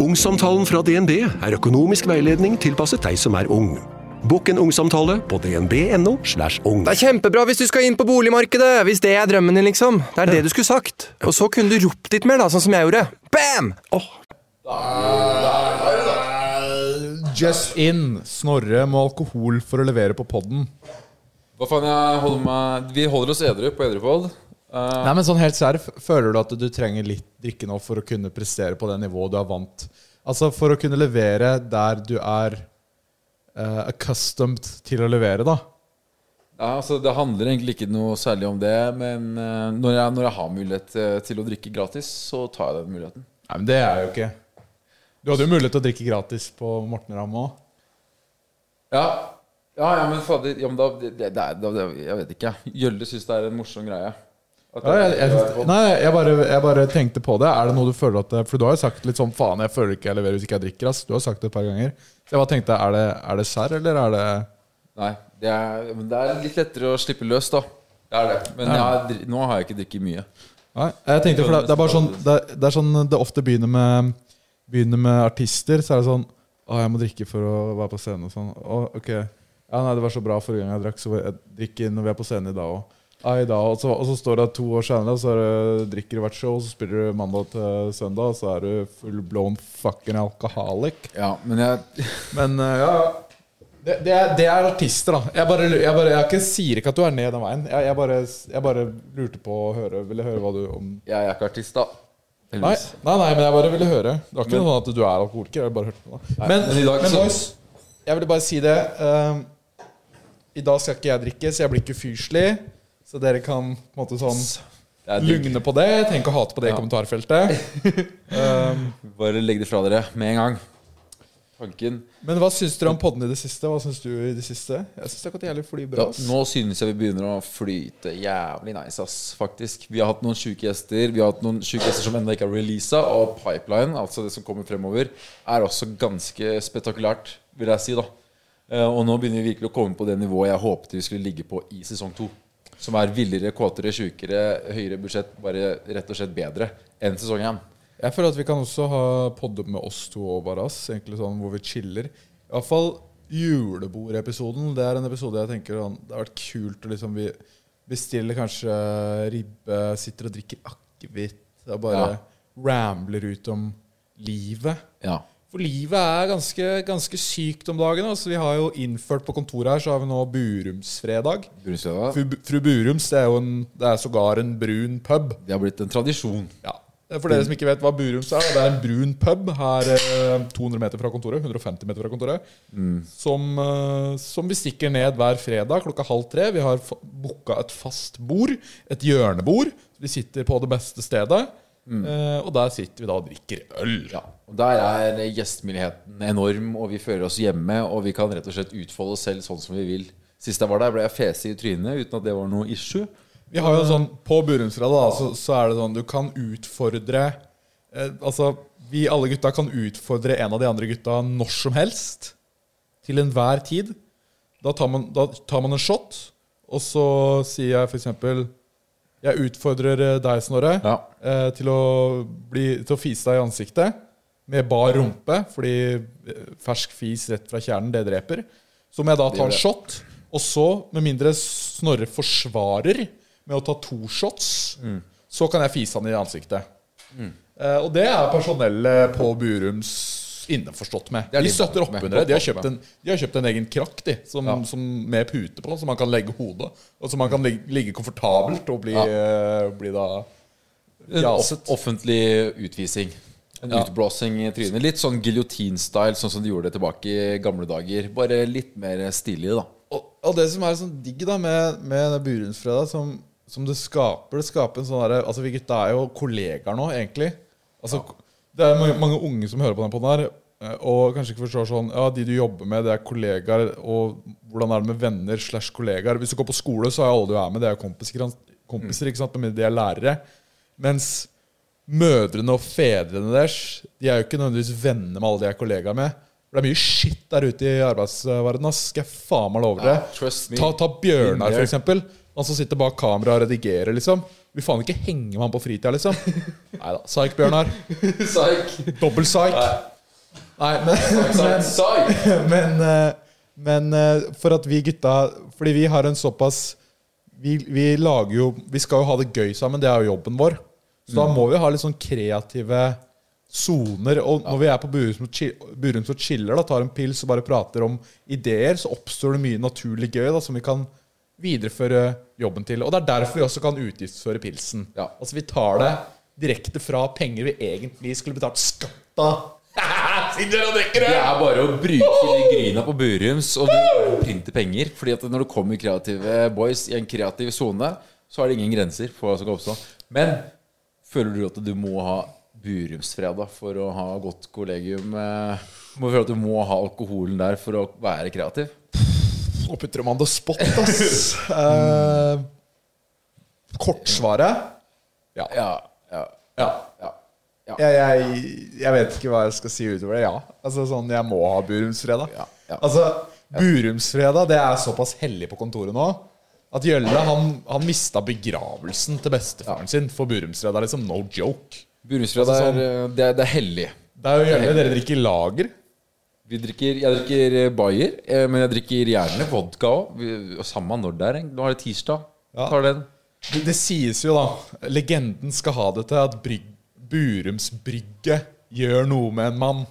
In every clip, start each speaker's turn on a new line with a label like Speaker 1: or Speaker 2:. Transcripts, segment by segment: Speaker 1: Ungsamtalen fra DNB er økonomisk veiledning tilpasset deg som er ung. Bokk en ungsamtale på dnb.no. slash ung.
Speaker 2: Det er kjempebra hvis du skal inn på boligmarkedet! Hvis det er drømmen din, liksom. Det er det du skulle sagt. Og så kunne du ropt litt mer, da, sånn som jeg gjorde. Bam!
Speaker 3: Eh, Just in. Snorre må alkohol for å levere på podden.
Speaker 4: Hva faen, jeg holder meg Vi holder oss edru på Edrupod.
Speaker 3: Nei, men sånn helt sær, Føler du at du trenger litt drikke nå for å kunne prestere på det nivået du er vant? Altså for å kunne levere der du er eh, accustomed til å levere, da.
Speaker 4: Ja, altså, det handler egentlig ikke noe særlig om det, men eh, når, jeg, når jeg har mulighet eh, til å drikke gratis, så tar jeg den muligheten.
Speaker 3: Nei, men det er jo ikke Du hadde jo mulighet til å drikke gratis på Mortenram òg.
Speaker 4: Ja, ja, ja men fader ja, men da, det, det, er- da, det, Jeg vet ikke. Gjølle syns det er en morsom greie. At
Speaker 3: Ja, jeg,
Speaker 4: det-
Speaker 3: jeg, nei, jeg bare, jeg bare tenkte på det. Er det noe du føler at det- For du har jo sagt litt sånn 'faen, jeg føler ikke jeg leverer hvis ikke jeg drikker'. Ass. Du har sagt det et par ganger. Så jeg bare tenkte, er det, er det serr, eller er det
Speaker 4: Nei, det er, men det er litt lettere å slippe løs, da. Det er det. Men jeg, har dri- nå har jeg ikke drukket mye.
Speaker 3: Nei, jeg tenkte for det, det er bare sånn det, er- det er sånn det ofte begynner med Begynner med artister, så er det sånn Å, jeg må drikke for å være på scenen og sånn. Å, ok. Ja, nei, det var så bra forrige gang jeg drakk, så jeg drikker når vi er på scenen i dag òg. Ja, i dag, og, så, og så står det to år senere, så er det, drikker du hvert show, så spiller du mandag til søndag, og så er du full blown fucking alcoholic.
Speaker 4: Ja, men jeg
Speaker 3: Men eh, ja det, det, er, det er artister, da. Jeg, bare, jeg, bare, jeg ikke, sier ikke at du er ned den veien. Jeg, jeg, bare, jeg bare lurte på å høre Ville høre hva du om
Speaker 4: Jeg er ikke artist, da.
Speaker 3: Nei,
Speaker 4: Heldigvis.
Speaker 3: nei, nei, men jeg bare ville høre. Det var ikke
Speaker 4: Men-
Speaker 3: noe sånn at du er alkoholiker. Jeg har bare hørt på det. Men,
Speaker 4: men i dag
Speaker 3: men
Speaker 4: så-
Speaker 3: boys, jeg ville bare si det. ehm, I dag skal ikke jeg drikke, så jeg blir ikke fyrslig. Så dere kan på en måte sånn
Speaker 4: Det er digg.
Speaker 3: lugne på det. Trenger ikke å hate på det i
Speaker 4: Ja.
Speaker 3: kommentarfeltet.
Speaker 4: Bare legg det fra dere med en gang. Tanken
Speaker 3: Men hva syns dere om podden i det siste? Hva syns du i det siste? Jeg syns det har gått jævlig fly
Speaker 4: da,
Speaker 3: bra. ass.
Speaker 4: Nå synes jeg vi begynner å flyte jævlig nice, ass, faktisk. Vi har hatt noen sjuke gjester. Vi har hatt noen sjuke gjester som ennå ikke er releasa, og pipeline, altså det som kommer fremover, er også ganske spektakulært, vil jeg si, da. Eh, Og nå begynner vi virkelig å komme på det nivået jeg håpet vi skulle ligge på i sesong to. Som er villere, kåtere, sjukere, høyere budsjett, bare rett og slett bedre enn sesong én.
Speaker 3: Jeg føler at vi kan også ha podder med oss to og bare oss, egentlig sånn hvor vi chiller. I hvert fall julebordepisoden. Det er en episode jeg tenker sånn, det har vært kult å liksom vi bestiller kanskje ribbe, sitter og drikker akevitt og bare
Speaker 4: Ja.
Speaker 3: rambler ut om livet.
Speaker 4: Ja.
Speaker 3: For livet er ganske, ganske sykt om dagen. Altså, vi har jo innført på kontoret her, så har vi nå Burumsfredag.
Speaker 4: Brunstøva,
Speaker 3: Fru, fru Burums, det er jo en, det er sågar en brun pub.
Speaker 4: Det har blitt en tradisjon.
Speaker 3: Ja. For dere som ikke vet hva Burums er, det er en brun pub her eh, 200 meter fra kontoret. 150 meter fra kontoret som, eh, som vi stikker ned hver fredag klokka halv tre. Vi har fa- booka et fast bord, et hjørnebord. Vi sitter på det beste stedet, eh, og der sitter vi da og drikker øl.
Speaker 4: Ja, og Der er gjestmildheten enorm, og vi føler oss hjemme. Og vi kan rett og slett utfolde oss selv sånn som vi vil. Sist jeg var der, ble jeg fese i trynet uten at det var noe issue.
Speaker 3: Vi har jo en sånn På Burumsfredag da, så, så er det sånn du kan utfordre eh, Altså, vi alle gutta kan utfordre en av de andre gutta når som helst. Til enhver tid. Da tar man, da tar man en shot, og så sier jeg f.eks. Jeg utfordrer eh, deg, Snorre,
Speaker 4: Ja.
Speaker 3: eh, til, å bli, til å fise deg i ansiktet med bar rumpe, fordi eh, fersk fis rett fra kjernen, det dreper. Så må jeg da ta en shot, og så, med mindre Snorre forsvarer med å ta to shots, så kan jeg fise han i ansiktet. Eh, og det er personellet på Burums innforstått med.
Speaker 4: Det er
Speaker 3: De
Speaker 4: de
Speaker 3: støtter opp
Speaker 4: med.
Speaker 3: under det. De har
Speaker 4: Godt
Speaker 3: kjøpt en, de har kjøpt en egen krakk de, som, som, med pute på, som man kan legge hodet Og som man kan ligge, ligge komfortabelt og bli,
Speaker 4: Ja. Eh,
Speaker 3: eh, bli da
Speaker 4: En
Speaker 3: jaset.
Speaker 4: off- offentlig utvisning. En utblåsing i trynet. Litt sånn giljotin-style, sånn som de gjorde det tilbake i gamle dager. Bare litt mer stilig, da.
Speaker 3: Og, og det som er sånn digg da med, med det Burundsfredag, som, som det skaper Det skaper en sånn derre Altså, vi gutta er jo kollegaer nå, egentlig. Altså, Det er mange, mange unge som hører på den podden her, eh, og kanskje ikke forstår sånn Ja, de du jobber med, det er kollegaer, og hvordan er det med venner slash kollegaer? Hvis du går på skole, så er alle du er med, det er jo kompiser, kompiser ikke sant? Med mindre de er lærere. Mens mødrene og fedrene deres De er jo ikke nødvendigvis venner med alle de er kollegaer med. For Det er mye shit der ute i arbeidsverdenen. ass. Skal jeg faen meg love dere?
Speaker 4: Ja, Ah, trust me.
Speaker 3: ta, ta Bjørnar,
Speaker 4: In
Speaker 3: for
Speaker 4: there.
Speaker 3: eksempel. Han som sitter bak kamera og redigerer, liksom. Vil faen ikke henge med han på fritida, liksom. Nei da. Psyk, Bjørnar.
Speaker 4: Psyk.
Speaker 3: Dobbel psyk.
Speaker 4: Nei.
Speaker 3: Nei, men, men men, eh, men eh, for at vi gutta Fordi vi har en såpass vi, vi lager jo Vi skal jo ha det gøy sammen, det er jo jobben vår. Så da må vi ha litt sånn kreative soner. Og når vi er på Burums og chi- Burums og chiller, da, tar en pils og bare prater om ideer, så oppstår det mye naturlig gøy da, som vi kan videreføre jobben til. Og det er derfor vi også kan utgiftsføre pilsen.
Speaker 4: Ja.
Speaker 3: Altså Vi tar det direkte fra penger vi egentlig skulle betalt skatt av. Siden dere drikker
Speaker 4: Det er bare å bruke de gryna på Burums og du printe penger. Fordi at når det kommer kreative boys i en kreativ sone, så er det ingen grenser for hva som kan oppstå. Men føler du at du må ha Burumsfredag for å ha godt kollegium? eh, Må føle at du må ha alkoholen der for å være kreativ?
Speaker 3: Nå putter man det spott, ass. Eh, kortsvaret
Speaker 4: Ja. ja,
Speaker 3: Ja.
Speaker 4: ja.
Speaker 3: Jeg, jeg, jeg vet ikke hva jeg skal si utover det. Ja. Altså sånn, Jeg må ha Burumsfredag.
Speaker 4: Ja, ja.
Speaker 3: Altså, Burumsfredag det er såpass hellig på kontoret nå at Gjølle han, han mista begravelsen til bestefaren sin for Burumsfredag. Liksom no joke.
Speaker 4: Burumsfredag er, eh, det er, det er hellig.
Speaker 3: Det er jo Gjølle dere drikker lager.
Speaker 4: Vi drikker, jeg drikker eh, Bayer, eh, men jeg drikker gjerne vodka òg. Samme når det er. eh. Nå er det tirsdag.
Speaker 3: Ja.
Speaker 4: Tar den.
Speaker 3: Det, det sies jo, da. Legenden skal ha det til at bryg, Burumsbrygget gjør noe med en mann.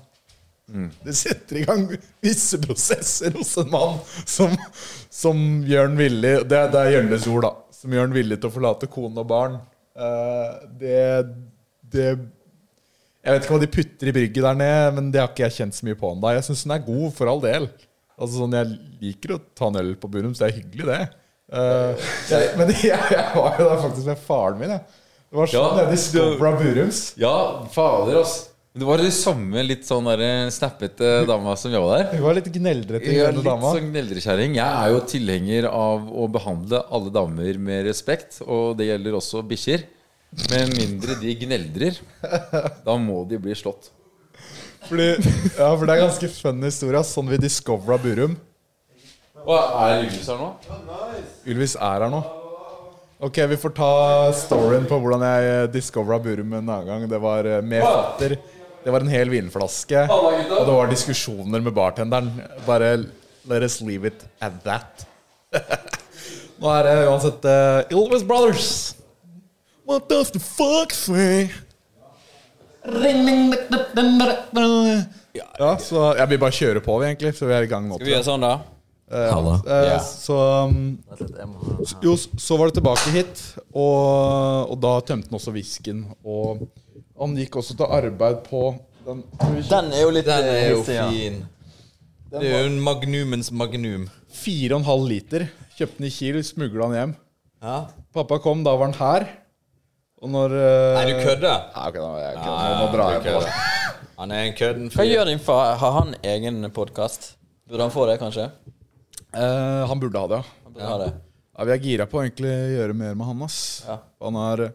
Speaker 3: Det setter i gang visse prosesser hos en mann som, som gjør han villig Det, det er Gjølles ord, da. Som gjør han villig til å forlate kone og barn. Eh, det, det Jeg vet ikke hva de putter i brygget der nede, men det har ikke jeg kjent så mye på ennå. Jeg syns den er god, for all del. Altså sånn, Jeg liker å ta en øl på Burums, det er hyggelig, det. Eh, jeg, men jeg, jeg var jo der faktisk med faren min, jeg. Det var sånn
Speaker 4: Ja,
Speaker 3: nede i Skobra Burums.
Speaker 4: Ja, fader, ass. Det var det samme litt sånn der, snappete dama som jobba der.
Speaker 3: Hun var litt gneldrete,
Speaker 4: Jeg er
Speaker 3: gamle
Speaker 4: litt
Speaker 3: dama.
Speaker 4: sånn gneldrekjerring. Jeg er jo tilhenger av å behandle alle damer med respekt, og det gjelder også bikkjer. Med mindre de gneldrer, da må de bli slått.
Speaker 3: Fordi, ja, for det er ganske fun historie. ass. Sånn vi discovera Burum.
Speaker 4: Og er Ylvis her nå?
Speaker 3: Ylvis er her nå. Ok, vi får ta storyen på hvordan jeg discovera Burum en annen gang. Det var eh, med fatter. Det var en hel vinflaske. Og det var diskusjoner med bartenderen. Bare let us leave it at that. Nå er det uansett eh, Ylvis Brothers. What does the fuck say? Ja, så jeg vil bare kjøre på, vi, egentlig. Så vi er i gang nå.
Speaker 5: Vi gjør sånn, da.
Speaker 3: Eh,
Speaker 4: Ja.
Speaker 3: Så um, Jo, s- så var det tilbake hit, og, og da tømte han også whiskyen. Og han gikk også til arbeid på den
Speaker 5: Den er jo litt
Speaker 6: Den er jo
Speaker 5: hissig, ja.
Speaker 6: fin. Det er jo en magnumens magnum.
Speaker 3: 4,5 liter. Kjøpte den i Kiel, smugla den hjem.
Speaker 6: Ja.
Speaker 3: Pappa kom, da var han her. Og når eh,
Speaker 6: Nei, du kødder?
Speaker 3: Nei, ok, da, jeg kødder. Nå, nå drar jeg på det.
Speaker 6: Han er en kødden
Speaker 5: Hva
Speaker 6: fyr.
Speaker 5: gjør din far? Har han egen podkast? Burde han få det, kanskje?
Speaker 3: Eh, han burde ha det, ja.
Speaker 5: Han burde ha det.
Speaker 3: Ja, Vi er gira på å egentlig gjøre mer med han. ass Han er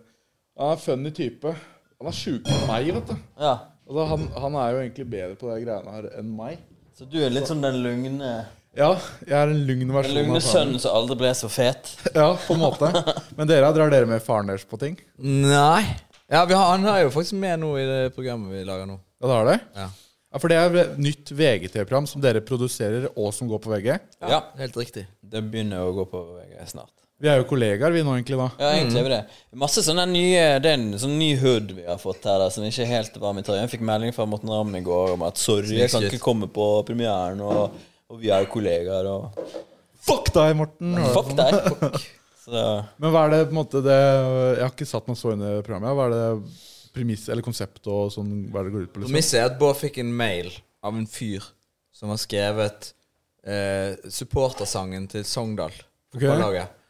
Speaker 3: Han er funny type. Han er sjukere enn meg, vet du.
Speaker 5: Ja.
Speaker 3: Altså, han, han er jo egentlig bedre på de greiene her enn meg.
Speaker 5: Så du er litt sånn den lugne
Speaker 3: Ja, jeg er en lugn
Speaker 5: Den
Speaker 3: versjon
Speaker 5: lugne
Speaker 3: av faren.
Speaker 5: sønnen som aldri ble så fet?
Speaker 3: Ja, på en måte. Men dere drar dere med faren deres på ting?
Speaker 6: Nei. Ja, vi har, han er jo faktisk med nå i det programmet vi lager nå.
Speaker 3: Ja, det har det?
Speaker 6: Ja.
Speaker 3: Ja, For det er et nytt VGT-program som dere produserer, og som går på VG.
Speaker 6: Ja, Helt riktig.
Speaker 5: Det begynner å gå på VG snart.
Speaker 3: Vi er jo kollegaer, vi nå, egentlig. da
Speaker 5: Ja, egentlig er vi det. Masse sånne nye Det er en sånn ny hood vi har fått her, da, som ikke er helt varm i tøyet. Jeg fikk melding fra Morten Ramm i går om at sorry, jeg kan
Speaker 6: Snikskryt.
Speaker 5: ikke komme på premieren, og, og vi er jo kollegaer, og
Speaker 3: Fuck deg, Morten!
Speaker 5: Fuck
Speaker 6: sånn.
Speaker 5: deg! Så
Speaker 3: Men hva er det på en måte det Jeg har ikke satt meg så inn i programmet. Hva er det premiss eller konsept og sånn Hva er det det går ut på? liksom?
Speaker 6: Premisset er at Bård fikk en mail av en fyr som har skrevet eh, supportersangen til Sogndal. Fotballaget.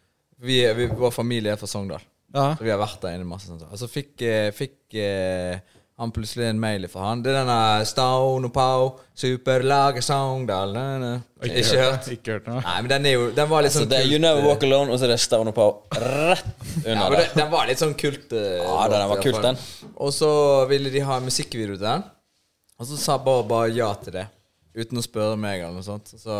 Speaker 6: Vi, er- vi, vår familie er fra Sogndal.
Speaker 3: Ja.
Speaker 6: Så vi har vært der inne masse sånt. Og så fikk, eh, fikk eh, han plutselig en mail fra han. Det er denne Stone og Pau, superlaget Sogndal na, na. Ikke, hørt?
Speaker 3: det, Ikke hørt noe.
Speaker 6: Nei, men den er jo Den var litt
Speaker 5: Så
Speaker 6: sånn
Speaker 5: Altså, det er You
Speaker 6: kult,
Speaker 5: Never
Speaker 6: eh,
Speaker 5: Walk Alone, og så er det Stavn og Pau rett
Speaker 6: ja,
Speaker 5: under
Speaker 6: men
Speaker 5: der.
Speaker 6: det, Den var litt sånn kult. eh,
Speaker 5: Ja, den var
Speaker 6: låt, i
Speaker 5: kult,
Speaker 6: hvert fall.
Speaker 5: den.
Speaker 6: Og så ville de ha en musikkvideo til den. Og så sa Bård bare ja til det. Uten å spørre meg eller noe sånt. Så,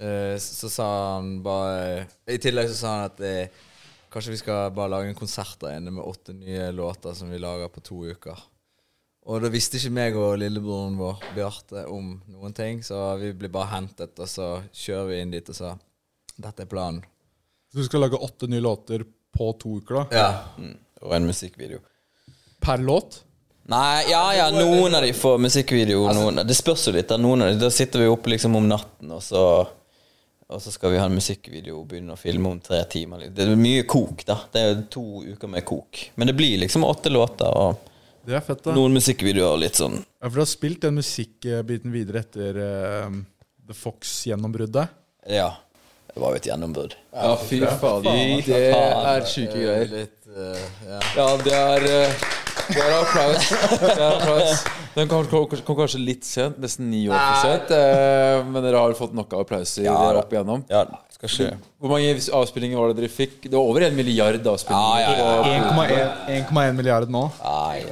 Speaker 6: eh, så sa han bare I tillegg så sa han at eh, kanskje vi skal bare lage en konsert der inne med åtte nye låter som vi lager på to uker. Og da visste ikke meg og lillebroren vår, Bjarte, om noen ting, så vi ble bare hentet, og så kjører vi inn dit og sa Dette er planen.
Speaker 3: Så du skal lage åtte nye låter på to uker, da?
Speaker 6: Ja.
Speaker 5: Og en musikkvideo.
Speaker 3: Per låt?
Speaker 5: Nei, ja ja, noen av de får musikkvideo.
Speaker 6: Altså-
Speaker 5: Noen, det spørs jo litt. Da, noen av de, da sitter vi oppe liksom om natten, og så og så skal vi ha en musikkvideo og begynne å filme om tre timer. liksom. Det er mye kok, da. Det er to uker med kok. Men det blir liksom åtte låter og
Speaker 3: Det er fett, da.
Speaker 5: noen musikkvideoer og litt sånn.
Speaker 3: Ja, for du har spilt den musikkbiten videre etter eh, The Fox-gjennombruddet.
Speaker 5: Ja. Det var jo et gjennombrudd.
Speaker 4: Ja, fy faen. altså. Det er sjuke greier.
Speaker 6: Litt, eh, ja.
Speaker 4: Ja, det er eh, Det er applaus. Det er applaus. Den kom, kom, kom kanskje litt sent, nesten ni år for sent. eh, Men dere har fått nok av applauser
Speaker 5: Ja, da.
Speaker 4: opp igjennom.
Speaker 5: Ja, det skal skje.
Speaker 4: Hvor mange avspillinger var det dere fikk? Det var over en milliard avspillinger.
Speaker 5: Ja, ja, ja.
Speaker 4: på-
Speaker 3: 1,1 milliard nå.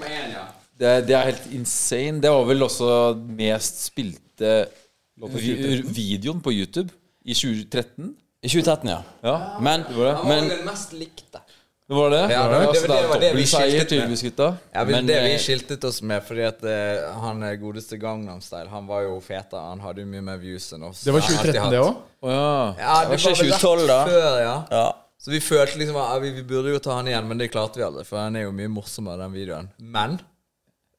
Speaker 4: Det, det er helt insane. Det var vel også mest spilte vi, videoen på YouTube i 2013.
Speaker 5: I 2013, ja.
Speaker 4: Ja,
Speaker 5: Men,
Speaker 4: det.
Speaker 5: men
Speaker 6: den mest likte.
Speaker 4: det var det.
Speaker 6: Ja, det var- det var- det var det vi
Speaker 4: Dobbeltseier,
Speaker 6: skiltet med.
Speaker 4: tydeligvis, gutta.
Speaker 6: Ja, men,
Speaker 5: Men,
Speaker 6: det
Speaker 5: eh,
Speaker 6: vi skiltet oss med, fordi at eh, han eh, godeste Gangnam Style, han var jo fetere, han hadde jo mye mer views enn oss.
Speaker 3: Det var
Speaker 6: Han har alltid
Speaker 3: 2013,
Speaker 6: hatt-
Speaker 3: det òg?
Speaker 4: Å ja.
Speaker 6: Ja, det
Speaker 5: Det var
Speaker 6: var
Speaker 5: ikke
Speaker 6: vel
Speaker 5: 2012
Speaker 6: rett
Speaker 5: da.
Speaker 6: før, ja.
Speaker 5: ja.
Speaker 6: Så vi følte liksom at ja, vi, vi burde jo ta han igjen, men det klarte vi aldri, for han er jo mye morsommere, den videoen. Men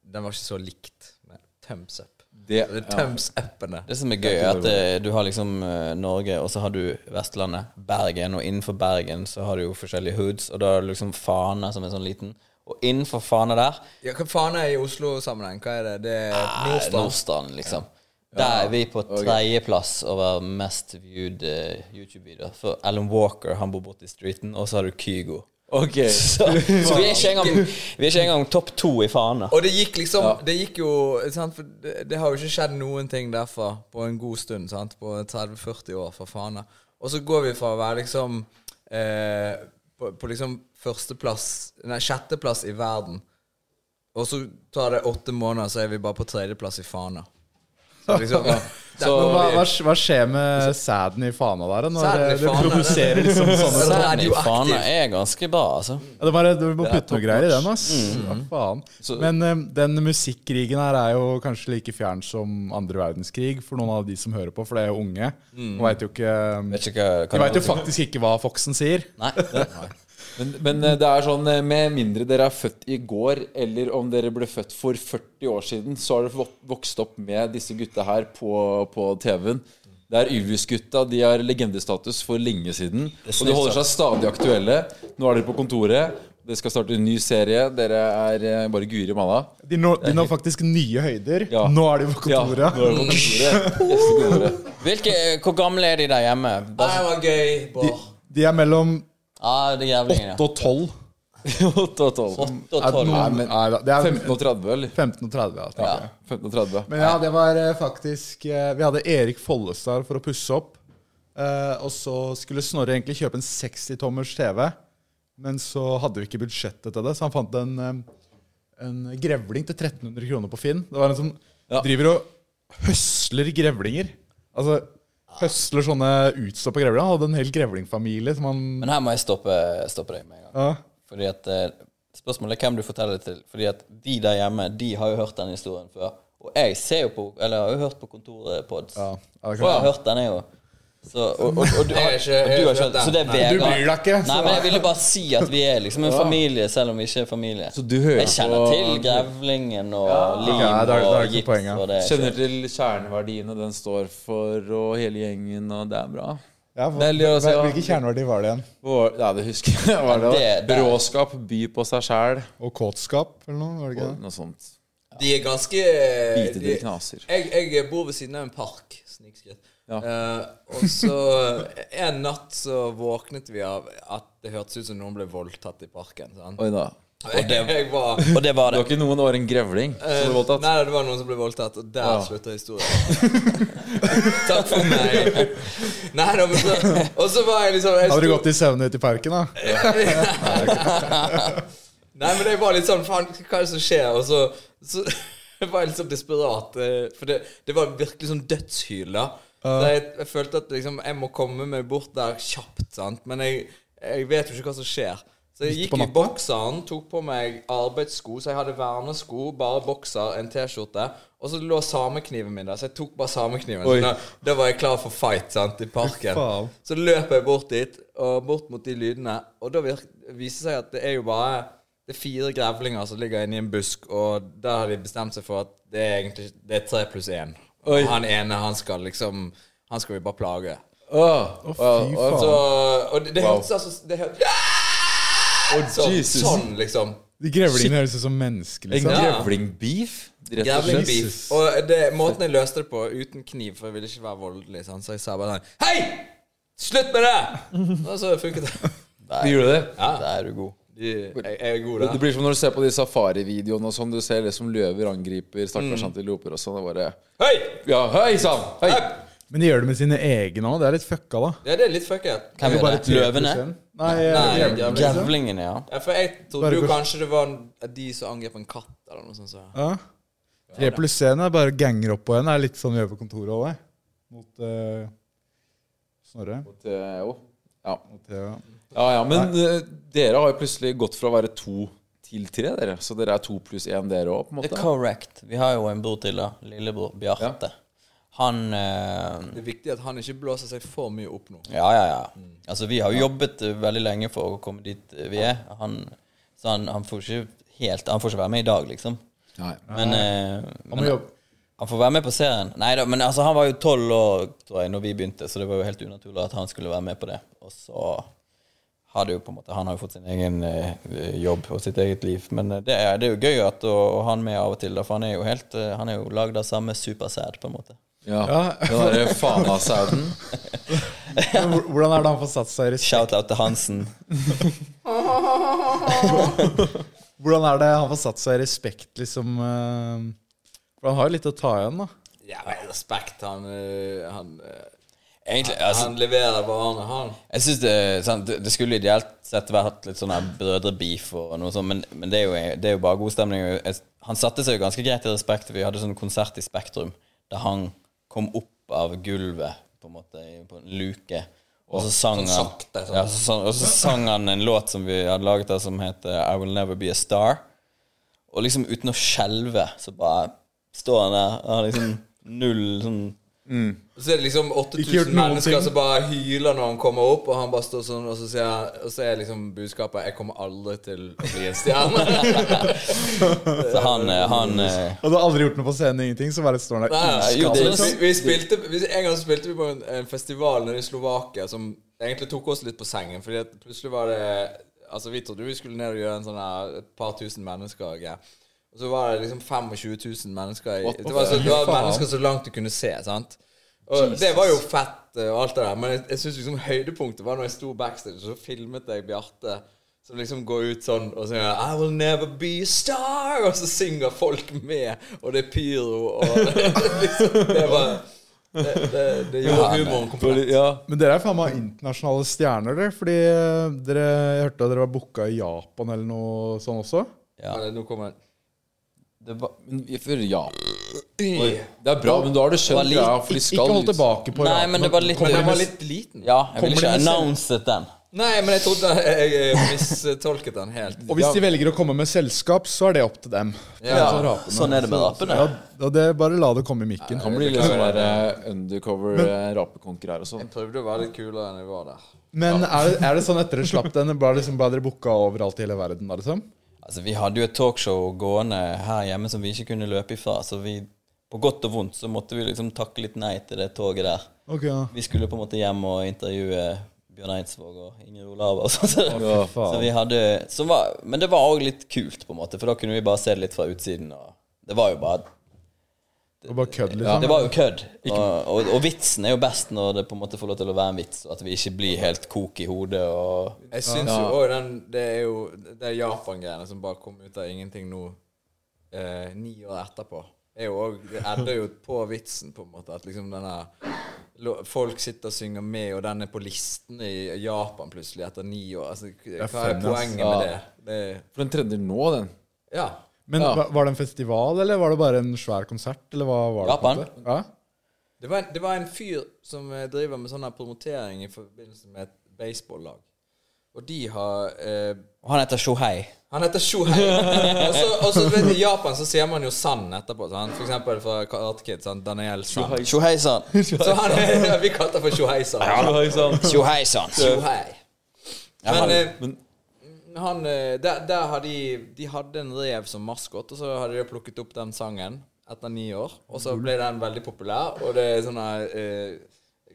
Speaker 6: den var ikke så likt med Thumbs Up.
Speaker 4: Det,
Speaker 6: Det er
Speaker 4: ja.
Speaker 6: Thumbs Up-ene.
Speaker 5: Det som er gøy, er at eh, du har liksom eh, Norge, og så har du Vestlandet, Bergen, og innenfor Bergen så har du jo forskjellige hoods, og da er det liksom Fana som er sånn liten. Og innenfor Fana der
Speaker 6: Ja, hva faen er i Oslo-sammenheng? Hva er det? Det er
Speaker 5: er
Speaker 6: Nordstrand.
Speaker 5: Ah, Nordstrand, liksom. Der er vi på tredjeplass over mest viewed eh, YouTube-videoer. For Alan Walker, han bor borti streeten, og så har du Kygo.
Speaker 4: Ok.
Speaker 5: Så, så vi er ikke engang, vi er ikke engang topp to i Fana.
Speaker 6: Og det gikk liksom Det gikk jo sant? For det, det har jo ikke skjedd noen ting derfra på en god stund. Sant? På 30-40 år, for faen. da. Og så går vi fra å være liksom eh, på, på liksom førsteplass Nei, sjetteplass i verden. Og så tar det åtte måneder, så er vi bare på tredjeplass i Fana. Så liksom
Speaker 3: Men
Speaker 6: Der må
Speaker 3: Hva,
Speaker 6: vi-
Speaker 3: hva, hva skjer med sæden i Fana der? da, Når eh, det,
Speaker 6: Sæden i
Speaker 3: det
Speaker 6: Fana, det-
Speaker 3: provoserer liksom
Speaker 5: sånn
Speaker 3: sånne
Speaker 6: Sæden
Speaker 5: Særlig
Speaker 6: jo aktiv.
Speaker 5: Fana er ganske bra, altså.
Speaker 3: ja, det bare, Du må putte noe greier i den, ass. Hva faen. Men eh, den musikkrigen her er jo kanskje like fjern som andre verdenskrig for noen av de som hører på, for det er jo unge. Og vet jo ikke um,
Speaker 5: Vet ikke hva, hva
Speaker 3: De veit jo faktisk ikke hva Foxen sier.
Speaker 5: Nei, det,
Speaker 4: Men, men eh, det er sånn, eh, med mindre dere er født i går, eller om dere ble født for 40 år siden, så har dere vok- vokst opp med disse gutta her på, på TV-en. Det er Ylvis-gutta. De har legendestatus for lenge siden. Og de holder seg stadig aktuelle. Nå er dere på kontoret. Dere skal starte en ny serie. Dere er eh, bare guri malla.
Speaker 3: De når, de når faktisk nye høyder.
Speaker 4: Ja.
Speaker 3: Nå er de på kontoret.
Speaker 4: Ja, nå er dere på kontoret. Gjeste kontoret.
Speaker 5: Hvilke, hvor gamle er de der hjemme? Bare,
Speaker 6: Det var gøy. Bård.
Speaker 3: De er mellom
Speaker 5: ah, det er jævlingene.
Speaker 3: 8 og 12.
Speaker 4: 8 og 12.
Speaker 5: Åtte og
Speaker 3: Er det,
Speaker 5: tolv.
Speaker 3: noen,
Speaker 4: men-
Speaker 3: nei, da, det er
Speaker 4: 15 og 30, eller?
Speaker 3: 15 og 30. Ja. tenker jeg.
Speaker 4: 15 og 30.
Speaker 3: Men ja, det var eh, faktisk eh, Vi hadde Erik Follestad for å pusse opp. eh, og så skulle Snorre egentlig kjøpe en 60-tommers TV, men så hadde vi ikke budsjettet til det, så han fant en, eh, en grevling til 1300 kroner på Finn. Det var en som
Speaker 4: Ja.
Speaker 3: driver og høsler grevlinger. Altså høsler sånne utstoppa grevlinger. Han hadde en hel grevlingfamilie som han
Speaker 5: Men her må jeg stoppe, stoppe deg med en gang.
Speaker 3: ja.
Speaker 5: Fordi at eh, Spørsmålet er hvem du forteller det til. Fordi at de der hjemme, de har jo hørt den historien før. Og jeg ser jo på Eller jeg har jo hørt på Kontorpods.
Speaker 3: Ja, ja, det
Speaker 5: Og jeg har
Speaker 3: kan-
Speaker 5: hørt den, jeg òg. Så, og, og, og du,
Speaker 6: Jeg er
Speaker 5: har-
Speaker 6: ikke- jeg
Speaker 5: og du
Speaker 6: har
Speaker 5: har
Speaker 6: ikke
Speaker 5: skjønt
Speaker 6: hørt
Speaker 5: Så det er
Speaker 6: den.
Speaker 5: Vegard.
Speaker 3: Du bryr deg ikke, så-
Speaker 5: Nei, men jeg ville bare si at vi er liksom en familie, selv om vi ikke er familie.
Speaker 4: Så du hører
Speaker 5: jeg kjenner
Speaker 4: på-
Speaker 5: til Grevlingen og Lim
Speaker 3: Ja, det er- det er ikke
Speaker 5: og Gips
Speaker 3: poenget.
Speaker 5: og det.
Speaker 4: Kjenner til kjerneverdiene den står for, og hele gjengen, og det er bra.
Speaker 3: Ja, for,
Speaker 4: Veldig å se, ja.
Speaker 3: Hvilke kjerneverdier var det igjen?
Speaker 4: Vår- Nei, det husker jeg. Hva var det,
Speaker 5: Det- det er-
Speaker 4: Råskap, by på seg sjæl,
Speaker 3: Og kåtskap eller noe? Var det ikke
Speaker 4: og
Speaker 3: det?
Speaker 4: noe sånt.
Speaker 6: De er ganske
Speaker 4: Bite dere
Speaker 6: de-
Speaker 4: knaser.
Speaker 6: Jeg, jeg bor ved siden av en park. Snikskritt.
Speaker 4: Ja.
Speaker 6: Eh, og så en natt så våknet vi av at det hørtes ut som noen ble voldtatt i parken. Sant?
Speaker 4: Oi da.
Speaker 6: Og det, jeg var Eh,
Speaker 5: Og det var
Speaker 4: Det
Speaker 5: det.
Speaker 4: var ikke noen år en grevling som ble voldtatt.
Speaker 6: Nei, nei, det var noen som ble voldtatt, og der
Speaker 4: Ja.
Speaker 6: slutter historien. Takk for meg. Nei, da, men så, og så var jeg liksom jeg
Speaker 3: Hadde du
Speaker 6: sto-
Speaker 3: gått i søvne ute i parken, da?
Speaker 6: Nei, men jeg var litt sånn Faen, hva er det som skjer? Og så, så var jeg litt sånn desperat. eh, For det, det var virkelig sånn dødshyl, da. Så jeg, jeg følte at liksom, jeg må komme meg bort der kjapt, sant. Men jeg, jeg vet jo ikke hva som skjer. Så Så jeg gikk i bokseren, tok på meg arbeidssko, så jeg hadde vernesko, bare bokser, en T-skjorte. Og så lå samekniven min der, så jeg tok bare samekniven. Så da, da var jeg klar for fight sant, i parken.
Speaker 3: Faen.
Speaker 6: Så løp jeg bort dit, og bort mot de lydene. Og da virk, viser det seg at det er jo bare det er fire grevlinger som ligger inni en busk, og der har de bestemt seg for at det er egentlig det er tre pluss én. Og han ene, han skal liksom Han skal vi bare plage.
Speaker 4: Å,
Speaker 3: fy
Speaker 4: å,
Speaker 6: Så,
Speaker 3: faen.
Speaker 6: og det, det
Speaker 4: Wow.
Speaker 6: hørtes altså det hørtes, sånn,
Speaker 4: Jesus.
Speaker 6: sånn, liksom.
Speaker 3: De grevlingene høres ut som mennesker,
Speaker 4: En
Speaker 3: liksom.
Speaker 6: Ja.
Speaker 4: grevlingbeef? Rett og
Speaker 6: Jævlig
Speaker 4: slett.
Speaker 6: beef.
Speaker 3: Jesus.
Speaker 6: Og det, måten jeg løste det på, uten kniv, for jeg ville ikke være voldelig, sånn, så jeg sa bare sånn Hei! Slutt med det! Og så funket det.
Speaker 4: Du gjorde det?
Speaker 5: Da er du god.
Speaker 6: De, jeg, jeg er god
Speaker 4: Det
Speaker 6: der.
Speaker 4: blir som når du ser på de safarivideoene og sånn. Du ser liksom løver angriper stakkars antiloper og sånn. Og bare
Speaker 6: Hei!
Speaker 4: Ja, hei sann! Hei!
Speaker 3: Men de gjør det med sine egne òg. Det er litt fucka, da.
Speaker 6: Ja, det er litt fucket.
Speaker 5: Hvem
Speaker 3: Det er
Speaker 5: er
Speaker 3: bare
Speaker 5: det?
Speaker 3: 3%.
Speaker 5: Løvene?
Speaker 3: Nei,
Speaker 6: Nei,
Speaker 3: grevlingene,
Speaker 6: grevling.
Speaker 3: liksom.
Speaker 5: Grevlingene, ja.
Speaker 6: Ja, for jeg
Speaker 3: Bare
Speaker 6: trodde jo
Speaker 3: kors-
Speaker 6: kanskje det var de som angrep en katt, eller noe sånt. Så.
Speaker 3: Ja. Tre pluss én er bare ganger opp på en. Det er litt sånn vi gjør på kontoret òg, mot eh, Snorre.
Speaker 4: Eh, jo. Ja.
Speaker 3: Mot Theo.
Speaker 4: ja ja, men eh, dere har jo plutselig gått fra å være to til tre, dere. Så dere er to pluss én, dere òg, på en
Speaker 5: Det er
Speaker 4: måte.
Speaker 5: correct. Vi har jo en bror til, da. Lillebror Bjarte. Han eh,
Speaker 6: Det er viktig at han ikke blåser seg for mye opp nå.
Speaker 5: Ja, ja, ja. Altså, vi har jo jobbet eh, veldig lenge for å komme dit eh, vi er. Han, så han, han får ikke helt Han får ikke være med i dag, liksom.
Speaker 4: Nei.
Speaker 5: Men, eh,
Speaker 3: Han må
Speaker 5: men
Speaker 3: jobbe.
Speaker 5: han får være med på serien. Nei da, men altså, han var jo tolv år tror jeg, når vi begynte, så det var jo helt unaturlig at han skulle være med på det. Og så har det jo på en måte Han har jo fått sin egen eh, jobb og sitt eget liv. Men eh, det, er, det er jo gøy at å å ha han med av og til, da, for han er jo helt eh, Han er jo lagd av samme supersæd, på en måte.
Speaker 4: Ja. Den derre fanasauden.
Speaker 3: Men hvor- Hvordan er det han får satt seg i respekt?
Speaker 5: Shout-out til Hansen.
Speaker 3: Hvordan er det han får satt seg i respekt, liksom? eh, For han har jo litt å ta igjen, da.
Speaker 6: Ja, men respekt, han øh, Han, øh,
Speaker 5: Egentlig, altså,
Speaker 6: han leverer varene, han.
Speaker 5: Jeg synes det, sant, det det skulle ideelt sett vært litt sånn her brødrebeef og noe sånt, men, men det, er jo, det er jo bare god stemning. og jeg- Han satte seg jo ganske greit i respekt. Vi hadde sånn konsert i Spektrum der han kom opp av gulvet på en måte i- på en luke. Og så sang, han,
Speaker 6: sakte, sånn.
Speaker 5: ja, så, sang- og så sang han en låt som vi hadde laget der som het eh, I Will Never Be A Star. Og liksom uten å skjelve, så bare står han der og har liksom null sånn
Speaker 6: Så er det liksom
Speaker 3: Ikke gjort
Speaker 6: 8000
Speaker 3: noen
Speaker 6: mennesker
Speaker 3: ting.
Speaker 6: som bare hyler når han kommer opp, og han bare står sånn, og så, sier, jeg- og så er liksom budskapet 'Jeg kommer aldri til å bli en stjerne'.
Speaker 5: Så han, eh, han eh,
Speaker 3: Og du har aldri gjort noe på scenen, ingenting, så bare står han der. liksom.
Speaker 6: Nei, altså,
Speaker 5: jo, det er-
Speaker 6: vi, vi spilte, vi, en gang så spilte vi på en, en festival nede i Slovakia som egentlig tok oss litt på sengen, fordi at plutselig var det Altså, vi trodde vi skulle ned og gjøre en sånn her et par tusen mennesker greie. Og så var det liksom 25 000 mennesker i, Det var, så, det var mennesker så langt du kunne se, sant? Og det var jo fett eh, og alt det der, men jeg, jeg synes liksom høydepunktet var når jeg sto backstage, og så filmet jeg Bjarte som liksom går ut sånn og synger 'I will never be a star', og så synger folk med, og det er pyro, og liksom Det var Det, det, det eh. gjorde humoren komplett.
Speaker 4: Ja.
Speaker 3: Men dere er faen meg internasjonale stjerner, dere. Fordi eh, dere, jeg hørte at dere var booka i Japan eller noe sånn også.
Speaker 5: Ja.
Speaker 6: Men Nå kommer
Speaker 4: Det var, men vi- for ja.
Speaker 6: Oi.
Speaker 4: Det er bra, men da har du skjønt
Speaker 5: litt-
Speaker 4: greia, for de
Speaker 3: Ikke
Speaker 4: skal
Speaker 3: hold
Speaker 4: ut.
Speaker 3: tilbake på
Speaker 5: Nei,
Speaker 3: Japan.
Speaker 5: men det var litt
Speaker 6: Men den var litt liten.
Speaker 5: Ja, jeg
Speaker 3: Kommer
Speaker 5: ville ikke
Speaker 3: det med selv-
Speaker 5: annonset den.
Speaker 6: Nei, men jeg trodde jeg, jeg mistolket den helt.
Speaker 3: Og hvis de velger å komme med selskap, så er det opp til dem.
Speaker 6: Ja,
Speaker 5: Sånn er det med rapene.
Speaker 3: Ja, og det, bare la det komme i mikken.
Speaker 4: Han blir litt sånn der eh, undercover eh, rapekonker her og sånn.
Speaker 6: Jeg prøvde å være litt kulere enn jeg var der.
Speaker 3: Men er det, er det sånn etter dere slapp den, bare liksom ble dere booka overalt i hele verden? da, liksom?
Speaker 5: Altså, vi hadde jo et talkshow gående her hjemme som vi ikke kunne løpe ifra, så vi på godt og vondt så måtte vi liksom takke litt nei til det toget der.
Speaker 3: Ok, ja.
Speaker 5: Vi skulle på en måte hjem og intervjue Bjørn Eidsvåg og Ingrid Olava og sånn. Så,
Speaker 3: Ja,
Speaker 5: så
Speaker 3: faen.
Speaker 5: vi hadde så var, Men det var òg litt kult, på en måte, for da kunne vi bare se det litt fra utsiden. Og det var jo bare
Speaker 3: Og bare kødd,
Speaker 5: Ja,
Speaker 3: liksom.
Speaker 5: det var jo kødd. Og, og, og vitsen er jo best når det på en måte får lov til å være en vits, og at vi ikke blir helt kok i hodet og
Speaker 6: Jeg syns jo òg den Det er jo det Japan-greiene som bare kom ut av ingenting nå, eh, ni år etterpå. Er jo også, det ender jo på vitsen, på en måte. At liksom denne lo- Folk sitter og synger med, og den er på listen i Japan plutselig etter ni år. Altså, hva er
Speaker 3: funny, ass.
Speaker 6: poenget med det? det
Speaker 4: For den trender nå, den.
Speaker 6: ja.
Speaker 3: Men hva- Var det en festival, eller var det bare en svær konsert? Eller hva var det? på en
Speaker 5: Japan.
Speaker 3: måte? Ja?
Speaker 6: Det var, en, det var en fyr som eh, driver med sånn her promotering i forbindelse med et baseball-lag. Og de har eh,
Speaker 5: Og han heter Shohei.
Speaker 6: Han heter Shohei. Og så- og så vet du, I Japan så sier man jo San etterpå. Sant? For eksempel fra Karate Kid. Sant? Daniel San.
Speaker 5: Shohei-san.
Speaker 6: Så han, ja, vi kalte han for Shohei San.
Speaker 5: Shohei-san.
Speaker 6: Shohei.
Speaker 5: Ja,
Speaker 6: Men,
Speaker 5: han-
Speaker 6: eh, han, eh, der, der har de De hadde en rev som maskot, og så hadde de plukket opp den sangen etter ni år. Og så ble den veldig populær, og det er sånne eh,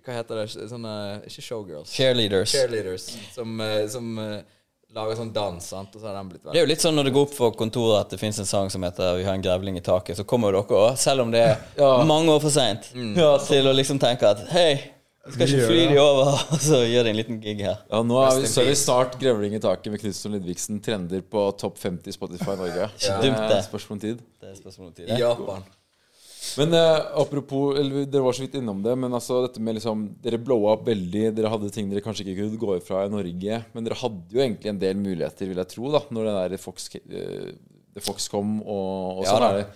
Speaker 6: Hva heter det? Sånne Ikke showgirls.
Speaker 5: Cheerleaders.
Speaker 6: Cheerleaders. Som, eh, som eh, lager sånn dans, sant? og så har den blitt veldig
Speaker 5: Det er jo litt sånn når det går opp for kontoret at det fins en sang som heter 'Vi har en grevling i taket', så kommer jo dere òg, selv om det er mange år for seint,
Speaker 6: Mm.
Speaker 5: til å liksom tenke at 'hei, skal ikke fly de over', og så gjør de en liten gig her.
Speaker 4: Ja, nå er vi, så er vi snart Grevling i taket med Knutsen Ludvigsen. Trender på topp 50 Spotify Norge.
Speaker 5: Ikke dumt, det.
Speaker 4: Eh, Spørsmål om tid.
Speaker 5: Det er et spørsmål om tid.
Speaker 6: I
Speaker 5: det.
Speaker 6: Japan.
Speaker 4: Men eh, apropos eller, Dere var så vidt innom det, men altså dette med liksom Dere blowa opp veldig. Dere hadde ting dere kanskje ikke kunne gå ifra i Norge. Men dere hadde jo egentlig en del muligheter, vil jeg tro, da når den der Fox, eh, The Fox kom. Og, og
Speaker 5: Ja,
Speaker 4: sånn
Speaker 5: da.
Speaker 4: er det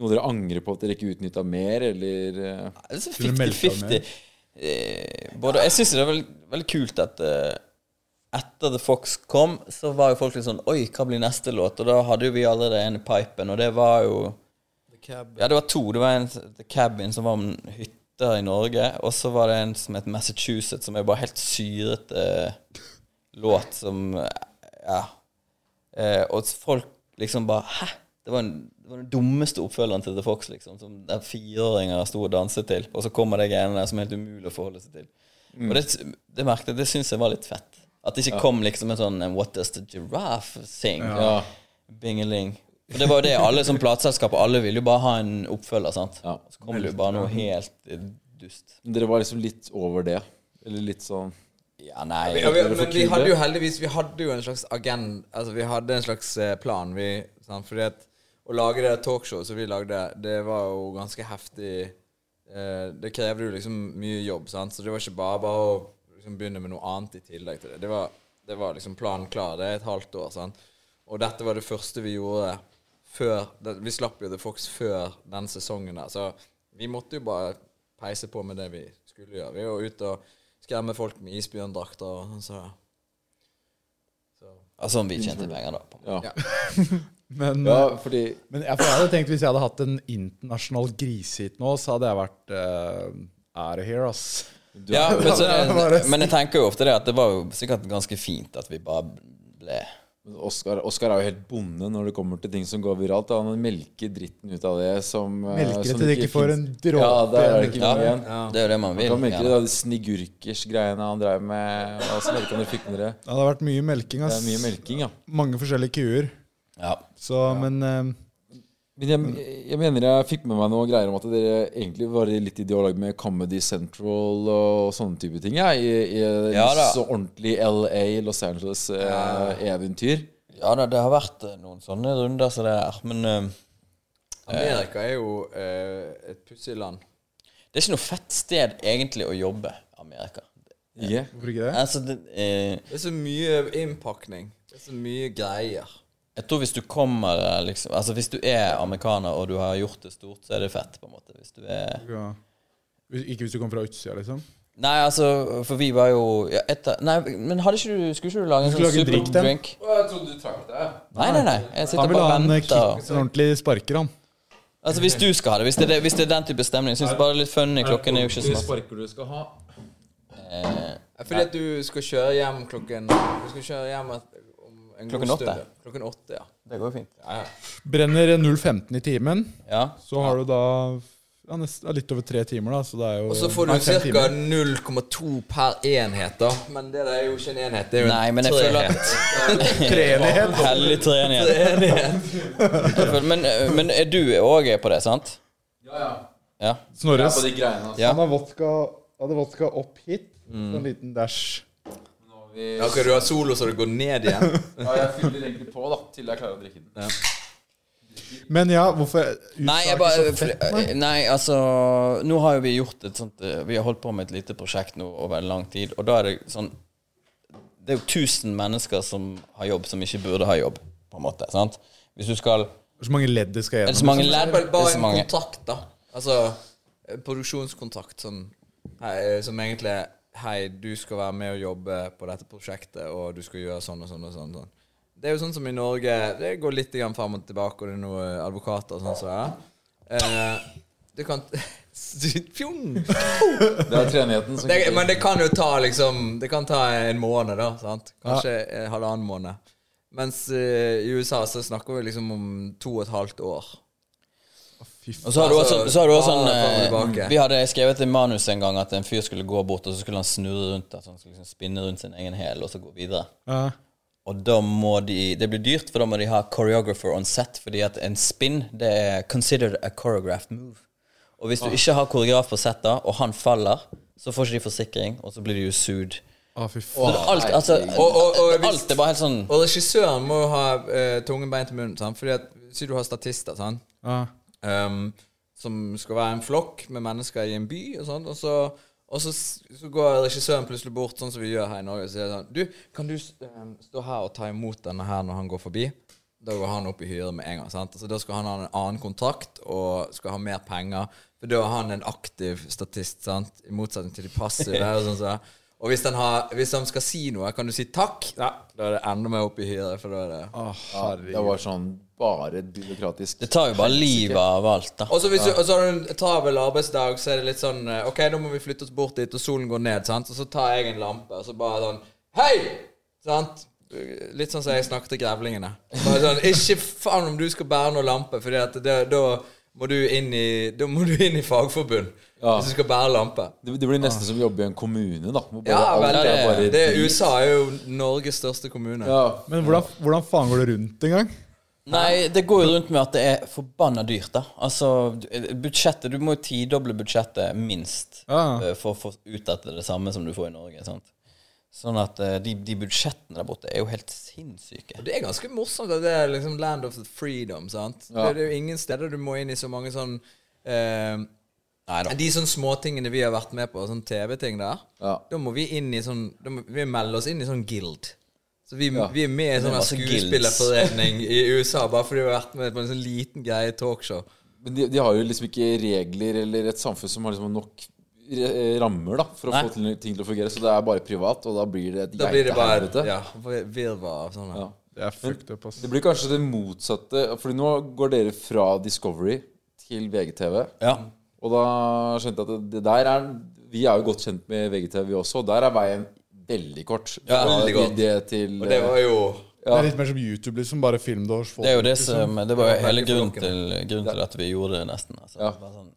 Speaker 4: noe dere angrer på at dere ikke utnytta mer, eller eh,
Speaker 5: Det er så
Speaker 3: Skulle meldt deg
Speaker 5: 50-50. Eh, Både, jeg syns det er veldig, veldig kult at eh, etter The Fox kom, så var jo folk litt sånn Oi, hva blir neste låt? Og da hadde jo vi allerede en i pipen, og det var jo Ja, det var to. Det var en The Cabin som var om hytter i Norge. Og så var det en som het Massachusetts, som er bare helt syrete låt som eh, Ja. Eh, og folk liksom bare Hæ? Det var, en, det var den dummeste oppfølgeren til The Fox, liksom. Som der fireåringer sto og danset til. Og så kommer de greiene der som er helt umulig å forholde seg til. Og det, det merket jeg, det syns jeg var litt fett. At det ikke kom liksom en sånn eh, What does the giraffe sing?
Speaker 4: Ja.
Speaker 5: Bingeling. For det var jo det alle som plateselskap Alle ville jo bare ha en oppfølger, sant.
Speaker 4: Ja.
Speaker 5: Så kom det jo bare noe helt eh, dust.
Speaker 4: Dere var liksom litt over det. Eller litt sånn
Speaker 5: Ja, nei.
Speaker 6: Ja, vi, men vi hadde jo heldigvis Vi hadde jo en slags agenda Altså vi hadde en slags eh, plan vi, sant? Fordi at Å lage det talkshowet som vi lagde Det var jo ganske heftig eh, Det krevde jo liksom mye jobb sant? Så det var ikke bare bare å liksom, begynne med noe annet i tillegg til det Det var, det var liksom planen klar Det er et halvt år sant? Og dette var det første vi gjorde Før det, Vi slapp jo The Fox før den sesongen der Så vi måtte jo bare peise på med det vi skulle gjøre Vi var ute og skremme folk med isbjørndrakter og sånn. Så.
Speaker 5: Altså om vi tjente penger, da. På en måte.
Speaker 4: Ja.
Speaker 3: Men,
Speaker 4: ja, fordi
Speaker 3: men jeg, for jeg hadde tenkt hvis jeg hadde hatt en internasjonal grisehit nå, så hadde jeg vært uh, out of here, ass.
Speaker 5: Ja, men, så,
Speaker 3: bare å si.
Speaker 5: men jeg tenker jo ofte det at det var jo sikkert ganske fint at vi bare ble eh,
Speaker 4: Oskar, Oskar er jo helt bonde når det kommer til ting som går viralt. da. Han melker dritten ut av det som eh,
Speaker 3: Melker
Speaker 4: som
Speaker 3: til det ikke får
Speaker 4: finnes.
Speaker 3: en dråpe
Speaker 4: Ja, der er det
Speaker 3: energi.
Speaker 4: ikke mye igjen.
Speaker 5: Det er jo det man vil.
Speaker 4: Han melker
Speaker 5: gjerne.
Speaker 4: det, da, de snigurkers-greiene han drev med. Og så melker han og fikk med det.
Speaker 3: Det hadde vært mye melking,
Speaker 4: Det
Speaker 3: ass.
Speaker 4: er mye melking, ja.
Speaker 3: Mange forskjellige kuer.
Speaker 5: Ja.
Speaker 3: Så, men eh,
Speaker 4: Men jeg, jeg mener jeg fikk med meg noe greier om at dere egentlig var litt i dialog med Comedy Central og sånne type ting. Ja, I i
Speaker 5: Ja, da.
Speaker 4: så ordentlig LA, Los eh, Angeles-eventyr.
Speaker 5: ja da, det har vært eh, noen sånne runder som det er. Men eh,
Speaker 6: Amerika er jo eh, et pussig land.
Speaker 5: det er ikke noe fett sted egentlig å jobbe, Amerika.
Speaker 4: Ikke?
Speaker 3: hvorfor ikke det?
Speaker 5: Altså, det, eh,
Speaker 6: Det er så mye innpakning. Det er så mye greier.
Speaker 5: jeg tror hvis du kommer eh, liksom Altså hvis du er amerikaner og du har gjort det stort, så er det fett, på en måte. Hvis du er
Speaker 3: Ja. Hvis- Ikke hvis du kommer fra utsida, liksom.
Speaker 5: Nei, altså, for vi var jo ja, etter, Nei, men hadde ikke du Skulle ikke du lage en
Speaker 3: Du skulle lage
Speaker 5: sånn
Speaker 3: en drink, den.
Speaker 5: superdrink?
Speaker 4: Jeg trodde du trakk deg.
Speaker 5: Nei, nei, nei. Jeg
Speaker 3: Han
Speaker 5: sitter
Speaker 3: vil
Speaker 5: bare
Speaker 3: ha
Speaker 5: og
Speaker 3: en eh,
Speaker 5: venter.
Speaker 3: kick som ordentlig sparker, han.
Speaker 5: Altså Hvis du skal ha det, hvis det er, det, hvis det er den type stemning, syns jeg bare det er litt funny. Klokken er jo ikke så masse.
Speaker 4: sparker du skal ha.
Speaker 6: Eh, Fordi at du skal kjøre hjem klokken Du skal kjøre hjem et, om en
Speaker 5: Klokken
Speaker 6: god stund.
Speaker 5: åtte?
Speaker 6: ja. Klokken åtte, ja.
Speaker 5: Det går fint.
Speaker 3: Brenner 0,15 i timen,
Speaker 5: Ja.
Speaker 3: så har du da ja, nest, ja, litt over tre timer, da. Så det er jo
Speaker 6: Og så får
Speaker 3: Nei,
Speaker 6: du
Speaker 3: fem
Speaker 6: ca.
Speaker 3: timer.
Speaker 6: 0,2 per enhet, da. Men det der er jo ikke en enhet. Det er jo
Speaker 5: Nei,
Speaker 6: en
Speaker 5: men jeg føler
Speaker 6: trehet.
Speaker 5: at Hellig treenighet. Jeg føler- Men, men er du òg på det, sant?
Speaker 4: Ja, ja.
Speaker 5: Ja.
Speaker 3: Snorre
Speaker 4: På de greiene, altså.
Speaker 5: Ja.
Speaker 3: han har vodka, hadde vodka opp hit, så en liten dash.
Speaker 4: Nå har vi...
Speaker 6: Ja, ok, du har solo så det går ned igjen.
Speaker 4: Ja, jeg fyller egentlig på da, til jeg klarer å drikke den.
Speaker 3: Men ja, hvorfor USA
Speaker 5: Nei, jeg
Speaker 3: er
Speaker 5: bare,
Speaker 3: ikke så fett, nei.
Speaker 5: for, nei, altså Nå har jo vi gjort et sånt eh, Vi har holdt på med et lite prosjekt nå over en lang tid, og da er det sånn Det er jo 1000 mennesker som har jobb, som ikke burde ha jobb, på en måte. sant? Hvis du skal Det
Speaker 3: Det er så mange ledd det skal
Speaker 5: er
Speaker 3: gjennom.
Speaker 5: så mange
Speaker 6: For
Speaker 5: ledd.
Speaker 6: eksempel
Speaker 5: Det er
Speaker 6: bare
Speaker 5: så
Speaker 6: en
Speaker 5: mange
Speaker 6: kontrakt, da. Altså eh, produksjonskontrakt sånn, eh, som egentlig Hei, du skal være med og jobbe på dette prosjektet, og du skal gjøre sånn og sånn og sånn. og sånn. Det er jo sånn som i Norge. Det går litt grann frem og tilbake, og det er noen advokater og sånn som det er. Eh, du kan Fjong!
Speaker 4: Det er treenigheten som
Speaker 6: det, men det kan jo ta liksom Det kan ta en måned, da. sant? Kanskje eh, halvannen måned. Mens eh, i USA så snakker vi liksom om to og et halvt år.
Speaker 5: Og så har du også, så har du også
Speaker 6: Ja,
Speaker 5: en,
Speaker 6: det kommer tilbake.
Speaker 5: eh, Vi hadde skrevet i manus en gang at en fyr skulle gå bort, og så skulle han snurre rundt der, så han skulle liksom spinne rundt sin egen hæl og så gå videre.
Speaker 3: liksom. Ja.
Speaker 5: Og da må de Det blir dyrt, for da må de ha choreographer on set, fordi at en spin, det er considered a choreographed move. Og hvis du ikke har koreograf på set da, og han faller, så får ikke de forsikring, og så blir de jo sued.
Speaker 3: Å, fy faen.
Speaker 5: Så det, alt, altså,
Speaker 6: Og- og- og hvis-
Speaker 5: alt er bare helt sånn
Speaker 6: Og regissøren må jo ha eh, tungen beint i munnen, sant? fordi at si du har statister sant?
Speaker 3: Ja.
Speaker 6: Ehm, som skal være en flokk med mennesker i en by, og sånn, og så og så, s- så går regissøren plutselig bort, sånn som vi gjør her i Norge, og sier sånn Du, kan du s- ehm, stå her og ta imot denne her når han går forbi? Da går han opp i hyre med en gang. sant? Altså, da skal han ha en annen kontrakt og skal ha mer penger. For da er han en aktiv statist, sant? i motsetning til de passive. og sånn så. Og hvis han, har, hvis han skal si noe, kan du si takk? Nei, da er det enda mer opp i hyre. For da er det
Speaker 4: ja, Det var sånn bare byråkratisk.
Speaker 5: Det tar jo bare livet av alt, da.
Speaker 6: Og så hvis du, og så har du en travel arbeidsdag, så er det litt sånn eh, Ok, nå må vi flytte oss bort dit, og solen går ned, sant? Og så tar jeg en lampe, og så bare sånn Hei! Sant? Litt sånn som jeg snakket til grevlingene. Bare sånn, Ikke faen om du skal bære noe lampe, Fordi at det, da må du inn i Da må du inn i fagforbund
Speaker 4: Ja.
Speaker 6: hvis du skal bære lampe.
Speaker 4: Det, det blir nesten som å jobbe i en kommune, da. hvor bare
Speaker 6: Ja,
Speaker 4: alt
Speaker 6: vel,
Speaker 4: er
Speaker 6: det,
Speaker 4: bare
Speaker 6: det er
Speaker 4: dritt.
Speaker 6: USA er jo Norges største kommune.
Speaker 4: Ja.
Speaker 3: Men hvordan, hvordan faen går det rundt engang?
Speaker 5: Nei, det går jo rundt med at det er forbanna dyrt, da. Altså, du- budsjettet Du må jo tidoble budsjettet, minst,
Speaker 3: Ja.
Speaker 5: eh, for å få ut at det er det samme som du får i Norge. sant? Sånn at eh, de, de budsjettene der borte er jo helt sinnssyke.
Speaker 6: Det er ganske morsomt at det er liksom land of the freedom, sant? Det er jo ingen steder du må inn i så mange sånn eh, De sånne småtingene vi har vært med på, sånn TV-ting der,
Speaker 4: Ja.
Speaker 6: da må vi inn i sånn da må, Vi melder oss inn i sånn guild. Så vi, vi er med i
Speaker 5: er
Speaker 6: sånn
Speaker 5: masse
Speaker 6: skuespillerforening i USA bare fordi vi har vært med på en sånn liten greie i talkshow.
Speaker 4: Men de, de har jo liksom ikke regler eller et samfunn som har liksom nok re- eh, rammer da for å
Speaker 5: Nei.
Speaker 4: få til, ting til å fungere. Så det er bare privat, og da blir det et
Speaker 6: Da blir det bare
Speaker 4: geitehelvete.
Speaker 6: ja, virvar av sånne.
Speaker 4: Ja.
Speaker 3: Det er fucked up, ass.
Speaker 4: Det blir kanskje det motsatte, Fordi nå går dere fra Discovery til VGTV.
Speaker 5: Ja.
Speaker 4: Og da skjønte jeg at det der er Vi er jo godt kjent med VGTV vi også, og der er veien veldig kort.
Speaker 5: Ja,
Speaker 4: Fra
Speaker 6: veldig kort.
Speaker 4: idé til eh,
Speaker 6: Og det var jo
Speaker 3: Det er litt mer som YouTube, liksom. Bare film det hos folk.
Speaker 5: Det er jo det som Det var jo hele
Speaker 6: veldig
Speaker 5: grunnen til,
Speaker 6: forlokkende.
Speaker 5: grunnen til at vi gjorde det, nesten. Altså.
Speaker 4: Ja.
Speaker 5: Det var sånn,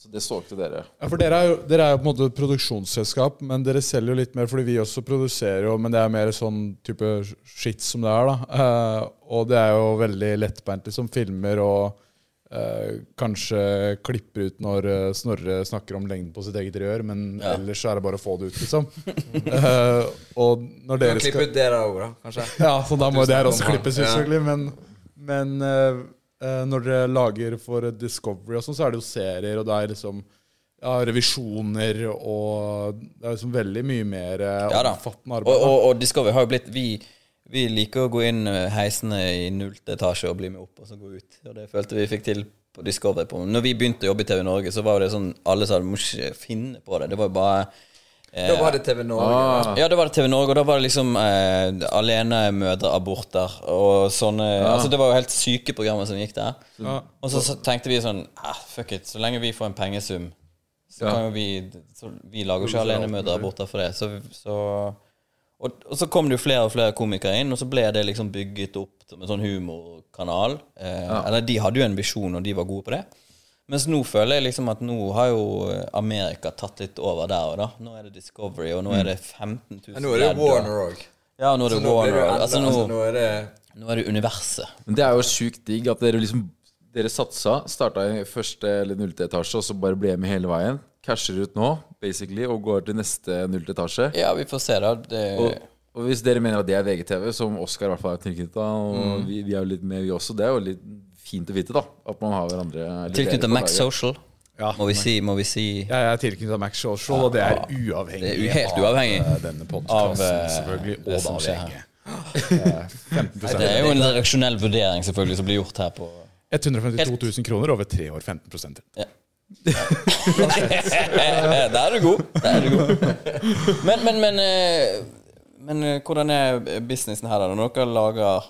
Speaker 4: Så det solgte dere.
Speaker 3: Ja, for dere er, jo, dere er jo på en måte et produksjonsselskap, men dere selger jo litt mer fordi vi også produserer jo, men det er mer sånn type shit som det er, da. Eh, og det er jo veldig lettbeint, liksom. Filmer og eh, kanskje klipper ut når eh, Snorre snakker om lengden på sitt eget rør, men ellers så er det bare å få det ut, liksom. Eh, og når
Speaker 6: Du kan
Speaker 3: dere
Speaker 6: klippe
Speaker 3: skal
Speaker 6: ut det der òg, da, kanskje.
Speaker 3: Ja, så da må jo det her også
Speaker 6: Tusen takk.
Speaker 3: klippes,
Speaker 6: Ja.
Speaker 3: selvfølgelig, men, men eh, eh, når dere lager for Discovery og sånn, så er det jo serier, og det er liksom ja, revisjoner og Det er liksom veldig mye mer eh,
Speaker 5: Ja da.
Speaker 3: omfattende
Speaker 5: Og,
Speaker 3: arbeid. da.
Speaker 5: og, og Discovery har jo blitt vi, vi liker å gå inn eh, heisene i nullte etasje og bli med opp, og så gå ut. Og det følte vi fikk til på Discovery. På. Når vi begynte å jobbe i TV Norge, så var jo det sånn Alle sa du må ikke finne på det. Det var jo bare
Speaker 6: Da var det TV Norge. da.
Speaker 5: ja, da var det TV Norge, og da var det liksom eh, alenemødreaborter og sånne Altså, det var jo helt syke programmer som gikk der. Og så, så tenkte vi sånn ah, Fuck it, så lenge vi får en pengesum, så kan jo vi så, Vi lager jo ikke alenemødreaborter for det, så, så og, og så kom det jo flere og flere komikere inn, og så ble det liksom bygget opp som en sånn humorkanal. Eh, Eller de hadde jo en visjon, og de var gode på det. Mens nå føler jeg liksom at nå har jo Amerika tatt litt over der og da. Nå er det Discovery, og nå er det 15 000
Speaker 6: Men nå er det
Speaker 5: ledd, og-
Speaker 6: Warner òg.
Speaker 5: Ja, nå er
Speaker 6: Nå
Speaker 5: det
Speaker 6: blir det
Speaker 5: Warner.
Speaker 6: jo enda-
Speaker 5: altså,
Speaker 6: altså,
Speaker 5: nå,
Speaker 6: nå er det
Speaker 5: nå er det universet.
Speaker 4: Men det er jo sjukt digg at dere liksom Dere satsa, starta i første eller nullte etasje, og så bare ble med hele veien. Casher ut nå, basically, og går til neste nullte etasje.
Speaker 5: Ja, vi får se, da. Det,
Speaker 4: Og, og hvis dere mener at det er VGTV, som Oskar i hvert fall er tilknyttet, og
Speaker 5: Mm.
Speaker 4: vi, vi er jo litt med, vi også, det er jo litt fint å vite, da. At man har hverandre eller dere
Speaker 5: tilknyttet
Speaker 4: på
Speaker 5: Max
Speaker 4: laget.
Speaker 5: Social.
Speaker 3: Ja.
Speaker 5: Må vi si, må vi si
Speaker 3: Jeg er tilknyttet Max Social, og det er uavhengig
Speaker 5: Det er jo helt uavhengig.
Speaker 3: av eh, denne
Speaker 5: Av,
Speaker 3: podkasten,
Speaker 5: eh,
Speaker 3: selvfølgelig,
Speaker 5: det
Speaker 3: og
Speaker 5: som
Speaker 3: da
Speaker 5: skjer her.
Speaker 3: VG.
Speaker 5: Det er jo en redaksjonell vurdering selvfølgelig som blir gjort her på
Speaker 3: 152 000 kroner over tre år, 15
Speaker 5: Ja. Der er du god. Der er du god. Men, men, men, eh, men eh, hvordan er businessen her? da? Når dere lager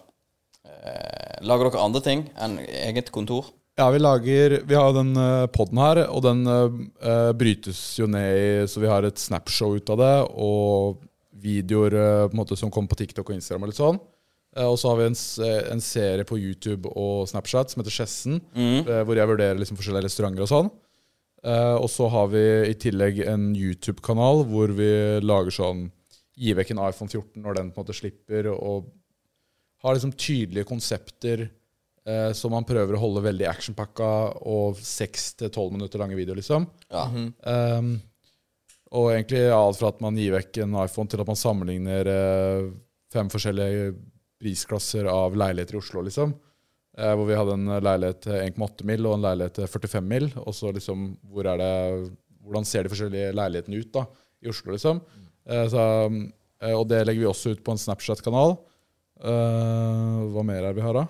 Speaker 5: eh, Lager dere andre ting enn eget kontor?
Speaker 3: Ja, vi lager Vi har jo den eh, podden her, og den eh, eh, brytes jo ned i Så vi har et snapshow ut av det, og videoer eh, på en måte som kommer på TikTok og Instagram. Og litt sånn Eh, Og så har vi en, s- eh, en serie på YouTube og Snapchat som heter Skjessen, eh, hvor jeg vurderer liksom forskjellige restauranter og sånn. Eh, og så har vi i tillegg en YouTube-kanal hvor vi lager sånn Gi vekk en iPhone 14 når den på en måte slipper, og har liksom tydelige konsepter eh, som man prøver å holde veldig actionpakka og 6-12 minutter lange videoer, liksom.
Speaker 5: Ja.
Speaker 3: Ehm, og egentlig alt fra at man gir vekk en iPhone, til at man sammenligner eh, fem forskjellige prisklasser av leiligheter i Oslo, liksom. Eh, hvor vi hadde en leilighet til 1,8 mil og en leilighet til 45 mil. Og så liksom, hvor er det, hvordan ser de forskjellige leilighetene ut da, i Oslo, liksom. Eh, så, eh, og det legger vi også ut på en Snapchat-kanal. Eh, hva mer er det vi har, da?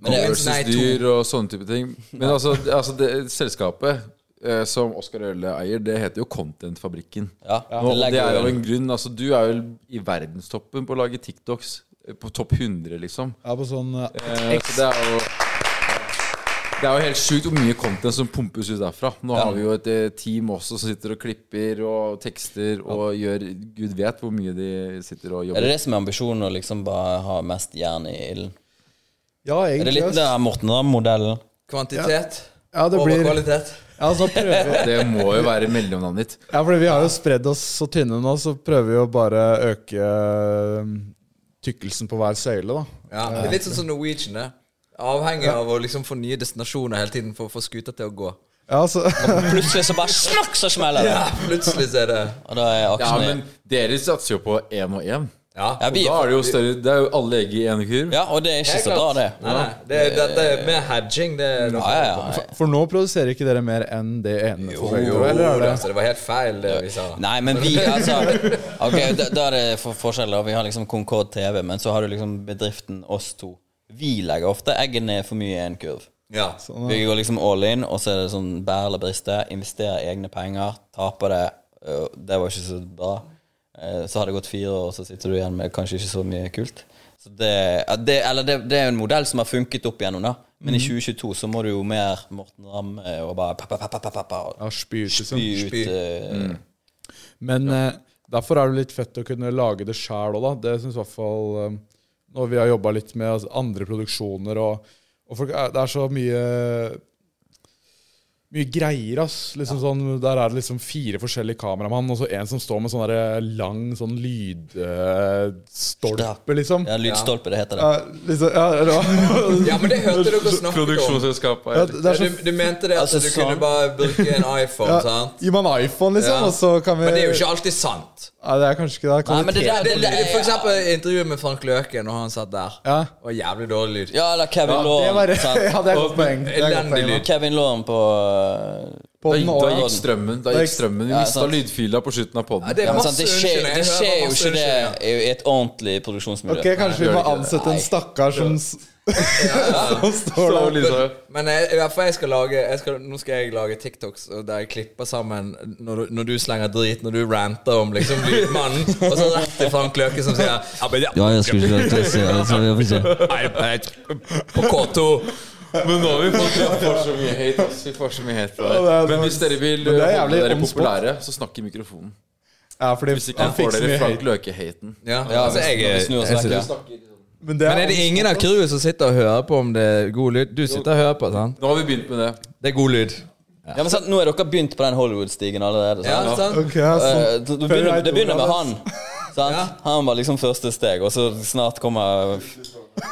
Speaker 6: Men det-
Speaker 4: versus
Speaker 6: nei, to.
Speaker 4: dyr og sånne type ting. Men altså, det- altså det, selskapet eh, som Oskar Øhle eier, det heter jo Contentfabrikken.
Speaker 5: Ja.
Speaker 4: Nå,
Speaker 5: legger
Speaker 4: det er
Speaker 5: jo-
Speaker 4: av en grunn. Altså, du er jo i verdenstoppen på å lage TikToks. eh, På topp 100, liksom.
Speaker 3: Ja, på sånn eh,
Speaker 4: Eh, så det er jo det er jo helt sjukt hvor mye content som pumpes ut derfra. Nå har vi jo et eh, team også som sitter og klipper og tekster og gjør Gud vet hvor mye de sitter og
Speaker 5: Er det
Speaker 4: jobber.
Speaker 5: det som er ambisjonen, å liksom bare ha mest jern i ilden?
Speaker 3: Ja,
Speaker 5: Er det
Speaker 3: egentlig.
Speaker 5: litt det
Speaker 3: ass.
Speaker 5: her Morten Ramm-modellen?
Speaker 6: Kvantitet
Speaker 3: Ja, det
Speaker 6: over
Speaker 3: blir,
Speaker 6: kvalitet.
Speaker 3: ja, så prøver vi
Speaker 4: Det må jo være mellomnavnet ditt.
Speaker 3: Ja, fordi vi har jo spredd oss så tynne nå, så prøver vi å bare øke øhm, tykkelsen på hver søyle, da.
Speaker 6: Ja, det er Litt sånn som Norwegian. det. Avhengig av å liksom få nye destinasjoner hele tiden for å få skuta til å gå.
Speaker 3: Ja, så,
Speaker 5: Plutselig så bare smakk, så smeller det!
Speaker 6: Ja, plutselig så er det
Speaker 5: Og da sånn er
Speaker 4: Ja,
Speaker 5: aksjene
Speaker 4: men dere satser jo på én og én.
Speaker 6: Ja.
Speaker 5: Ja, vi-
Speaker 4: Da er det jo større Det er jo alle egg i én kurv.
Speaker 5: Ja, og det er ikke
Speaker 6: Helt
Speaker 5: så bra,
Speaker 6: klart.
Speaker 5: det.
Speaker 6: Nei, nei. Det, dette er mer hedging. Det er
Speaker 5: Ja, ja, ja.
Speaker 3: for nå produserer ikke dere mer enn det ene. for begge to, eller er det?
Speaker 6: Så altså, det var helt feil, det vi sa.
Speaker 5: Nei, men vi, altså Ok, da, da er det for forskjell. da. Vi har liksom Concorde TV, men så har du liksom bedriften oss to. Vi legger ofte eggene for mye i en kurv.
Speaker 6: Ja.
Speaker 5: Vi går liksom all in, og så er det sånn bær eller briste. Investerer egne penger, taper det. øh, Det var ikke så bra. Eh, Så har det gått fire år, og så sitter du igjen med kanskje ikke så mye kult. Så det, ja, det, eller det, det er jo en modell som har funket opp igjennom, da. Men i 2022 så må du jo mer Morten Ramm eh, og bare pa, pa, pa, pa, pa, pa, pa, og
Speaker 3: Ja, spy, ut, liksom.
Speaker 5: spy ut eh,
Speaker 3: Men eh, derfor er det litt fett å kunne lage det sjæl òg, da. Det syns i hvert fall eh, Når vi har jobba litt med altså, andre produksjoner og, og folk, er- Det er så mye mye greier, ass. Liksom sånn, der er det liksom fire forskjellige kameramann, og så en som står med sånn der lang sånn lydstolpe, liksom.
Speaker 5: Ja, lydstolpe, det heter det.
Speaker 3: Ja, liksom ja, eller hva?
Speaker 6: ja, men det hørte dere snakke om.
Speaker 4: Produksjonsselskapet
Speaker 3: Ja,
Speaker 4: er
Speaker 3: det er så,
Speaker 6: Du, du mente det at
Speaker 5: Altså,
Speaker 6: du
Speaker 5: sånn.
Speaker 6: kunne bare bruke en iPhone,
Speaker 3: ja,
Speaker 6: sant?
Speaker 3: Gi meg en iPhone, liksom,
Speaker 6: Ja.
Speaker 3: og så kan vi
Speaker 6: Men det er jo ikke alltid sant.
Speaker 3: Nei, det er kanskje ikke det.
Speaker 5: Nei, men det der
Speaker 6: Det, det, for
Speaker 5: ja,
Speaker 6: eksempel intervjuet med Frank Løken, og han satt der.
Speaker 3: Ja.
Speaker 6: Det var jævlig dårlig lyd.
Speaker 5: eller Kevin
Speaker 3: det
Speaker 5: Lauren.
Speaker 3: var,
Speaker 5: sant?
Speaker 3: ja, det er et godt poeng. Det er et godt
Speaker 6: Elendig
Speaker 3: poeng.
Speaker 6: lyd.
Speaker 5: Kevin Lauren på eh,
Speaker 3: På
Speaker 4: Da,
Speaker 3: den
Speaker 4: da
Speaker 3: åra.
Speaker 4: gikk strømmen. Da
Speaker 3: Da
Speaker 4: gikk
Speaker 3: gikk-
Speaker 4: strømmen Vi
Speaker 5: Ja,
Speaker 4: mista
Speaker 5: sant.
Speaker 4: lydfila på slutten av poden.
Speaker 6: det er
Speaker 5: Ja, men
Speaker 6: masse
Speaker 5: sant, det skjer,
Speaker 6: unnskyldninger. Jeg
Speaker 5: det
Speaker 6: hører
Speaker 5: skjer jo
Speaker 6: masse
Speaker 5: ikke det
Speaker 6: unnskyldninger.
Speaker 5: i et ordentlig produksjonsmiljø.
Speaker 3: Ok, kanskje vi
Speaker 4: gjør
Speaker 3: må
Speaker 4: det ikke det.
Speaker 3: ansette en stakkar som, s- som står
Speaker 4: Så
Speaker 3: der.
Speaker 4: Lisa,
Speaker 6: Men jeg, i hvert fall jeg skal lage jeg skal, Nå skal jeg lage TikToks og der jeg klipper sammen når du, når du slenger drit, når du ranter om liksom lydmannen, og så rett til Frank Løke som sier ja, men ja,
Speaker 5: jeg skulle ikke se
Speaker 6: på K2.
Speaker 4: Men nå har vi fått vi får så mye hate. ass. Vi får så mye hate for
Speaker 3: Ja, det
Speaker 4: det.
Speaker 3: er-
Speaker 4: Men hvis dere vil
Speaker 3: Men det er
Speaker 4: holde
Speaker 3: jævlig
Speaker 4: dere
Speaker 3: on spot.
Speaker 4: populære, så snakk i mikrofonen.
Speaker 3: Ja, fordi
Speaker 4: Hvis ikke
Speaker 3: han
Speaker 4: så
Speaker 3: fikk
Speaker 4: får
Speaker 3: så
Speaker 4: dere
Speaker 3: mye
Speaker 4: Frank
Speaker 3: hate.
Speaker 4: Løke-haten.
Speaker 6: Ja, altså, jeg,
Speaker 5: Vi
Speaker 6: jeg,
Speaker 5: snur oss
Speaker 6: synes
Speaker 5: vekk,
Speaker 6: det.
Speaker 5: ja.
Speaker 3: Men det er,
Speaker 6: Men er det ingen av crewet som sitter og hører på om det er god lyd? Du sitter og hører på, sant?
Speaker 4: Nå har vi begynt med det.
Speaker 6: Det er god lyd.
Speaker 5: Ja, men sant, Nå er dere begynt på den Hollywood-stigen allerede.
Speaker 6: Ja,
Speaker 5: Sant?
Speaker 6: sant?
Speaker 3: Ok, ja, sånn.
Speaker 5: Eh, det, det begynner, det begynner med han. Sant?
Speaker 6: Ja.
Speaker 5: Han var liksom første steg, og så snart kommer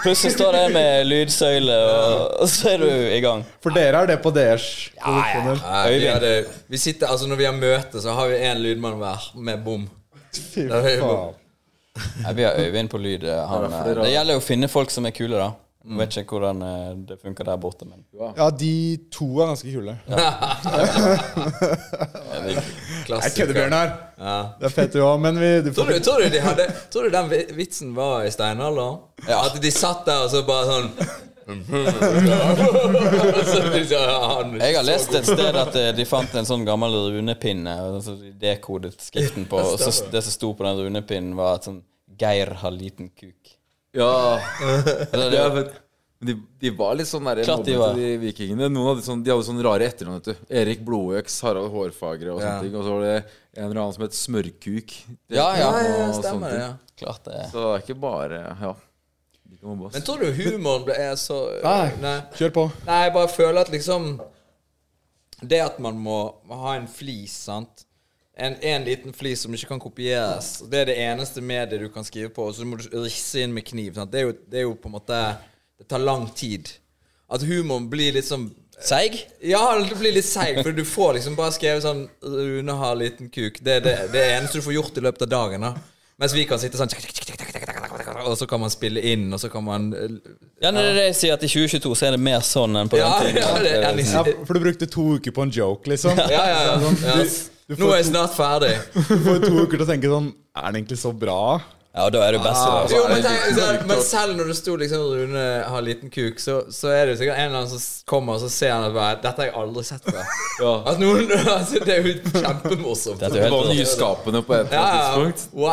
Speaker 5: Plutselig står det med lydsøyle, og, og så er du i gang.
Speaker 3: For dere er det på deres produksjoner.
Speaker 6: Nei, vi,
Speaker 5: Øyvind.
Speaker 6: hadde, vi sitter, altså Når vi har møte, så har vi én lydmann hver med bom.
Speaker 3: Fy
Speaker 6: Ja, det er jo
Speaker 3: faen.
Speaker 5: Nei, vi har Øyvind på lyd. eh, Han, eh, det gjelder jo å finne folk som er kule, da. Jeg vet ikke hvordan eh, det funker der borte, men
Speaker 3: Ja, de to er ganske kule. Jeg kødder,
Speaker 6: Klassiker.
Speaker 3: Bjørnar. Det er fett, du òg, men vi du
Speaker 6: Tror
Speaker 3: får,
Speaker 6: du, tror, du de hadde, tror du den vi- vitsen var i steinalderen? At de satt der og så bare sånn Jeg
Speaker 5: Jeg har lest et sted at eh, de fant en sånn gammel runepinne. og så de dekodet skriften på, og så, det som sto på den runepinnen, var at sånn Geir har liten kuk.
Speaker 4: Ja,
Speaker 5: Eller,
Speaker 4: ja
Speaker 5: det,
Speaker 4: men de, de var litt sånn der,
Speaker 5: Klart de
Speaker 4: mobbete,
Speaker 5: var.
Speaker 4: de vikingene. Noen hadde sånn, de hadde sånne rare etternavn. vet du. Erik Blodøks, Harald Hårfagre og sånne
Speaker 6: Ja.
Speaker 4: ting. Og så var det en eller annen som het Smørkuk.
Speaker 5: Ja, ja,
Speaker 4: Og
Speaker 6: Ja,
Speaker 4: sånne
Speaker 6: stemmer det.
Speaker 4: ting.
Speaker 6: ja
Speaker 5: klart det.
Speaker 4: Så det er ikke bare Ja. De kan mobbe
Speaker 6: Men
Speaker 4: oss.
Speaker 6: tror du humoren ble- er så
Speaker 3: Nei.
Speaker 6: Nei.
Speaker 3: Kjør på.
Speaker 6: Nei, jeg bare føler at liksom Det at man må ha en flis, sant en, en liten flis som ikke kan kopieres. og Det er det eneste mediet du kan skrive på. Og så må du risse inn med kniv. Sant? Det, er jo, det er jo på en måte Det tar lang tid. At humoren blir litt sånn
Speaker 5: Seig?
Speaker 6: Ja, det blir litt seig, for du får liksom bare skrevet sånn 'Rune har liten kuk'. Det er det, det er det eneste du får gjort i løpet av dagen. da Mens vi kan sitte sånn Og så kan man spille inn, og så kan man eh,
Speaker 5: Ja, nei, det er det jeg sier, at i 2022 så er det mer sånn enn på
Speaker 6: Ja,
Speaker 5: den tiden.
Speaker 6: ja, det er enn i
Speaker 3: Ja, for du brukte to uker på en joke, liksom.
Speaker 6: Ja, ja, ja. ja.
Speaker 3: du får
Speaker 6: Nå er jeg snart ferdig.
Speaker 3: Du får to uker til å tenke sånn Er den egentlig så bra?
Speaker 5: Ja, og da er du best i
Speaker 3: Altså,
Speaker 5: altså. det.
Speaker 6: Jo, men, tenk, så- men selv når det sto liksom Rune har liten kuk, så, så er det jo sikkert en eller annen som s- kommer og så ser han at bare, dette har jeg aldri sett før. At noen, altså, det er jo kjempemorsomt.
Speaker 5: Dette er
Speaker 4: Det
Speaker 5: jo
Speaker 4: var
Speaker 5: helt rått.
Speaker 4: nyskapende på et eller
Speaker 6: Ja, ja.
Speaker 4: annet tidspunkt.
Speaker 6: Wow.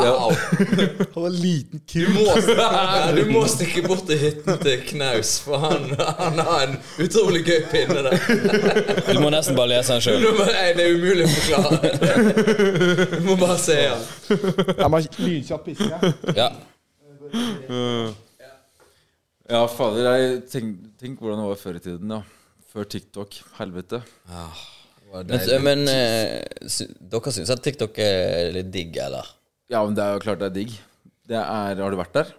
Speaker 3: Hadde en liten
Speaker 6: Du
Speaker 3: kuk.
Speaker 6: må, du må stikke bort til hytten til Knaus, for han, han har en utrolig gøy pinne der.
Speaker 5: Du må nesten bare lese den sjøl.
Speaker 6: Nå må- nei, Det er umulig å forklare. Du må bare se han.
Speaker 3: Jeg må lynkjapt pisse.
Speaker 5: Ja.
Speaker 4: Ja, fader. Jeg tenk, tenk hvordan det var før i tiden, da. Før TikTok. Helvete.
Speaker 5: Men, men eh, sy, dere syns at TikTok er litt digg, eller?
Speaker 4: Ja, men det er jo klart det er digg. Det er, har du vært der?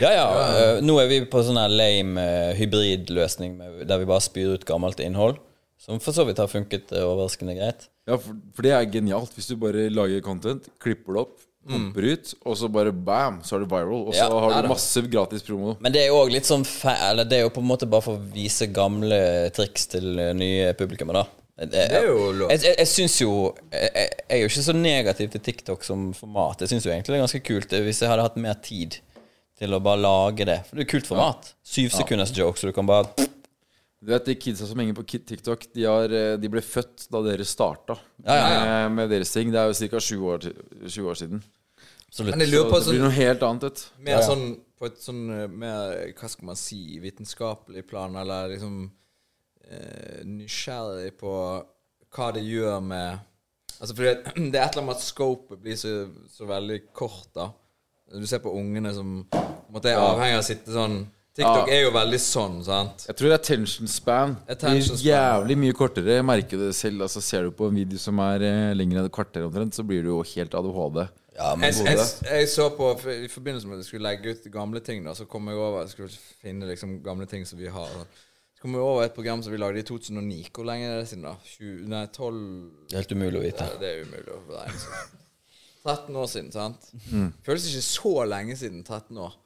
Speaker 5: Ja, ja. eh, nå er vi på sånn her lame eh, hybridløsning med, der vi bare spyr ut gammelt innhold. Som for så vidt har funket eh, overraskende greit.
Speaker 4: Ja, for, for det er genialt. Hvis du bare lager content, klipper det opp,
Speaker 6: Mm.
Speaker 4: pumper ut, og så bare bam, så er det viral. Og så
Speaker 5: Ja,
Speaker 4: har
Speaker 5: ja
Speaker 4: du
Speaker 5: da.
Speaker 4: masse gratis promo.
Speaker 5: Men det er jo også litt sånn fe- Eller det er jo på en måte bare for å vise gamle triks til eh, nye publikummer, da. Det
Speaker 6: er jo lov.
Speaker 5: Jeg, jeg, jeg syns jo jeg, jeg jeg er jo ikke så negativ til TikTok som format. Jeg syns jo egentlig det er ganske kult eh, hvis jeg hadde hatt mer tid til å bare lage det. For det er jo kult format. Syv sekunders jokes, så du kan bare
Speaker 4: Du vet, De kidsa som henger på Kid TikTok, de, har, eh, de ble født da dere starta
Speaker 5: Ja, ja,
Speaker 4: Med, med deres ting. Det er jo ca. 20 år, til- 20 år siden.
Speaker 6: Men jeg
Speaker 4: Så
Speaker 6: lurer på
Speaker 4: det
Speaker 6: sånn,
Speaker 4: blir noe helt annet, vet du.
Speaker 6: mer sånn på et sånn eh, mer, hva skal man si, vitenskapelig plan, eller liksom eh, nysgjerrig på hva det gjør med Altså fordi det, det er et eller annet med at scopet blir så, så veldig kort, da. Du ser på ungene som på en måte er avhengig av å sitte sånn TikTok
Speaker 4: Ja.
Speaker 6: er jo veldig sånn, sant?
Speaker 4: Jeg tror attention span blir
Speaker 6: Attention span.
Speaker 4: jævlig mye kortere. Jeg merker det selv. altså Ser du på en video som er eh, lengre enn et kvarter omtrent, så blir du jo helt ADHD.
Speaker 5: Ja, men
Speaker 6: Jeg, jeg, jeg så på I forbindelse med at jeg skulle legge ut gamle ting, da Så kom jeg over Jeg skulle finne liksom gamle ting som vi har. da. Så kom jeg over et program som vi lagde i 2009. Hvor lenge er det siden, da? 20, nei, 12
Speaker 5: det er helt umulig å vite.
Speaker 6: Nei, Det er umulig å beregne. så. 13 år siden, sant? Føles ikke så lenge siden. 13 år.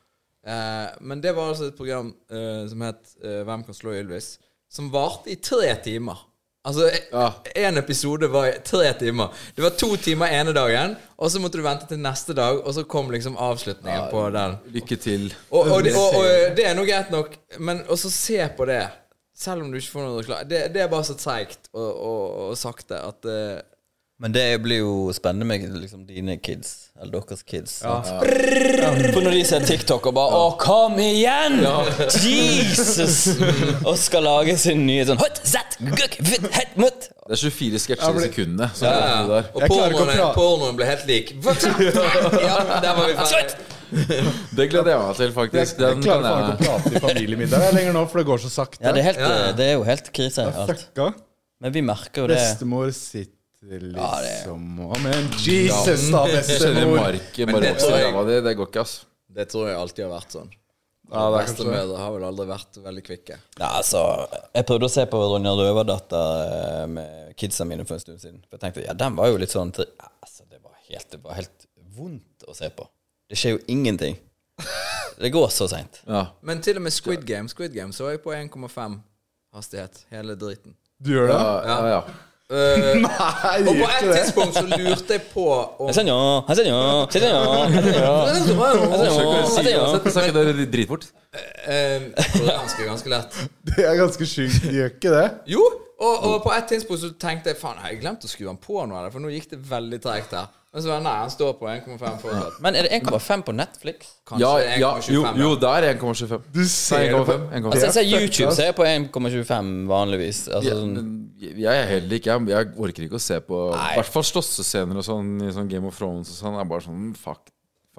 Speaker 6: Eh, men det var altså et program eh, som het eh, Hvem kan slå Ylvis? Som varte i tre timer. Altså, én episode var i tre timer. Det var to timer ene dagen, og så måtte du vente til neste dag, og så kom liksom avslutningen på den.
Speaker 4: Lykke til.
Speaker 6: Og, og, det- og, og det er nå greit nok, men også se på det, selv om du ikke får noe reklame det, det er bare så treigt og, og, og sakte at eh,
Speaker 5: Men det blir jo spennende med liksom dine kids, eller deres kids. Sånn sant? For når de ser TikTok og bare 'Å, kom igjen!' Jesus! Og skal lage sin nye sånn «Hot, zett, gukk, vitt, hett, mutt.
Speaker 4: Det er 24 sketsjer i sekunddet. Så
Speaker 6: Ja,
Speaker 4: det er det
Speaker 6: ja.
Speaker 4: der.
Speaker 6: Og
Speaker 3: Jeg klarer ikke å
Speaker 6: pornoen,
Speaker 3: prate.
Speaker 6: pornoen ble helt lik. Ja, der var vi ferdig.
Speaker 4: Det gleder jeg meg til,
Speaker 3: Jeg,
Speaker 4: faktisk.
Speaker 3: jeg
Speaker 4: Den
Speaker 3: klarer
Speaker 4: kan
Speaker 3: faen
Speaker 4: jeg-
Speaker 3: ikke å prate i familiemiddag jeg lenger nå, for det går så sakte.
Speaker 5: Ja, det er, helt,
Speaker 6: Ja, ja.
Speaker 5: det er jo helt krise. Alt.
Speaker 3: Fucka.
Speaker 5: Men vi merker jo det.
Speaker 3: Bestemor sitter liksom og Men Jesus, da,
Speaker 4: Kjøre
Speaker 3: bestemor!
Speaker 4: marken
Speaker 6: Men
Speaker 4: bare
Speaker 6: det
Speaker 4: opp til
Speaker 6: tror jeg-
Speaker 4: ræva di, det går ikke, ass.
Speaker 6: Det tror jeg alltid har vært sånn.
Speaker 3: Ja, det er kanskje det.
Speaker 6: Bestemødre har vel aldri vært veldig kvikke.
Speaker 5: Nei, altså, jeg prøvde å se på Ronja Røverdatter eh, med kidsa mine for en stund siden. For jeg tenkte, ja, den var jo litt sånn til, Ja, altså, det, var helt, det var helt vondt å se på. Det skjer jo ingenting. Det går så seint.
Speaker 4: Ja.
Speaker 6: Men til og med Squid Game Squid Game så jeg på 1,5 hastighet. Hele driten.
Speaker 3: Du gjør det?
Speaker 4: Ja, ja, ja.
Speaker 6: Eh,
Speaker 3: Nei,
Speaker 6: og på
Speaker 3: gjør
Speaker 6: et
Speaker 3: ikke det.
Speaker 6: tidspunkt så lurte jeg på om
Speaker 5: Jeg sender jo, jeg sender jo, jeg sender jo, jeg sender jo. Jeg sender jo, jeg sender jo.
Speaker 4: Uansett, så er ikke det dritfort.
Speaker 6: Eh, Koreansk er ganske lett.
Speaker 3: Det er ganske sjukt. De gjør ikke det.
Speaker 6: Jo, og, og på et tidspunkt så tenkte jeg faen, har jeg glemt å skru han på nå, eller? for nå gikk det veldig tregt her. Men så var det nei, han står på 1,5 fortsatt.
Speaker 5: Men er det 1,5 på Netflix?
Speaker 6: Kanskje
Speaker 4: Ja, ja, jo,
Speaker 6: 1,25.
Speaker 4: jo,
Speaker 6: ja.
Speaker 4: det er 1,25.
Speaker 3: Du ser det på
Speaker 4: 1,5. 1,5.
Speaker 5: Altså, jeg ser YouTube, så er jeg på 1,25 vanligvis. Altså,
Speaker 4: Ja,
Speaker 5: sånn,
Speaker 4: men jeg er heller ikke Jeg, jeg orker ikke å se på I hvert fall slåssescener og sånn i sånn Game of Thrones og sånn. Jeg er bare sånn fuck.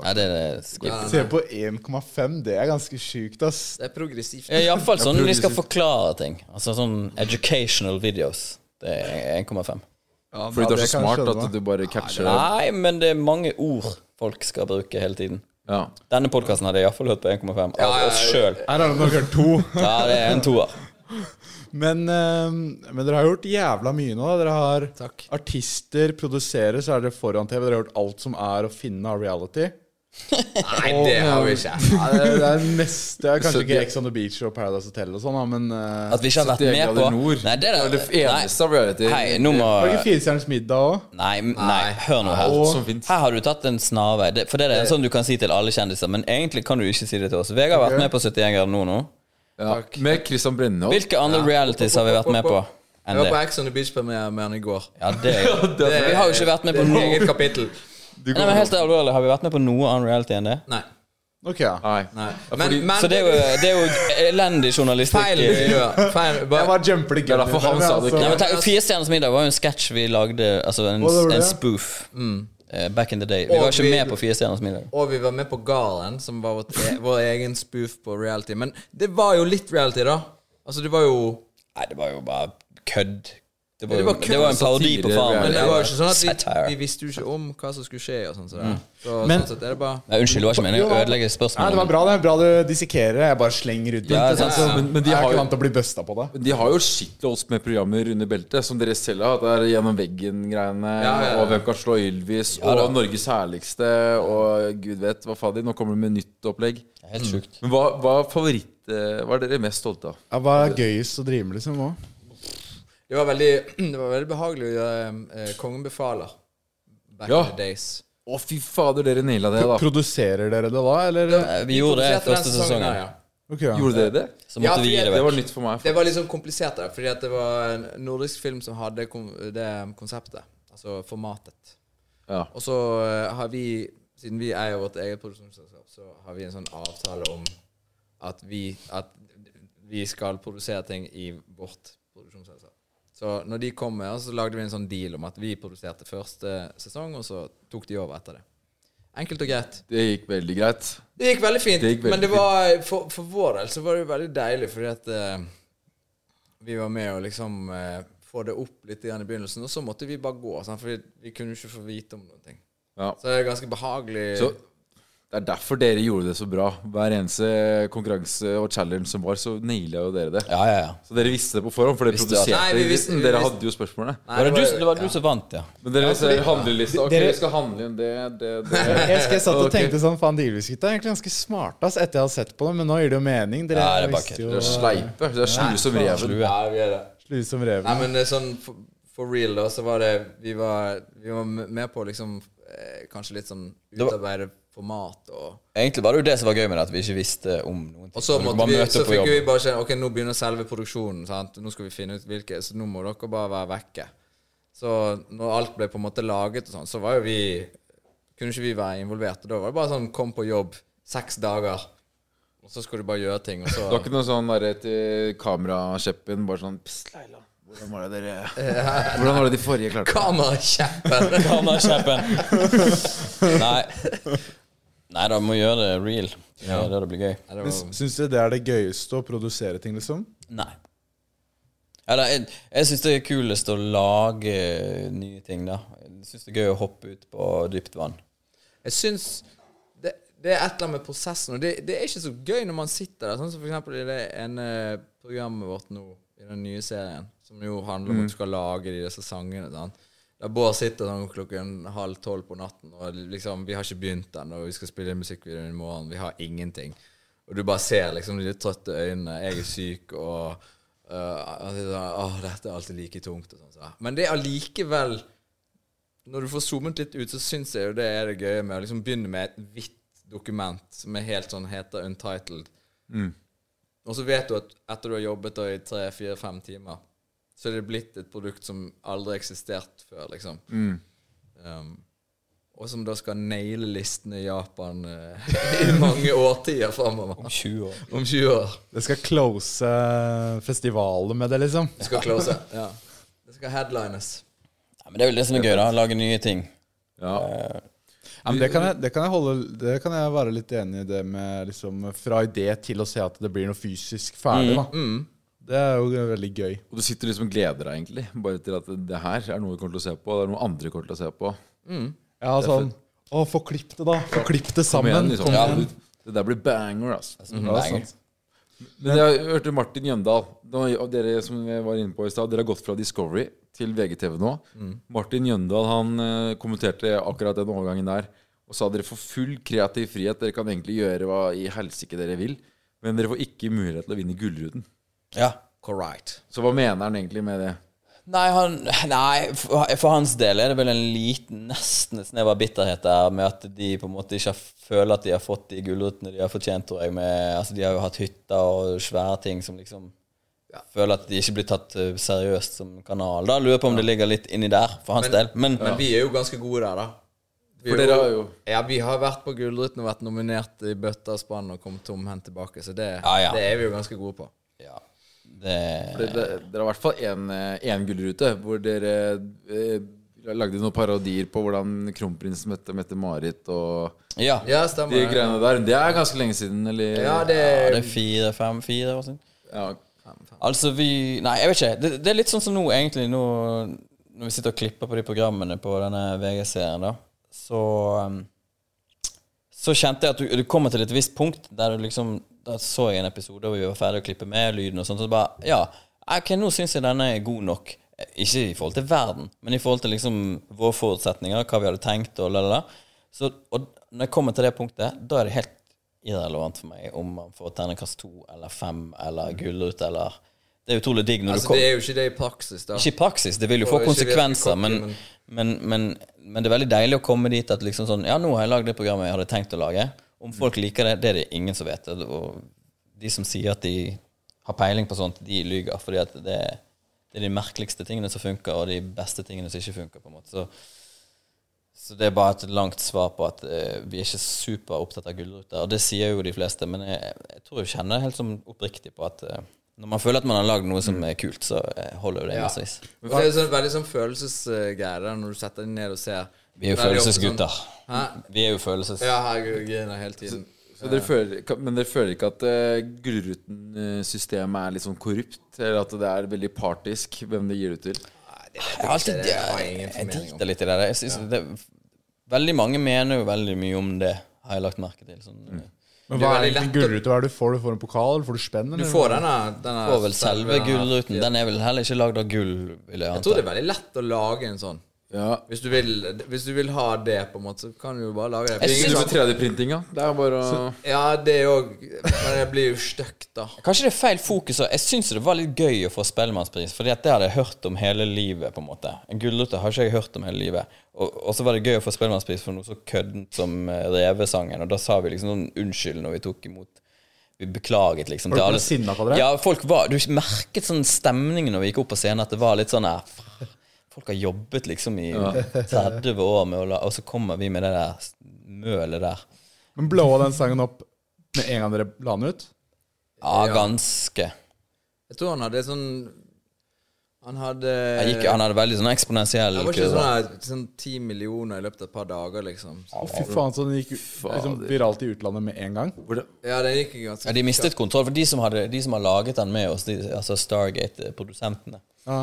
Speaker 5: nei, det er skip.
Speaker 3: Se på 1,5. Det er ganske sjukt, ass.
Speaker 6: Det er progressivt.
Speaker 5: Iallfall sånn når de skal forklare ting. Altså sånn educational videos. Det er 1,5.
Speaker 4: Fordi du
Speaker 3: det
Speaker 4: er så
Speaker 3: kan jeg
Speaker 4: smart
Speaker 3: skjønne.
Speaker 4: at du bare catcher det.
Speaker 5: Nei, men det er mange ord folk skal bruke hele tiden.
Speaker 4: Ja.
Speaker 5: Denne podkasten hadde jeg iallfall hørt på 1,5 av oss sjøl.
Speaker 3: Her har du nok hørt to.
Speaker 5: Altså, Ja, det er en toer.
Speaker 3: Men, eh, men dere har gjort jævla mye nå. da. Dere har artister, produserer, så er dere foran TV. Dere har gjort alt som er å finne av reality.
Speaker 6: Nei, det har vi ikke.
Speaker 3: Nei, det, det er neste er
Speaker 4: Så
Speaker 3: Kanskje ikke
Speaker 4: det-
Speaker 3: Ex on the Beach og Paradise Hotel og sånn, da, men eh,
Speaker 5: At vi ikke har vært
Speaker 4: 71
Speaker 5: med på
Speaker 4: grader nord.
Speaker 5: Nei, det er
Speaker 4: Det er det eneste av reality.
Speaker 5: Nei, hei, nå må
Speaker 3: Var det ikke Firestjerners middag òg?
Speaker 5: Nei, nei, hør nå her.
Speaker 4: Alt som finnes.
Speaker 5: Her har du tatt en snarvei. Det, for det er sånn du kan si til alle kjendiser, men egentlig kan du ikke si det til oss. Vegard har vært med på 71 grader nord nå.
Speaker 4: Ja. Med Christian Brenneholt.
Speaker 5: Hvilke andre realities har vi vært med på
Speaker 6: Jeg
Speaker 5: enn
Speaker 6: var på
Speaker 5: det?
Speaker 6: Ex on the Beach premiere med han i går.
Speaker 5: Ja, det er jo det, Vi har jo ikke vært med på
Speaker 6: Det er et
Speaker 5: noe
Speaker 6: eget kapittel.
Speaker 5: Nei, men helt alvorlig, har vi vært med på noe annen reality enn det?
Speaker 6: Nei.
Speaker 3: Ok, ja.
Speaker 4: Nei.
Speaker 6: nei.
Speaker 4: Ja,
Speaker 6: Men,
Speaker 4: fordi-
Speaker 6: men
Speaker 5: Så det er jo, det er jo elendig
Speaker 6: feil
Speaker 5: journalistikk.
Speaker 6: miljø. Feil,
Speaker 3: Jeg
Speaker 6: bare,
Speaker 3: bare jumper det
Speaker 4: Det er derfor han sa
Speaker 3: altså-
Speaker 4: det ikke.
Speaker 5: Nei, men tenk, Firestjerners middag var jo en sketsj vi lagde, altså en,
Speaker 3: Å, det var det?
Speaker 5: en spoof. eh, Back in the day. Vi
Speaker 6: Og
Speaker 5: var ikke
Speaker 6: vi-
Speaker 5: med på Firestjerners middag.
Speaker 6: og vi var med på Galen, som var vårt, e- vår egen spoof på reality. Men det var jo litt reality, da. Altså, det var jo
Speaker 5: Nei, det var jo bare kødd. Det var,
Speaker 6: det
Speaker 5: jo,
Speaker 6: var
Speaker 5: det var,
Speaker 6: kødd.
Speaker 5: en parodi på
Speaker 4: Satire,
Speaker 5: Farmen.
Speaker 6: Men det var jo ikke sånn at vi,
Speaker 5: Satire. Mm.
Speaker 6: vi visste jo ikke om hva som skulle skje. og sånn så, så
Speaker 3: Men-
Speaker 6: sånn sett er det bare
Speaker 5: Nei, unnskyld, det var ikke meningen å
Speaker 3: Jo,
Speaker 5: ødelegge
Speaker 3: Nei, det
Speaker 5: spørsmålet.
Speaker 3: var bra det. Bra du dissekerer det. Jeg bare slenger ut.
Speaker 5: Ja,
Speaker 3: litt,
Speaker 5: sant,
Speaker 3: så-
Speaker 5: ja.
Speaker 4: Men- men de
Speaker 3: jeg
Speaker 4: har
Speaker 3: er
Speaker 4: jo-
Speaker 3: ikke vant til å bli busta på det.
Speaker 4: Men De har jo shitloads med programmer under beltet, som dere selv har hatt. Det er Gjennom veggen-greiene,
Speaker 6: Ja, ja, ja.
Speaker 4: og Hvem kan slå Ylvis, og Norges herligste, og gud vet hva fader. Nå kommer det med nytt opplegg.
Speaker 5: Helt sjukt.
Speaker 4: Men hva, hva er favoritt... eh, Hva er dere mest stolte av?
Speaker 3: Ja, hva er gøyest å drive med, liksom? nå?
Speaker 6: Det var veldig, det var veldig behagelig å gjøre eh, Kongen befaler back
Speaker 4: Ja.
Speaker 6: in the days.
Speaker 4: Å, fy fader, dere naila det, da.
Speaker 3: Produserer dere det da, eller?
Speaker 5: Eh, Vi gjorde det
Speaker 6: Produserte den
Speaker 5: første sesongen.
Speaker 6: her, ja.
Speaker 3: Ok, ja.
Speaker 4: Gjorde dere det?
Speaker 5: Så måtte
Speaker 6: Ja,
Speaker 5: vi gi
Speaker 6: fordi
Speaker 5: det
Speaker 4: Det
Speaker 5: vekk.
Speaker 4: var nytt for meg.
Speaker 6: Det var liksom komplisert, der, fordi at det var en nordisk film som hadde kon- det konseptet. Altså formatet.
Speaker 4: Ja.
Speaker 6: Og så eh, har vi, siden vi eier vårt eget produksjonsselskap, så har vi en sånn avtale om at vi, at vi skal produsere ting i vårt produksjonsselskap. Så når de kom med, oss, så lagde vi en sånn deal om at vi produserte første sesong, og så tok de over etter det. Enkelt og greit.
Speaker 4: Det gikk veldig greit.
Speaker 6: Det gikk veldig fint,
Speaker 4: Det gikk veldig
Speaker 6: men det var, for, for vår del så var det jo veldig deilig, fordi at eh, vi var med å liksom eh, få det opp litt grann i begynnelsen, og så måtte vi bare gå, sant? for vi, vi kunne jo ikke få vite om noen ting.
Speaker 4: Ja.
Speaker 6: Så det er ganske behagelig.
Speaker 4: Så det er derfor dere gjorde det så bra. Hver eneste konkurranse og challenge som var, så naila jo dere det.
Speaker 5: Ja, ja, ja.
Speaker 4: Så dere visste det på forhånd, for dere
Speaker 5: Visste at-
Speaker 4: produserte
Speaker 6: Nei, vi visste- vi
Speaker 4: Dere
Speaker 6: visste-
Speaker 4: hadde jo spørsmålene.
Speaker 6: Nei,
Speaker 5: Var det, du,
Speaker 6: var-
Speaker 5: det var du som vant, ja.
Speaker 4: Men dere ser handlelista. Ok,
Speaker 3: dere-
Speaker 4: vi skal handle inn det, det, det.
Speaker 3: Jeg, jeg satt og
Speaker 4: Ok.
Speaker 3: tenkte sånn, faen, de Ylvis-gutta er egentlig ganske smarte, ass, etter jeg har sett på dem, men nå gir det jo mening. Dere
Speaker 5: Ja, det er bare
Speaker 3: visste
Speaker 5: kødd.
Speaker 3: jo
Speaker 4: Dere er sleipe. Dere er slue som reven.
Speaker 5: Slue.
Speaker 6: Ja, vi er det.
Speaker 3: Slu som reven.
Speaker 6: Nei, men det er sånn for, for real, da, så var det Vi var, vi var med på liksom eh, kanskje litt sånn
Speaker 5: var-
Speaker 6: utarbeide format og
Speaker 5: Egentlig var det jo det som var gøy med det, at vi ikke visste om noen ting.
Speaker 6: Og så,
Speaker 5: Du
Speaker 6: måtte
Speaker 5: bare
Speaker 6: vi,
Speaker 5: møte
Speaker 6: så
Speaker 5: opp på
Speaker 6: fikk
Speaker 5: jobb.
Speaker 6: vi bare kjenne Ok, nå begynner selve produksjonen. Sant? Nå skal vi finne ut hvilke Så nå må dere bare være vekke. Så når alt ble på en måte laget, og sånn, så var jo vi Kunne ikke vi være involvert. Og da var det bare sånn Kom på jobb seks dager, og så skal du bare gjøre ting, og så
Speaker 4: Det var ikke noe sånn derre til kamerakjeppen, bare sånn Pst, Leila. Hvordan var det dere Hvordan var det de forrige klarte?
Speaker 6: Kamerakjeppen!
Speaker 5: Kamerakjeppen. Nei. Nei da, må gjøre det real. Ja. Da det blir gøy.
Speaker 6: Nei, det
Speaker 3: Men
Speaker 6: var-
Speaker 3: s- Syns dere det er det gøyeste å produsere ting, liksom?
Speaker 5: Nei. Eller, jeg, jeg syns det er kulest å lage eh, nye ting, da. Jeg syns det er gøy å hoppe ut på dypt vann.
Speaker 6: Jeg syns det, det er et eller annet med prosessen. Og det, det er ikke så gøy når man sitter der. Sånn som for eksempel i det ene programmet vårt nå, i den nye serien, som jo handler om at du skal lage de disse sangene. Sant? Der Bård sitter sånn klokken halv tolv på natten, og liksom, vi har ikke begynt ennå, og vi skal spille musikkvideoen i morgen, vi har ingenting. Og du bare ser liksom de litt trøtte øynene, jeg er syk, og eh, at det er sånn, Åh, dette er alltid like tungt. Og sånn, så. Men det er allikevel Når du får zoomet litt ut, så syns jeg jo det er det gøye med å liksom begynne med et hvitt dokument som er helt sånn heter untitled. Og så vet du at etter du har jobbet da i tre, fire, fem timer, så er det blitt et produkt som aldri eksistert før, liksom. Um, og som da skal naile listene i Japan eh, i mange årtier framover. Om 20 år. Om 20 år.
Speaker 3: Det skal close festivalet med det, liksom.
Speaker 6: Det skal close. Ja. Det skal headlines.
Speaker 5: Ja, men det er vel det som er gøy, da. Lage nye ting.
Speaker 4: Ja.
Speaker 3: Ja, men det, kan jeg, det, kan jeg holde, det kan jeg være litt enig i, det med liksom fra idé til å se at det blir noe fysisk ferdig. da Det er jo veldig gøy.
Speaker 4: Og du sitter liksom og gleder deg egentlig Bare til at det her er noe vi kommer til å se på Det er noe andre kommer til å se på
Speaker 3: Ja, sånn Å, få klipp det, da. Få klipp det
Speaker 4: Kom igjen,
Speaker 3: sammen.
Speaker 4: liksom.
Speaker 3: Kom
Speaker 4: Ja, sånn.
Speaker 3: igjen.
Speaker 4: Det der blir banger, ass
Speaker 5: Ja, sant.
Speaker 4: Men jeg hørte Martin Jøndal da- og Dere som vi var inne på i sted Dere har gått fra Discovery til VGTV nå Martin Jøndal han eh, kommenterte akkurat den overgangen der Og sa dere får full kreativ frihet Dere kan egentlig gjøre hva i helsike dere vil Men dere får ikke mulighet til å vinne gullruden
Speaker 5: Ja.
Speaker 6: Correct.
Speaker 4: Så hva mener han egentlig med det?
Speaker 5: Nei, han, nei, for for hans del er det vel en liten, nesten et snev av bitterhet der med at de på en måte ikke har- føler at de har fått de gulrotene de har fortjent, tror jeg. Med, altså, de har jo hatt hytter og svære ting som liksom Føler at de ikke blir tatt eh, seriøst som kanal. Da lurer jeg på om det ligger litt inni der for hans del. Men,
Speaker 6: Men vi er jo ganske gode der, da. Vi
Speaker 4: For
Speaker 6: er
Speaker 4: dere har jo-
Speaker 6: Ja, vi har vært på Gullruten og vært nominert i bøtta og spann og kommet tomhendt tilbake, så det,
Speaker 5: Ja, ja.
Speaker 6: det er vi jo ganske gode på.
Speaker 5: ja, det
Speaker 4: Dere, dere, dere har i hvert fall en, eh, en gullrute hvor dere eh, lagde noen parodier på hvordan kronprinsen møtte Mette-Marit og
Speaker 5: Ja.
Speaker 6: Ja,
Speaker 4: de
Speaker 6: stemmer.
Speaker 4: greiene der. Det er ganske lenge siden, eller?
Speaker 6: Ja, det
Speaker 5: Ja, det er fire, fem, fire år siden.
Speaker 4: Ja.
Speaker 5: Altså, vi Nei, jeg vet ikke. Det, det er litt sånn som nå, egentlig, nå når vi sitter og klipper på de programmene på denne VG-serien, da, så um, Så kjente jeg at du, du kommer til et visst punkt der du liksom Da så jeg en episode hvor vi var ferdig å klippe med lyden og sånn, så bare Ja, ok, nå syns jeg denne er god nok. Eh, Ikke i forhold til verden, men i forhold til liksom våre forutsetninger, hva vi hadde tenkt og la-la-la. Så og når jeg kommer til det punktet, da er det helt irrelevant for meg om man får terningkast to eller fem eller gullrute eller Det er utrolig digg når du
Speaker 6: Altså,
Speaker 5: kommer
Speaker 6: det er jo ikke det i praksis, da.
Speaker 5: ikke i praksis, det vil jo få
Speaker 6: Og ikke
Speaker 5: konsekvenser,
Speaker 6: virkelig
Speaker 5: men,
Speaker 6: kopi,
Speaker 5: men, men, men det er veldig deilig å komme dit at liksom sånn Ja, nå har jeg lagd det programmet jeg hadde tenkt å lage. Om folk liker det, det er det ingen som vet. Og de som sier at de har peiling på sånt, de lyger. Fordi at det, det er de merkeligste tingene som funker, og de beste tingene som ikke funker. på en måte Så, så det er bare et langt svar på at eh, vi er ikke super opptatt av gullruter. Og det sier jo de fleste, men jeg, jeg tror jeg kjenner helt som oppriktig på at eh, når man føler at man har lagd noe som er kult, så eh, holder jo det
Speaker 6: Mm. Ja.
Speaker 5: massevis.
Speaker 6: Men Det er jo sånn, veldig sånn følelsesgreie der, når du setter deg ned og ser.
Speaker 5: Vi er jo
Speaker 6: Veldig ofte sånn-
Speaker 5: følelsesgutter.
Speaker 6: Hæ?
Speaker 5: Vi er jo følelses...
Speaker 6: Ja, herregud, griner hele tiden.
Speaker 4: Så dere føler, ikke- men dere føler ikke at eh, Gullruten-systemet er litt sånn korrupt? Eller at det er veldig partisk hvem det gir det til?
Speaker 5: Jeg, har alltid,
Speaker 6: Det har jeg
Speaker 5: jeg,
Speaker 6: ingen
Speaker 5: jeg
Speaker 6: formening om.
Speaker 5: driter litt i det. Jeg synes det. Veldig mange mener jo veldig mye om det, har jeg lagt merke til.
Speaker 6: Mm.
Speaker 5: Sånn,
Speaker 3: Men
Speaker 6: Det er
Speaker 3: hva er
Speaker 6: veldig
Speaker 3: egentlig
Speaker 6: lett å-
Speaker 3: gullrute? Hva er det du får? Du får en pokal? eller Får du spenn?
Speaker 6: Du
Speaker 3: eller?
Speaker 6: får denne, denne
Speaker 5: Og vel selve
Speaker 6: denne-
Speaker 5: gullruten. Den er vel heller ikke lagd av gull, vil jeg
Speaker 6: Jeg tror
Speaker 5: anta.
Speaker 6: det er veldig lett å lage en sånn.
Speaker 4: Ja.
Speaker 6: Hvis du vil, hvis du vil ha det, på en måte, så kan du jo bare lage det.
Speaker 5: Jeg
Speaker 4: Ingen
Speaker 5: synes-
Speaker 4: du med 3D-printinga. Det er bare å
Speaker 6: Ja, det òg. Men det blir jo stygt, da.
Speaker 5: Kanskje det er feil fokus. og Jeg syns det var litt gøy å få Spellemannspris, Fordi at det hadde jeg hørt om hele livet. på En måte En gullrute har ikke jeg hørt om hele livet. Og, og så var det gøy å få Spellemannspris for noe så køddent som eh, Revesangen. Og da sa vi liksom noen unnskyld når vi tok imot Vi beklaget liksom
Speaker 3: Folk ble
Speaker 5: til alle-
Speaker 3: sinna på dere?
Speaker 5: Ja, folk var Du merket sånn stemningen når vi gikk opp på scenen, at det var litt sånn eh, f- Folk har jobbet liksom i 30 år med å la Og så kommer vi med det der s- mølet der.
Speaker 3: Men blåa den sangen opp med en gang dere la den ut?
Speaker 5: Ja, ganske.
Speaker 6: Jeg tror han hadde sånn Han hadde
Speaker 5: Han, gikk, han hadde veldig sånn eksponentiell
Speaker 6: Det var ikke sånn her, sånn ti millioner i løpet av et par dager, liksom.
Speaker 3: Å, fy faen, så den gikk liksom, viralt i utlandet med en gang?
Speaker 6: Ja, det gikk jo ganske
Speaker 5: Ja, de mistet kontroll. For de som, hadde, de som har laget den med oss, de, altså Stargate-produsentene,
Speaker 3: Ja.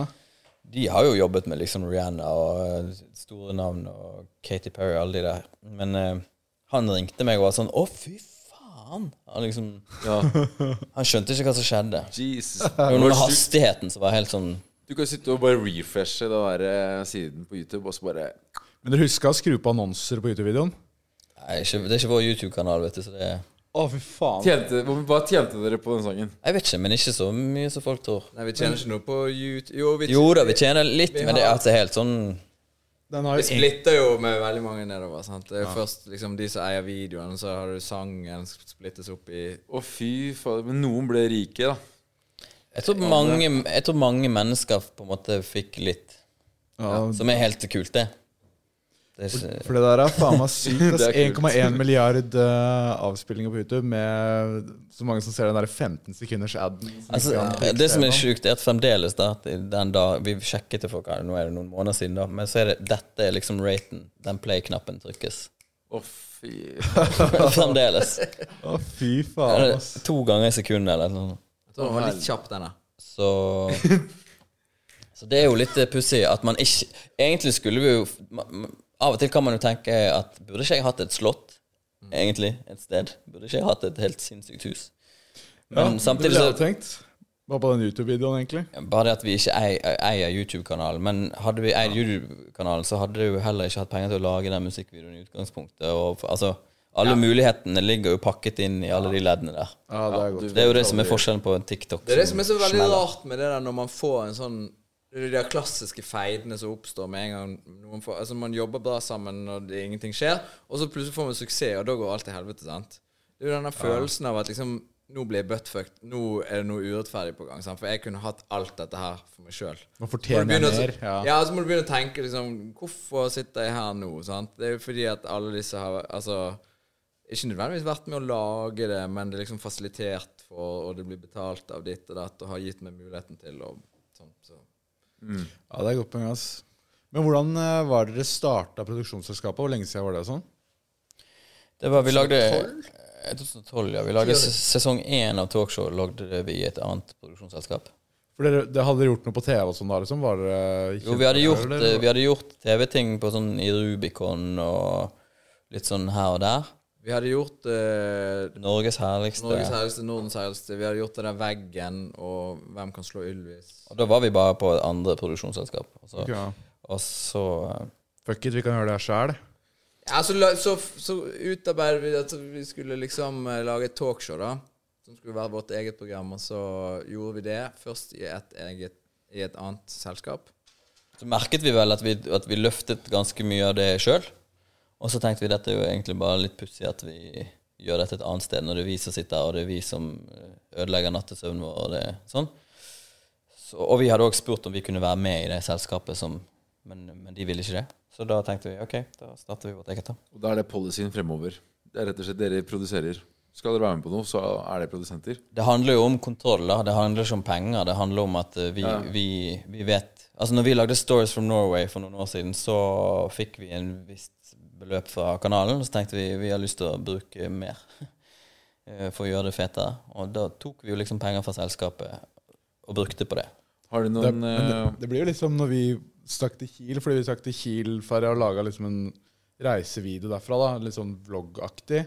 Speaker 5: de har jo jobbet med liksom Rihanna og eh, store navn og Katy Perry og alle de der. Men eh, han ringte meg og var sånn Å, fy faen! Han liksom Han skjønte ikke hva som skjedde.
Speaker 4: Jesus.
Speaker 5: Det var noe med
Speaker 4: Hvor sykt.
Speaker 5: hastigheten som var helt sånn
Speaker 4: Du kan sitte og bare refreshe den der eh, siden på YouTube, og så bare
Speaker 3: Men dere huska å skru på annonser på YouTube-videoen?
Speaker 5: Nei, ikke, Det er ikke vår YouTube-kanal, vet du, så det
Speaker 3: Å, fy faen.
Speaker 4: Tjente, hvor- hva tjente dere på den sangen?
Speaker 5: Jeg vet ikke, men ikke så mye som folk tror.
Speaker 6: Nei, vi tjener ikke noe på YouTube Jo, vi,
Speaker 5: Jo da, vi tjener litt, men det er altså helt sånn
Speaker 3: Den har jo
Speaker 6: vi
Speaker 3: egentlig
Speaker 6: splitter jo med veldig mange nedover. sant? Det er først liksom de som eier videoen, og så har du sangen splittes opp i
Speaker 4: Å, fy fader. Men noen ble rike, da.
Speaker 5: Jeg tror mange, jeg tror mange mennesker på en måte fikk litt.
Speaker 3: ja,
Speaker 5: Som er helt kult, det. det er ikke,
Speaker 3: For det der er faen meg sykt. ass.
Speaker 4: Det er kult.
Speaker 3: 1,1 milliard eh, avspillinger på YouTube med så mange som ser den der 15 sekunders aden. som
Speaker 5: altså,
Speaker 3: ikke kan klikke
Speaker 5: det som er
Speaker 3: gjennom.
Speaker 5: sjukt, er at fremdeles da, at den da Vi sjekket det for hva, nå er det noen måneder siden, da, men så er det dette er liksom raten. Den play-knappen trykkes.
Speaker 4: Å, fy
Speaker 5: fremdeles.
Speaker 3: Å, fy
Speaker 5: Er
Speaker 3: faen,
Speaker 5: det
Speaker 3: ass.
Speaker 5: To ganger i sekundet eller noe sånt.
Speaker 6: Jeg tror den var litt kjapp, denne.
Speaker 5: Så Så det er jo litt eh, pussig at man ikke Egentlig skulle vi jo ma- ma- Av og til kan man jo tenke at burde ikke jeg hatt et slott? Egentlig et sted. Burde ikke jeg hatt et helt sinnssykt hus? Men samtidig
Speaker 3: Det
Speaker 5: så
Speaker 3: hadde jeg tenkt. Bare på den YouTube-videoen, egentlig.
Speaker 5: Bare det at vi ikke ei- eier YouTube-kanalen. Men hadde vi eid YouTube-kanalen, så hadde vi jo heller ikke hatt penger til å lage den musikkvideoen i utgangspunktet. Og, for- altså, alle mulighetene ligger jo pakket inn i alle de leddene der.
Speaker 3: Ja, det er godt.
Speaker 5: Det er jo det som er forskjellen på en TikTok.
Speaker 6: Det er det som er så veldig
Speaker 5: smeller.
Speaker 6: rart med det der når man får en sånn De der klassiske feidene som oppstår med en gang noen får, Altså Man jobber bra sammen når det, ingenting skjer, og så plutselig får man suksess, og da går alt til helvete. sant? Det er jo denne følelsen av at liksom Nå blir jeg buttfucked. Nå er det noe urettferdig på gang. sant? For jeg kunne hatt alt dette her for meg sjøl.
Speaker 3: Man fortjener mer,
Speaker 6: Ja.
Speaker 3: ja.
Speaker 6: ja, så må du begynne å tenke liksom Hvorfor sitter jeg her nå? sant? Det er jo fordi at alle disse har Altså ikke nødvendigvis vært med å lage det, men det er liksom fasilitert for, og det blir betalt av ditt og datt, og har gitt meg muligheten til og sånn. Så.
Speaker 3: Ja, det er godt poeng, ass. Men hvordan eh, var dere starta produksjonsselskapet? Hvor lenge siden var det? og sånn?
Speaker 5: Det var, vi lagde 2012, ja. Vi lagde se- sesong én av talkshow lagde vi i et annet produksjonsselskap.
Speaker 3: For dere, det Hadde dere gjort noe på TV og sånn da, liksom? Var dere
Speaker 5: Jo, vi hadde gjort,
Speaker 3: kjente
Speaker 5: eh,
Speaker 3: dere,
Speaker 5: vi hadde gjort TV-ting på sånn i Rubicon og litt sånn her og der.
Speaker 6: Vi hadde gjort eh,
Speaker 5: Norges herligste.
Speaker 6: Norges herligste, Nordens herligste, vi hadde gjort det der Veggen og Hvem kan slå Ylvis.
Speaker 5: Og da var vi bare på et andre produksjonsselskap. Og så,
Speaker 3: eller? Ja.
Speaker 5: og så eh,
Speaker 3: Fuck it, vi kan gjøre det her sjæl.
Speaker 6: Ja, så, la- så, så utarbeidet vi at vi skulle liksom eh, lage et talkshow, da. Som skulle være vårt eget program, og så gjorde vi det først i et, eget, i et annet selskap.
Speaker 5: så merket vi vel at vi, at vi løftet ganske mye av det sjøl. Og så tenkte vi dette er jo egentlig bare litt pussig at vi gjør dette et annet sted, når det er vi som sitter her, og det er vi som eh, ødelegger nattesøvnen vår, og det sånn. Så, og vi hadde òg spurt om vi kunne være med i det selskapet som men, men de ville ikke det. Så da tenkte vi OK, da starter vi vårt eget, da.
Speaker 4: Og da er det policyen fremover. Det er rett og slett dere produserer. Skal dere være med på noe, så er det produsenter.
Speaker 5: Det handler jo om kontroll, da. Det handler ikke om penger. Det handler om at eh, vi, vi, vi vet Altså, når vi lagde Stories from Norway for noen år siden, så fikk vi en visst beløp fra kanalen. Så tenkte vi vi har lyst til å bruke mer eh, for å gjøre det fetere. Og da tok vi jo liksom penger fra selskapet og brukte på det.
Speaker 4: Har dere
Speaker 3: Det,
Speaker 4: noen eh,
Speaker 3: men det, det blir jo liksom når vi stakk til Kiel, fordi vi stakk til Kiel for å lage liksom en reisevideo derfra, da, litt sånn vloggaktig,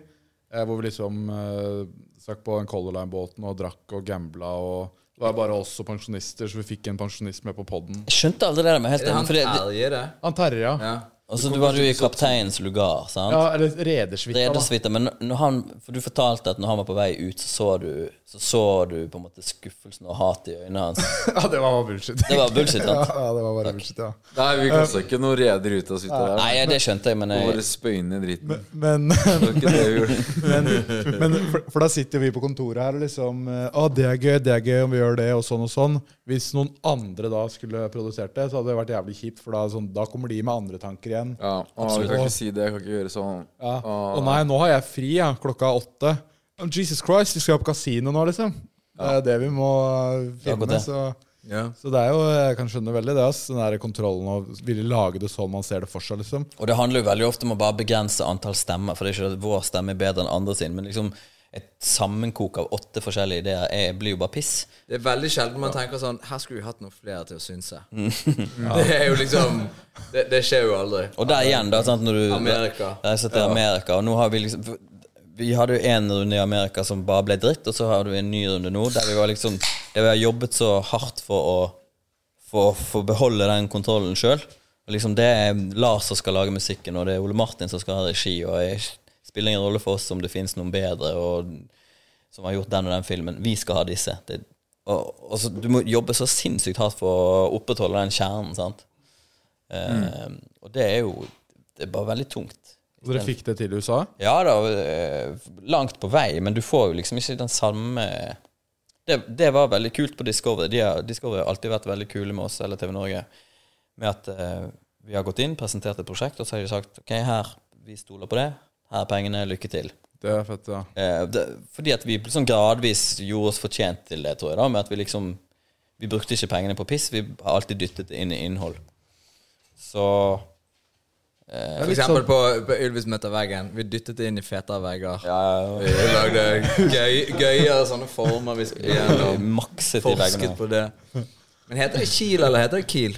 Speaker 3: eh, hvor vi liksom eh, stakk på den Color Line-båten og drakk og gambla. og Det var bare oss og pensjonister, så vi fikk en pensjonist med på poden.
Speaker 5: Jeg skjønte aldri det der med
Speaker 6: Er
Speaker 5: helt
Speaker 6: det
Speaker 5: enig.
Speaker 6: han
Speaker 5: For det, det,
Speaker 6: Terje, det?
Speaker 3: Han Terje, ja.
Speaker 6: Ja.
Speaker 5: og så var du i kapteinens lugar, sant?
Speaker 3: ja eller Redersvika. da.
Speaker 5: Redersvitta, men når han, for du fortalte at når han var på vei ut, så så du, så så du på en måte skuffelsen og hatet i øynene hans.
Speaker 3: Ja, det var bare bullshit.
Speaker 5: Det var bullshit,
Speaker 3: ja,
Speaker 5: sant?
Speaker 3: ja, det var bare bullshit, ja.
Speaker 4: Nei, vi
Speaker 3: Eh,
Speaker 4: kasta ikke noen reder ut av suita der.
Speaker 5: Nei, det skjønte jeg, men
Speaker 4: Og bare
Speaker 5: jeg,
Speaker 4: spøyne ned dritten.
Speaker 3: Men,
Speaker 4: Det var ikke det vi gjorde.
Speaker 3: men, men for, for da sitter vi på kontoret her og liksom eh, Å, det er gøy, det er gøy om vi gjør det, og sånn og sånn. Hvis noen andre da skulle produsert det, så hadde det vært jævlig kjipt, for da, sånn, da kommer de med andre tanker igjen.
Speaker 4: Ja, å, jeg kan ikke si det. Jeg kan ikke gjøre sånn.
Speaker 3: Ja.
Speaker 4: Å,
Speaker 7: Ah.
Speaker 3: Å nei, nå har jeg fri, ja. Klokka er åtte. Men Jesus Christ, vi skal på kasino nå, liksom. Det er det vi må eh,
Speaker 5: er akkurat
Speaker 3: finne.
Speaker 5: det.
Speaker 3: Så,
Speaker 6: Ja.
Speaker 3: så det er jo Jeg kan skjønne veldig det, ass. Den der kontrollen og ville lage det sånn man ser det for seg, liksom.
Speaker 5: og det handler jo veldig ofte om å bare begrense antall stemmer, for det er ikke at vår stemme er bedre enn andre sin, men liksom et sammenkok av åtte forskjellige ideer er, blir jo bare piss.
Speaker 6: Det er veldig sjelden man tenker sånn Her skulle vi hatt noen flere til å synse.
Speaker 5: Mm.
Speaker 6: Det er jo liksom Det, det skjer jo aldri.
Speaker 5: Og der igjen, da, sant, når du
Speaker 6: Amerika.
Speaker 5: reiser til Amerika, og nå har vi liksom vi hadde jo én runde i Amerika som bare ble dritt, og så har du en ny runde nå der vi var liksom Der vi har jobbet så hardt for å For å få beholde den kontrollen sjøl. Liksom det er Lars som skal lage musikken, og det er Ole Martin som skal ha regi, og jeg spiller ingen rolle for oss om det finnes noen bedre og, som har gjort den og den filmen. Vi skal ha disse. Det, og, og så, du må jobbe så sinnssykt hardt for å opprettholde den kjernen. sant? Eh, og det er jo Det er bare veldig tungt.
Speaker 7: Og dere fikk det til i USA?
Speaker 5: Ja da, eh, langt på vei, men du får jo liksom ikke den samme Det, det var veldig kult på Discovery. De har, Discovery har alltid vært veldig kule med oss, eller TV Norge, med at eh, vi har gått inn, presentert et prosjekt, og så har de sagt OK, her, vi stoler på det. Her er pengene. Lykke til.
Speaker 7: Det er fett, ja.
Speaker 5: Eh, det, fordi at vi sånn gradvis gjorde oss fortjent til det, tror jeg, da, med at vi liksom Vi brukte ikke pengene på piss, vi har alltid dyttet det inn i innhold. Så
Speaker 6: For eksempel på,
Speaker 5: sånn-
Speaker 6: på Ylvis møter veggen. Vi dyttet det inn i fetere vegger.
Speaker 5: ja,
Speaker 6: Vi lagde gøy, gøyere sånne former vi skulle gjennom.
Speaker 5: makset i veggene.
Speaker 6: Forsket på det. Men heter det Kiel, eller heter det Kiel?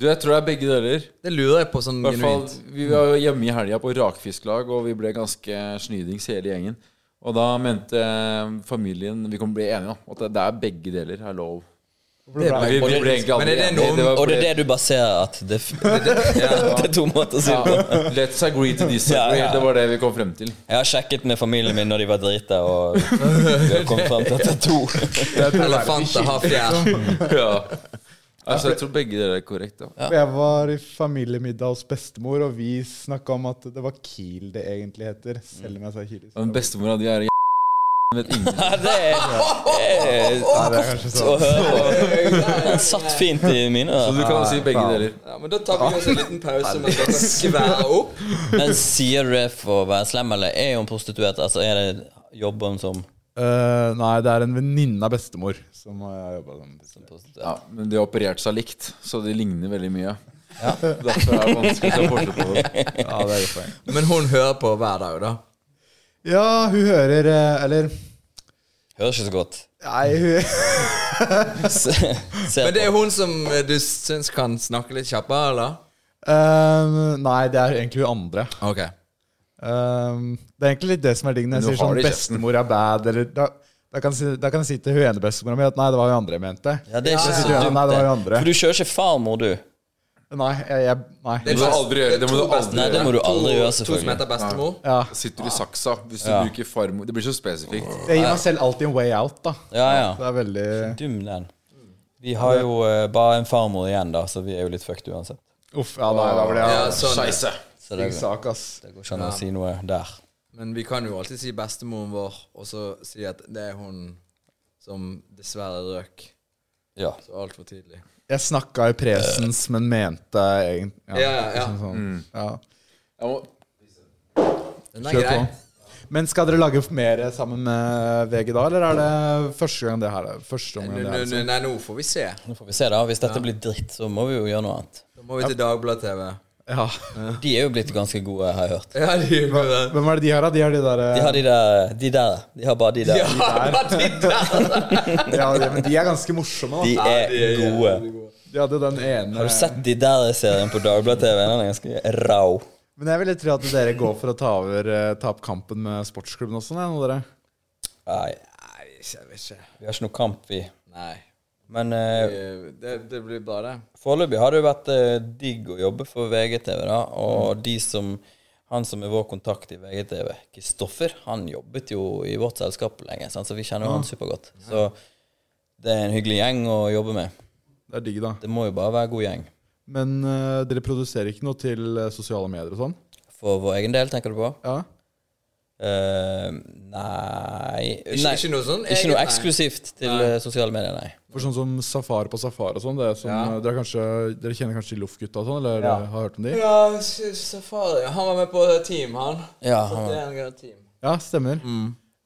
Speaker 4: Du, jeg tror det er begge deler.
Speaker 6: Det lurer jeg på sånn
Speaker 4: I hvert fall,
Speaker 6: genuint.
Speaker 4: Vi var jo hjemme i helga på rakfisklag, og vi ble ganske snydings hele gjengen. Og da mente eh, familien Vi kom til å bli enige om at det- det er begge deler er lov.
Speaker 7: Det
Speaker 4: Vi, vi ble egentlig
Speaker 6: Men er
Speaker 4: aldri
Speaker 6: det
Speaker 4: enige.
Speaker 6: noe-
Speaker 4: var
Speaker 5: Og det
Speaker 4: ble-
Speaker 5: er det du baserer at det, det, er to måter å si det på.
Speaker 4: ja, Let's agree to disagree.
Speaker 5: Ja, ja.
Speaker 4: Det var det vi kom frem til.
Speaker 5: Jeg har sjekket med familien min når de var drita, og vi har kommet frem til at det er to.
Speaker 6: Elefanter har fjær.
Speaker 4: Ja. Altså, jeg tror begge deler er korrekt. Ja.
Speaker 3: For Jeg var i familiemiddag hos bestemor, og vi snakka om at det var Kiel det egentlig heter. Selv om jeg sa Kiel. i
Speaker 4: Men
Speaker 3: stedet.
Speaker 4: bestemora di er vet ingen.
Speaker 5: Ja, det er, det er godt
Speaker 3: sånn.
Speaker 5: å høre. Den satt fint i mine
Speaker 4: Så du
Speaker 5: ører.
Speaker 4: kan jo si begge deler.
Speaker 6: Ja, men da tar vi oss en liten pause mens dere skværer opp.
Speaker 5: Men sier du det for å være slem, eller er hun prostituert? Altså, er det jobben som
Speaker 7: Eh, nei, det er en venninne av bestemor som har jobba som
Speaker 4: Ja, men de har operert seg likt, så de ligner veldig mye. Derfor er det vanskelig å ta forskjell på dem.
Speaker 7: Ja, det er godt poeng.
Speaker 6: Men hun hører på hver dag, da.
Speaker 3: Ja, hun hører eh, Eller
Speaker 5: Høres ikke så godt.
Speaker 3: Nei, hun
Speaker 5: Se, se
Speaker 6: Men det er
Speaker 5: på.
Speaker 6: hun som eh, du syns kan snakke litt kjappere, eller?
Speaker 3: Ehm,
Speaker 7: Nei, det er egentlig hun andre.
Speaker 6: Ok
Speaker 3: ehm, Det er egentlig litt det som er digg når
Speaker 4: Men
Speaker 3: jeg
Speaker 4: hun
Speaker 3: sier
Speaker 4: har
Speaker 3: sånn
Speaker 4: det i kjeften.
Speaker 3: bestemor er bad, eller da, da, kan, jeg si- da kan jeg si til hun ene bestemora mi at nei, det var hun andre jeg mente.
Speaker 5: Ja, det er ikke
Speaker 3: Så
Speaker 5: så
Speaker 3: sier hun,
Speaker 5: dumt,
Speaker 3: nei, det var hun
Speaker 5: det.
Speaker 3: andre.
Speaker 5: For du kjører ikke farmor, du.
Speaker 3: Nei, jeg, jeg Nei.
Speaker 4: Det må du aldri gjøre. Det må du aldri
Speaker 5: Nei, det
Speaker 4: gjøre.
Speaker 5: må du aldri gjøre,
Speaker 6: To som
Speaker 5: selvfølgelig.
Speaker 6: heter bestemor.
Speaker 3: Ja.
Speaker 4: Sitter du i saksa hvis du bruker farmor Det blir så spesifikt.
Speaker 3: Jeg gir meg selv alltid en way out, da.
Speaker 5: Ja, ja.
Speaker 3: Det er veldig
Speaker 5: Dum den. Vi har jo eh, bare en farmor igjen, da, så vi er jo litt fucked uansett.
Speaker 3: Uff, ja, nei, da ble
Speaker 6: Ja,
Speaker 3: det
Speaker 6: sånn.
Speaker 4: Scheisse.
Speaker 5: Så det,
Speaker 3: en sak, ass.
Speaker 5: det går ikke an å si noe der.
Speaker 6: Men vi kan jo alltid si bestemoren vår, og så si at det er hun som dessverre røk
Speaker 5: Ja.
Speaker 6: så altfor tidlig.
Speaker 3: Jeg snakka i presens, men mente liksom egentlig
Speaker 6: Ja, ja, ja.
Speaker 3: sånn. Mm.
Speaker 4: Jeg må,
Speaker 6: Den er grei.
Speaker 3: Men skal dere lage mer sammen med VG da, eller er det første gang det her er? Første
Speaker 6: Nå-
Speaker 3: gang det
Speaker 6: nå-
Speaker 3: her er altså-
Speaker 6: nå- Nei, nå får vi se.
Speaker 5: Nå får vi se, da. Hvis dette blir dritt, så må vi jo gjøre noe annet.
Speaker 6: Da må vi til Dagblad-TV.
Speaker 3: liksom? ja.
Speaker 5: De er jo blitt ganske gode, har jeg hørt.
Speaker 6: Ja, de gjør det.
Speaker 3: Hvem er det de har, da? De har de der, eh,
Speaker 5: De har de der. De der. De har bare de der.
Speaker 6: Ja, de der.
Speaker 3: ja, de- men de er ganske morsomme.
Speaker 5: De
Speaker 3: Da.
Speaker 5: er gode.
Speaker 3: De hadde den ene
Speaker 5: Har du sett de der-serien på Dagbladet TV? Den er ganske rau.
Speaker 3: Men jeg ville tro at dere går for å ta over eh, ta opp kampen med sportsklubben også, nei, nå, dere.
Speaker 5: Nei,
Speaker 6: Nei, jeg vet ikke.
Speaker 5: vi har ikke noe kamp, vi.
Speaker 6: Nei.
Speaker 5: Men eh,
Speaker 6: Eh, Det, det blir bra, det.
Speaker 5: foreløpig har det jo vært eh, digg å jobbe for VGTV, da.
Speaker 6: Mm.
Speaker 5: Og de som han som er vår kontakt i VGTV, Kristoffer, han jobbet jo i vårt selskap lenge, sant? så vi kjenner jo han supergodt. Så det er en hyggelig gjeng å jobbe med.
Speaker 3: Det er digg, da.
Speaker 5: Det må jo bare være god gjeng.
Speaker 3: Men eh, dere produserer ikke noe til eh, sosiale medier og sånn?
Speaker 5: For vår egen del, tenker du på?
Speaker 3: Ja?
Speaker 5: Eh, nei
Speaker 6: Ikke,
Speaker 5: Nei,
Speaker 6: ikke noe sånn
Speaker 5: Ikke
Speaker 6: eget,
Speaker 5: noe
Speaker 6: nei.
Speaker 5: eksklusivt til
Speaker 6: Nei.
Speaker 5: eh, sosiale medier, nei.
Speaker 3: For sånn som Safari på Safari og sånn, det som
Speaker 6: Ja.
Speaker 3: eh, dere, kanskje, dere kjenner kanskje til Loff-gutta og sånn, eller eh, har hørt om de?
Speaker 6: Ja, s- Safari. Han var med på team, han.
Speaker 5: Ja,
Speaker 6: Så det
Speaker 5: han,
Speaker 6: er en grei team.
Speaker 3: Ja, stemmer.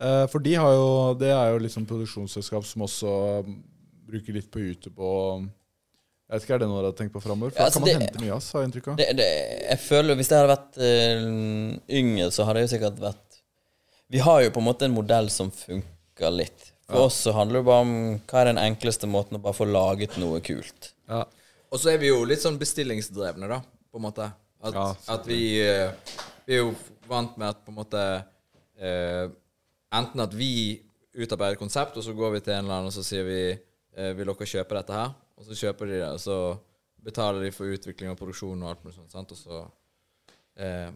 Speaker 3: Eh, for de har jo, det er jo liksom produksjonsselskap som også bruker litt på YouTube og Jeg vet ikke, er det noe dere har tenkt på framover? For
Speaker 5: Ja,
Speaker 3: da
Speaker 5: altså,
Speaker 3: kan man
Speaker 5: det-
Speaker 3: hente mye, ass, har jeg inntrykk av.
Speaker 5: det, det, jeg føler Hvis jeg hadde vært eh, yngre, så hadde jeg jo sikkert vært Vi har jo på en måte en modell som funker litt. For oss så handler det bare om hva er den enkleste måten å bare få laget noe kult.
Speaker 6: Og så er vi jo litt sånn bestillingsdrevne, da, på en måte. At, at vi, eh, vi er jo vant med at på en måte eh, Enten at vi utarbeider et konsept, og så går vi til en eller annen og så sier vi eh, Vil dere kjøpe dette her? Og så kjøper de det, og så betaler de for utvikling og produksjon og alt mulig sånt. Sant? Og så eh,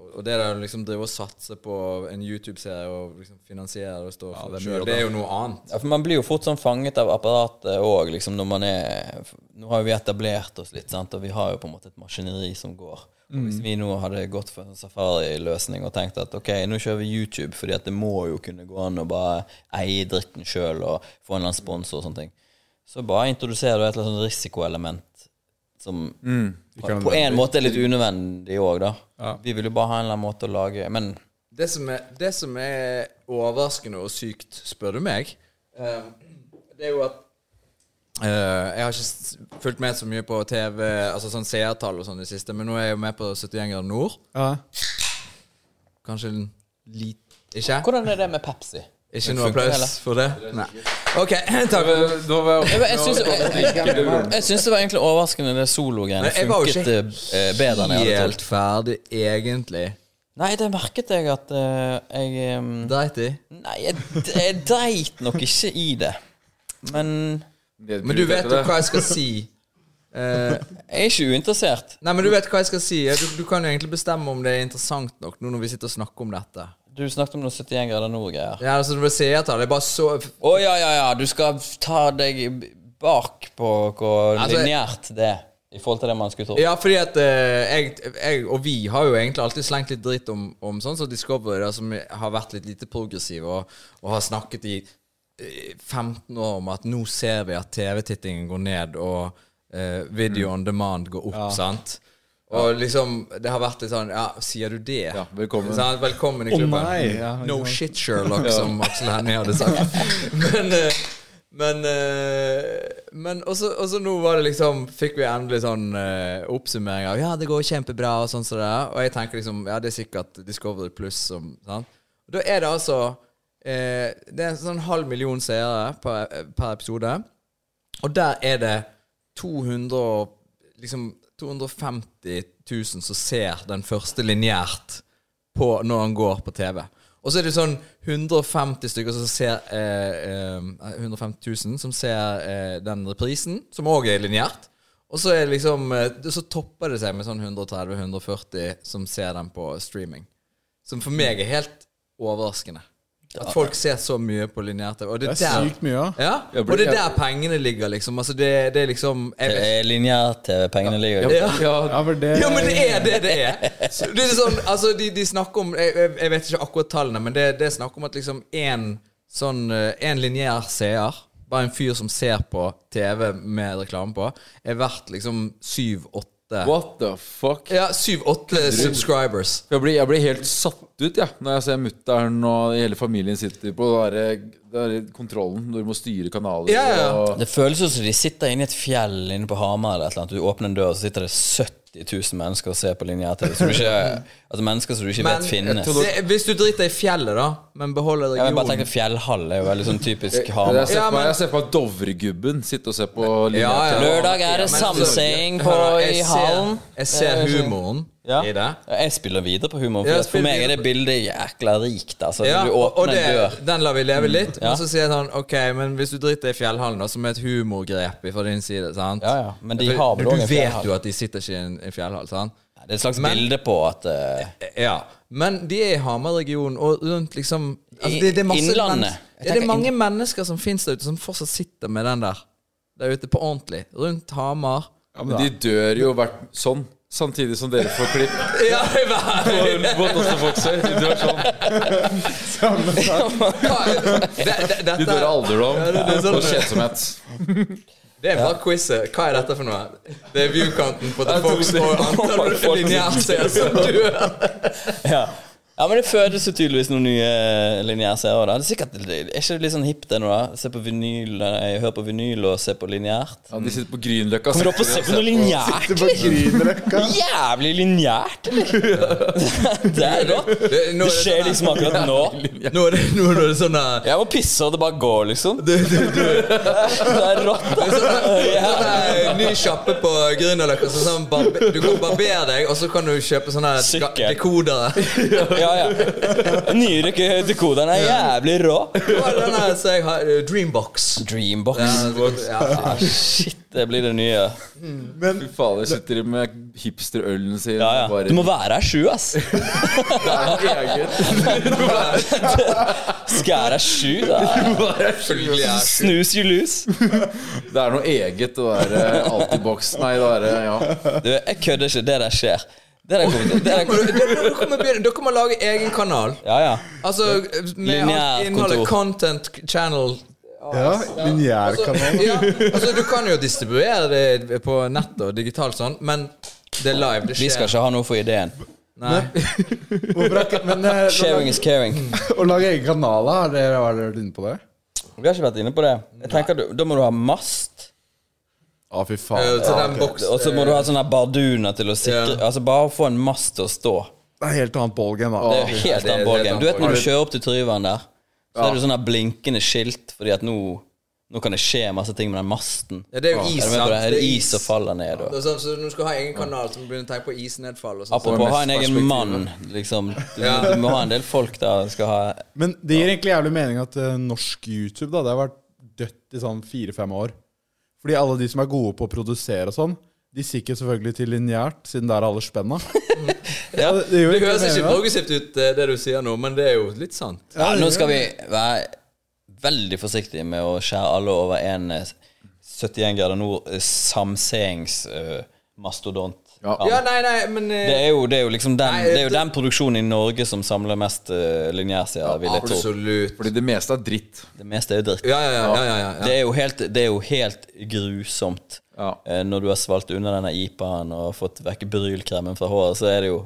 Speaker 6: Og og det der å liksom drive og satse på en YouTube-serie og liksom finansiere det og stå for
Speaker 3: det er
Speaker 6: det
Speaker 3: mye
Speaker 6: selv,
Speaker 3: jobb,
Speaker 6: det er jo noe annet.
Speaker 5: Ja, for Man blir jo fort sånn fanget av apparatet òg, liksom, når man er Nå har jo vi etablert oss litt, sant? og vi har jo på en måte et maskineri som går. Og hvis vi nå hadde gått for en sånn safari-løsning og tenkt at ok, nå kjører vi YouTube, fordi at det må jo kunne gå an å bare eie dritten sjøl og få en eller annen sponsor og sånne ting, så bare introduserer du et eller annet sånn risikoelement som på en måte er litt unødvendig òg, da. Vi vil jo bare ha en eller annen måte å lage Men
Speaker 6: Det som er, det som er overraskende og sykt, spør du meg, eh, det er jo at eh, Jeg har ikke s- fulgt med så mye på TV, altså sånn seertall og sånn i det siste, men nå er jeg jo med på 71 grader nord. Kanskje en lit... Ikke?
Speaker 5: hvordan er det med Pepsi?
Speaker 6: Ikke noe
Speaker 5: funker,
Speaker 6: applaus
Speaker 5: eller?
Speaker 6: for det? Nei. OK, eh, takk.
Speaker 5: Jeg, jeg, syns, jeg, jeg, jeg syns det var egentlig overraskende det sologreiene
Speaker 6: Nei, jeg var jo
Speaker 5: funket eh, bedre enn jeg hadde trodd.
Speaker 6: Helt ferdig, egentlig.
Speaker 5: Nei, det merket jeg at eh, jeg em,
Speaker 6: Dreit i.
Speaker 5: Nei, jeg, jeg dreit nok ikke i det. Men
Speaker 6: Men du vet jo hva jeg skal si. Eh,
Speaker 5: jeg er ikke uinteressert.
Speaker 6: nei, men du vet hva jeg skal si. Du, du kan jo egentlig bestemme om det er interessant nok nå når vi sitter og snakker om dette.
Speaker 5: Du snakket om noe 71 grader nord-greier.
Speaker 6: Ja, altså, det seertall. Jeg bare så
Speaker 5: Å ja, ja, ja, du skal ta deg bak på hvor
Speaker 6: Altså, jeg-
Speaker 5: lineært det er i forhold til det man skulle tro.
Speaker 6: Ja, fordi at eh, jeg, jeg og vi har jo egentlig alltid slengt litt dritt om, om sånn som Discovery, da, som har vært litt lite progressive og, og har snakket i eh, 15 år om at nå ser vi at TV-tittingen går ned, og eh,
Speaker 4: Mm.
Speaker 6: video on demand går opp, sant? Og liksom, det har vært litt sånn Ja, sier du det?
Speaker 4: Ja, velkommen.
Speaker 6: Sant? Velkommen i klubben.
Speaker 8: nei, ja, ikke
Speaker 6: Liksom. Mm. no
Speaker 8: sant.
Speaker 6: shit, Sherlock, som Aksel Hennie hadde sagt. Men eh, men, eh, men også, også nå var det liksom Fikk vi endelig sånn eh, oppsummering av Ja, det går kjempebra og sånn som det er. Og jeg tenker liksom Ja, det er sikkert Discovery Pluss som sant? Og Da er det altså eh, Det er en sånn halv million seere per, eh, per episode. Og der er det 200 og- Liksom 250 000 som ser den første lineært på når han går på TV. Og så er det sånn 150 stykker som ser eh, eh, 150 000 som ser eh, den reprisen, som òg er lineært. Og så er det liksom eh, det- Så topper det seg med sånn 130-140 som ser den på streaming. Som for meg er helt overraskende. At folk ser så mye på lineært TV. Og det,
Speaker 8: Det er
Speaker 6: der-
Speaker 8: sykt mye, ja.
Speaker 6: ja, og det er der pengene ligger, liksom. Altså, det, det er liksom jeg,
Speaker 5: Det
Speaker 6: vet-
Speaker 5: er lineært til pengene ligger.
Speaker 6: ja.
Speaker 8: Ja, for
Speaker 3: Eh.
Speaker 8: det,
Speaker 6: ja, men det er det det er. Det er sånn, altså, de, de snakker om jeg, jeg- jeg vet ikke akkurat tallene, men det, det er snakk om at liksom én sånn, eh, en lineær seer, bare en fyr som ser på TV med reklame på, er verdt liksom syv-åtte
Speaker 4: What the fuck?
Speaker 6: Ja, syv-åtte subscribers.
Speaker 4: Jeg blir, jeg blir helt satt ut ja, når jeg ser mutter'n og hele familien sitter på den der, den der kontrollen når du må styre kanaler.
Speaker 6: Ja, ja.
Speaker 4: Og,
Speaker 5: Det føles jo som de sitter inne i et fjell inne på Hamar eller et eller annet. Du åpner en dør, og så sitter det 70 000 mennesker og ser på lineær-TV. som du ikke- Altså mennesker som du ikke
Speaker 6: Men
Speaker 5: vet finnes.
Speaker 6: det, hvis du driter i fjellet, da, men beholder
Speaker 5: Jeg vil bare tenke
Speaker 6: regionen
Speaker 5: fjellhall er jo veldig sånn typisk
Speaker 6: Eh,
Speaker 4: jeg,
Speaker 5: Hamar.
Speaker 4: ser
Speaker 6: Ja,
Speaker 4: på,
Speaker 6: men-
Speaker 4: jeg ser på Dovregubben sitte og se på linja.
Speaker 6: Ja, ja.
Speaker 5: Lørdag er det
Speaker 6: Men-
Speaker 5: samsing på
Speaker 6: Jeg
Speaker 5: i
Speaker 6: ser-
Speaker 5: hallen.
Speaker 6: Jeg ser humoren
Speaker 5: Ja.
Speaker 6: i det.
Speaker 5: Jeg spiller videre på humor,
Speaker 6: Ja,
Speaker 5: for, at for
Speaker 6: spill
Speaker 5: meg er
Speaker 6: videre
Speaker 5: det bildet jækla rikt. Altså,
Speaker 6: Ja,
Speaker 5: du
Speaker 6: og, og
Speaker 5: åpner
Speaker 6: det,
Speaker 5: en dør.
Speaker 6: den lar vi leve litt.
Speaker 5: ja.
Speaker 6: Men så sier han OK, men hvis du driter i fjellhallen, da, som er et humorgrep fra din side sant?
Speaker 5: Ja, ja. Men de
Speaker 6: For
Speaker 5: har vel
Speaker 6: Du
Speaker 5: også en
Speaker 6: vet
Speaker 5: fjellhall.
Speaker 6: jo at de sitter ikke i en, en fjellhall, sant?
Speaker 5: Det er et slags
Speaker 6: Men-
Speaker 5: bilde på at eh,
Speaker 6: Ja. Men de er i Hamar-regionen og rundt liksom altså,
Speaker 5: I-
Speaker 6: det, det er masse
Speaker 5: Innlandet.
Speaker 6: mennes-
Speaker 5: Jeg
Speaker 6: Ja, det
Speaker 5: tenker
Speaker 6: er mange mennesker som fins der ute, som fortsatt sitter med den der der ute på ordentlig. Rundt Hamar.
Speaker 4: Men de dør jo hvert sånn, samtidig som dere får klipp.
Speaker 6: Ja, hva-
Speaker 4: What does the fuck say? De dør sånn.
Speaker 6: Det- det-
Speaker 4: De dør av
Speaker 6: Dette
Speaker 4: alderdom
Speaker 6: det- det er sånn.
Speaker 4: og kjedsomhet.
Speaker 6: Det er bare quizet. Hva er dette for noe? Det er viewkanten på The Fox og antall lineærseere som dør.
Speaker 5: ja. ja, men det fødes jo tydeligvis noen nye lineærseere. da. Det Er sikkert, er ikke det litt sånn hipt det nå, da? Se på vinyl, nei, hør på vinyl og se på lineært.
Speaker 4: Ja, de sitter på Grünerløkka.
Speaker 5: Kommer opp og ser på noe lineært?
Speaker 8: på Grünerløkka.
Speaker 5: Jævlig lineært, eller? det er rått.
Speaker 6: Det, nå, er det,
Speaker 5: Det
Speaker 6: sånn-
Speaker 5: skjer liksom akkurat nå.
Speaker 6: nå, er det, nå er det sånn der
Speaker 5: Jeg må pisse, og det bare går, liksom. Det er rått. da.
Speaker 6: sånn der ny sjappe på Grünerløkka. så Sånn barbe- du kan barbere deg, og så kan du kjøpe sånne
Speaker 5: Sykkel.
Speaker 6: ga- dekodere.
Speaker 5: Ja, ja, ja. Nyrykka høydekoden er jævlig rå.
Speaker 6: Hva er den her som jeg har? eh, Dreambox.
Speaker 5: Dreambox.
Speaker 6: Ja, ja,
Speaker 5: Ah, shit, det blir det nye.
Speaker 4: Fy fader, sitter de med hipsterølen sin
Speaker 5: Ja, ja.
Speaker 4: og bare-
Speaker 5: Du må være her sju, ass. Skal jeg her sju, da?
Speaker 6: selvfølgelig er
Speaker 5: Snus you lose.
Speaker 4: Det er noe eget, det der eh, Altibox. Nei, det er eh, ja.
Speaker 5: Du, jeg kødder ikke. Det der skjer. Det der kommer til det der kommer.
Speaker 6: Dere må, begynne, dere må lage egen kanal.
Speaker 5: Ja, ja.
Speaker 6: Altså med
Speaker 5: Lineær
Speaker 6: alt innholdet
Speaker 5: kontor.
Speaker 6: content channel.
Speaker 8: Ja, Lineærkanal.
Speaker 6: Ja, altså Du kan jo distribuere det på nettet og digitalt sånn, men det er live. Det skjer.
Speaker 5: Vi skal ikke ha noe for ideen.
Speaker 6: Nei.
Speaker 8: Hvorfor er ikke- Men eh,
Speaker 5: Sharing is caring.
Speaker 8: å lage egen kanal, da, har dere har dere vært inne på det?
Speaker 5: Vi har ikke vært inne på det. Jeg tenker du, Da må du ha mast.
Speaker 8: Å, fy
Speaker 6: Eh,
Speaker 8: faen.
Speaker 6: Til den boks
Speaker 5: Og så må du ha sånne her barduner til å sikre
Speaker 6: Ja.
Speaker 5: Altså Bare få en mast til å stå.
Speaker 8: Det er helt annet ballgame, da.
Speaker 5: Det er jo helt
Speaker 6: det er
Speaker 5: annen
Speaker 6: helt
Speaker 5: ballgame.
Speaker 6: annen
Speaker 5: Du vet når du
Speaker 6: ballgame.
Speaker 5: kjører opp til Tryvann der, så er det sånne her blinkende skilt fordi at nå Nå kan det skje masse ting med den masten.
Speaker 6: Ja, det er jo is,
Speaker 5: Er du med på det? Er det
Speaker 6: sant?
Speaker 5: is som faller ned?
Speaker 6: Det
Speaker 5: Og.
Speaker 6: er sånn, så Når du skal ha egen kanal, så må du begynne å tenke på isnedfall. og sånn.
Speaker 5: Apropos ha en egen mann, liksom. Du, du må ha en del folk der. Du skal ha
Speaker 8: Men det gir egentlig jævlig mening at eh, norsk YouTube da, det har vært dødt i sånn fire-fem år. Fordi alle de som er gode på å produsere og sånn, de sikker selvfølgelig til lineært, siden der er alle spenna.
Speaker 5: Ja.
Speaker 8: det, det gjør
Speaker 6: Det høres
Speaker 8: mening,
Speaker 6: ikke
Speaker 8: da.
Speaker 6: progressivt ut, eh, det du sier nå, men det er jo litt sant.
Speaker 5: Ja, nå skal vi være veldig forsiktige med å skjære alle over en eh, 71 grader nord eh, samseings eh, mastodont.
Speaker 4: Ja.
Speaker 6: Ja, nei, nei, men eh,
Speaker 5: Det er jo, det er jo liksom den,
Speaker 6: Nei,
Speaker 5: det er jo
Speaker 6: det-
Speaker 5: den produksjonen i Norge som samler mest uh, lineærserier, vil jeg tro.
Speaker 6: Absolutt.
Speaker 4: Fordi det meste er dritt.
Speaker 5: Det meste er jo dritt.
Speaker 6: Ja, ja, ja. ja, ja, ja.
Speaker 5: Det er jo helt, det er jo helt grusomt.
Speaker 4: Ja.
Speaker 5: Eh, når du har svalt under denne IPA-en og fått vekk brylkremen fra håret, så er det jo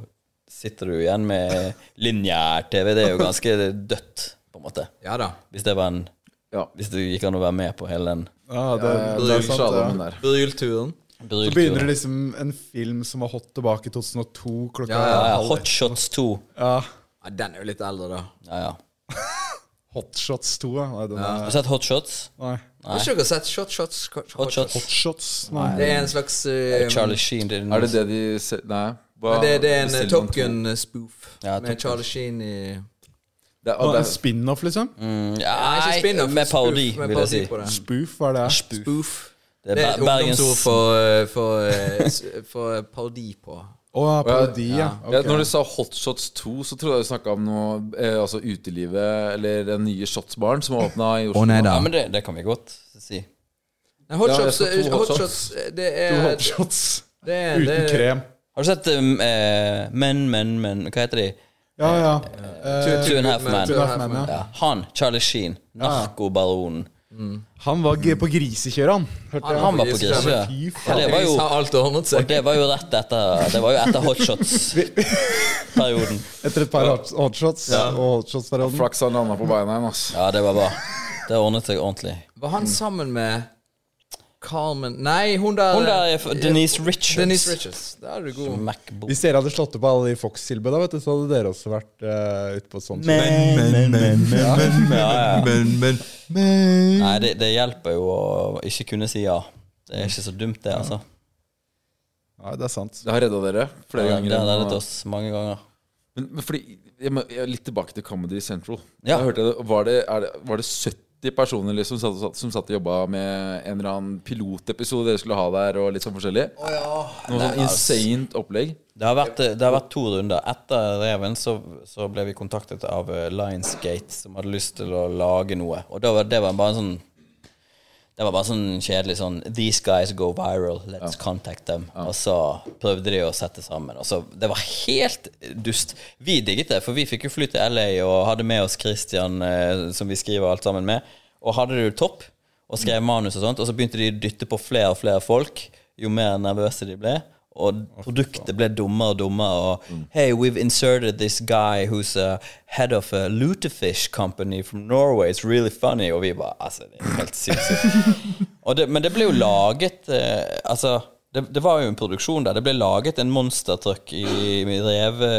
Speaker 5: Sitter du igjen med lineær-TV. Det er jo ganske dødt, på en måte.
Speaker 6: Ja da.
Speaker 5: Hvis det var en
Speaker 4: Ja.
Speaker 5: Hvis det gikk an å være med på hele den
Speaker 8: Ja, det, det er sant,
Speaker 4: Sjalommen
Speaker 8: ja.
Speaker 4: der.
Speaker 6: Brylturen.
Speaker 8: Så begynner det liksom en film som var hot tilbake i 2002 klokka
Speaker 6: Ja,
Speaker 5: ja, ja,
Speaker 8: halv ett.
Speaker 5: Hotshots 2.
Speaker 8: Ja,
Speaker 6: Ja, den er jo litt eldre, da.
Speaker 5: Ja, ja.
Speaker 8: Hotshots 2, ja. Nei, den
Speaker 5: Har
Speaker 8: er,
Speaker 5: du sett Hotshots?
Speaker 8: nei.
Speaker 6: Har ikke dere sett Shot Shots? Hot,
Speaker 5: Hotshots.
Speaker 8: Hotshots, nei.
Speaker 6: Det er en slags eh,
Speaker 5: Charlie Sheen. Det er,
Speaker 4: Er det det de se... Nei. hva-
Speaker 6: men det, det er en eh,
Speaker 4: bestiller man
Speaker 6: Top
Speaker 4: to?
Speaker 6: Gun-spoof
Speaker 5: Ja, Top Gun.
Speaker 6: med Charlie Sheen i
Speaker 4: Det er,
Speaker 8: Nå,
Speaker 4: og det
Speaker 8: en spin-off, liksom?
Speaker 5: Mm,
Speaker 6: Nei, ikke
Speaker 5: Nei,
Speaker 6: spin-off.
Speaker 5: med
Speaker 6: spoof,
Speaker 5: parodi,
Speaker 6: med
Speaker 5: vil jeg si.
Speaker 6: på det.
Speaker 8: Spoof, hva er det?
Speaker 6: Spoof.
Speaker 5: Det
Speaker 6: Det er
Speaker 5: er
Speaker 6: et
Speaker 5: Ber- Bergens
Speaker 6: ungdomsord for, eh, for, eh, s- for parodi på.
Speaker 8: Å, ja, parodi, ja.
Speaker 4: ja,
Speaker 8: Ok.
Speaker 4: når du sa Hotshots 2, så trodde jeg du snakka om noe eh, Altså utelivet eller den nye shotsbaren som åpna i Oslo.
Speaker 6: nei
Speaker 5: Ja, men det, det kan vi godt si.
Speaker 6: Nei, hot
Speaker 4: Ja, jeg
Speaker 6: shots,
Speaker 4: skal to
Speaker 6: eh,
Speaker 4: hot
Speaker 6: hot shots eh, Det er
Speaker 8: Hotshots
Speaker 6: det er- det
Speaker 8: uten
Speaker 6: er-
Speaker 8: krem.
Speaker 5: Har du sett um, eh, Men, men, men Hva heter de?
Speaker 8: Ja, ja. Eh,
Speaker 6: Two-
Speaker 5: Two and a Half Men.
Speaker 6: Two and a Half
Speaker 8: Men, ja.
Speaker 6: Men.
Speaker 5: Ja, han, Charlie Sheen. Narkobaronen.
Speaker 8: Han var g- på grisekjøret, han. Hørte jeg.
Speaker 5: Han var på
Speaker 6: Jesus,
Speaker 5: Grisøya.
Speaker 8: Fy
Speaker 5: Ja,
Speaker 8: faen.
Speaker 5: det var jo
Speaker 6: Heldigvis har alt ordnet
Speaker 5: og
Speaker 6: seg.
Speaker 5: det var jo rett etter Det var jo etter hotshots-perioden.
Speaker 8: Etter et par hot- hotshots og hotshots-perioden.
Speaker 4: Flaks han landa på beina igjen, altså.
Speaker 5: Ja, det var bra. Det ordnet seg ordentlig.
Speaker 6: Var han sammen med Carmen Nei, hun der eh,
Speaker 5: Hun der er f- Denise Richards.
Speaker 6: Denise Richards. Der er du god.
Speaker 5: MacBook.
Speaker 8: Hvis dere hadde slått opp alle de Fox-tilbudene, vet du, så hadde dere også vært eh, ute på et sånt.
Speaker 5: Nei, det, det hjelper jo å ikke kunne si ja. Det er ikke så dumt, det, altså.
Speaker 8: Nei, det er sant.
Speaker 4: Det har redda dere flere
Speaker 5: Det
Speaker 4: ganger.
Speaker 5: har
Speaker 4: enn å-
Speaker 5: reddet oss mange ganger.
Speaker 4: Men, men fordi, jeg, må- jeg, er litt tilbake til Comedy Central.
Speaker 5: Ja.
Speaker 4: Jeg hørte, det- var, det, er det, var det 70 personer liksom, som, satt, som satt og jobba med en eller annen pilotepisode dere skulle ha der, og litt sånn forskjellig? Noe sånn insane opplegg.
Speaker 5: Det har vært, det har vært to runder. Etter Reven så, så ble vi kontaktet av eh, Lionsgate, som hadde lyst til å lage noe. Og det var, det var bare en sånn Det var bare sånn kjedelig sånn These guys go viral. Let's contact them. Og så prøvde de å sette sammen. Og så, det var helt dust. Vi digget det, for vi fikk jo fly til LA og hadde med oss Christian, eh, som vi skriver alt sammen med, og hadde det jo topp. Og skrev manus og sånt. Og så begynte de å dytte på flere og flere folk jo mer nervøse de ble. Og produktet ble dummere og dummere. Og hey, we've inserted this guy who's a head of a lutefish company from Norway. It's really funny. Og vi bare Altså, det er helt sinnssykt. Og det, men det ble jo laget eh, Altså, det, det var jo en produksjon der. Det ble laget en monstertruck i, med, reve,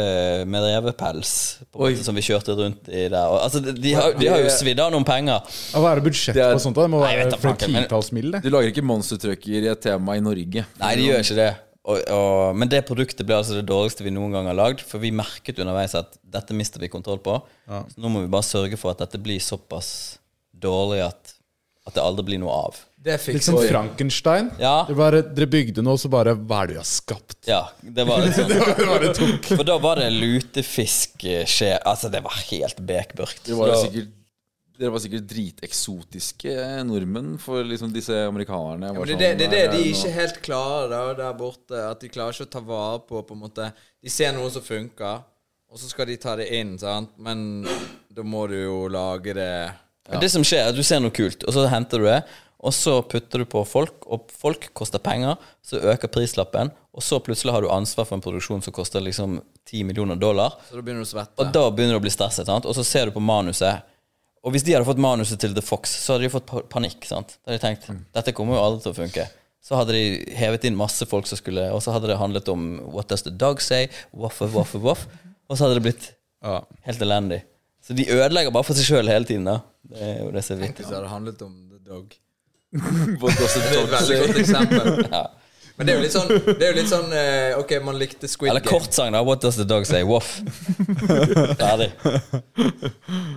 Speaker 5: med revepels på, en måte, som vi kjørte rundt i der. Og, altså, de, de, har, de har jo svidd av noen penger.
Speaker 8: Ja, Hva er det budsjettet på sånt? da? Det må
Speaker 5: Nei, jeg
Speaker 8: være
Speaker 5: vet da
Speaker 8: flere
Speaker 5: faen ikke, men-
Speaker 8: titalls mil, det.
Speaker 4: De lager ikke monstertrucker i et tema i Norge.
Speaker 5: Nei, de gjør ikke det. Og, og, men det produktet ble altså det dårligste vi noen gang har lagd, for vi merket underveis at dette mister vi kontroll på. Så nå må vi bare sørge for at dette blir såpass dårlig at, at det aldri blir noe av.
Speaker 6: Det fikk
Speaker 8: Litt
Speaker 3: liksom
Speaker 8: som Liksom Frankenstein.
Speaker 5: Ja.
Speaker 8: Det var, dere bygde noe, så bare Hva er det vi har skapt?
Speaker 5: Ja, det var litt sånn. For da var det lutefiskskje Altså, det var helt bekmørkt.
Speaker 4: Dere var,
Speaker 5: Så-
Speaker 4: sikkert, dere var sikkert driteksotiske eh, nordmenn for liksom disse amerikanerne.
Speaker 6: Ja,
Speaker 4: var
Speaker 6: men det,
Speaker 4: sånn,
Speaker 6: det, det er det
Speaker 4: eh,
Speaker 6: de ikke helt klarer da, der borte. At de klarer ikke å ta vare på på en måte De ser noe som funker, og så skal de ta det inn, sant? men da må du jo lage det
Speaker 5: Men Det som skjer, er at du ser noe kult, og så henter du det. Og så putter du på folk, og folk koster penger. Så øker prislappen, og så plutselig har du ansvar for en produksjon som koster liksom 10 millioner dollar.
Speaker 6: Så da begynner du å svette.
Speaker 5: Og da begynner du å bli stresset, sant? og så ser du på manuset. Og hvis de hadde fått manuset til The Fox, så hadde de fått pa- panikk. sant? Da hadde de tenkt dette kommer jo aldri til å funke. Så hadde de hevet inn masse folk som skulle Og så hadde det handlet om What does the dog say? Voff, voff, voff, voff. Og så hadde det blitt helt elendig. Så de ødelegger bare for seg sjøl hele tiden. da. Det er jo det som er
Speaker 6: Hvis
Speaker 5: viktig.
Speaker 6: det hadde handlet om The Dog.
Speaker 4: What does it
Speaker 6: Det er et veldig godt eksempel.
Speaker 5: Ja.
Speaker 6: Men det er jo litt sånn, det er jo litt sånn eh, Ok, man likte Squid
Speaker 5: Eller kortsang, da. What does the dog say? Voff. Ferdig.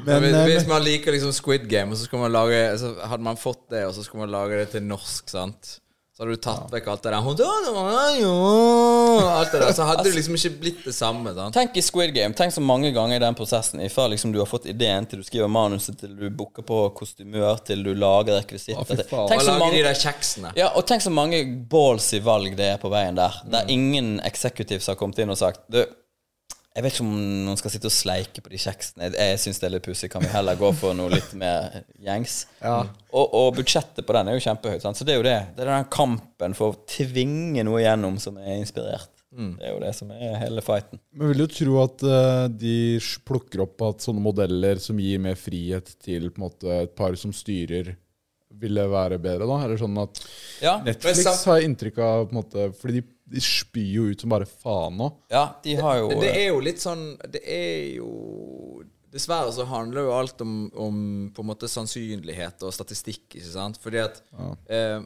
Speaker 8: Men,
Speaker 6: hvis,
Speaker 8: eh,
Speaker 6: hvis man liker liksom Squid Game, og så, skulle man lage, så hadde man fått det, og så skulle man lage det til norsk, sant? Så hadde du tatt vekk alt det der Hun- Alt det der, Så hadde det liksom ikke blitt det samme. sant?
Speaker 5: Tenk i Squid Game. Tenk så mange ganger i den prosessen. Ifra liksom du har fått ideen, til du skriver manuset, til du booker på kostymør, til du lager rekvisitter til-
Speaker 6: Bare
Speaker 5: Tenk så
Speaker 6: lage de
Speaker 5: mange
Speaker 6: der kjeksene.
Speaker 5: ja, og tenk så mange balls i valg det er på veien der. Der
Speaker 6: Mm.
Speaker 5: ingen executives har kommet inn og sagt Du, jeg vet ikke om noen skal sitte og sleike på de kjeksene. Jeg- Jeg syns det er litt pussig. Kan vi heller gå for noe litt mer gjengs? Og, og budsjettet på den er jo kjempehøyt, sant? så det er jo det. Det er den kampen for å tvinge noe gjennom som er inspirert.
Speaker 6: Mm.
Speaker 5: Det er jo det som er hele fighten.
Speaker 8: men vil du tro at eh, de sj- plukker opp at sånne modeller som gir mer frihet til på en måte, et par som styrer, ville være bedre, da? Eller sånn at
Speaker 5: Ja,
Speaker 8: Netflix har jeg inntrykk av på en måte, Fordi de, de spyr jo ut som bare faen nå.
Speaker 5: Ja, de har jo eh,
Speaker 6: Det er jo litt sånn Det er jo Dessverre så handler jo alt om, om på en måte sannsynlighet og statistikk, ikke sant? Fordi at eh,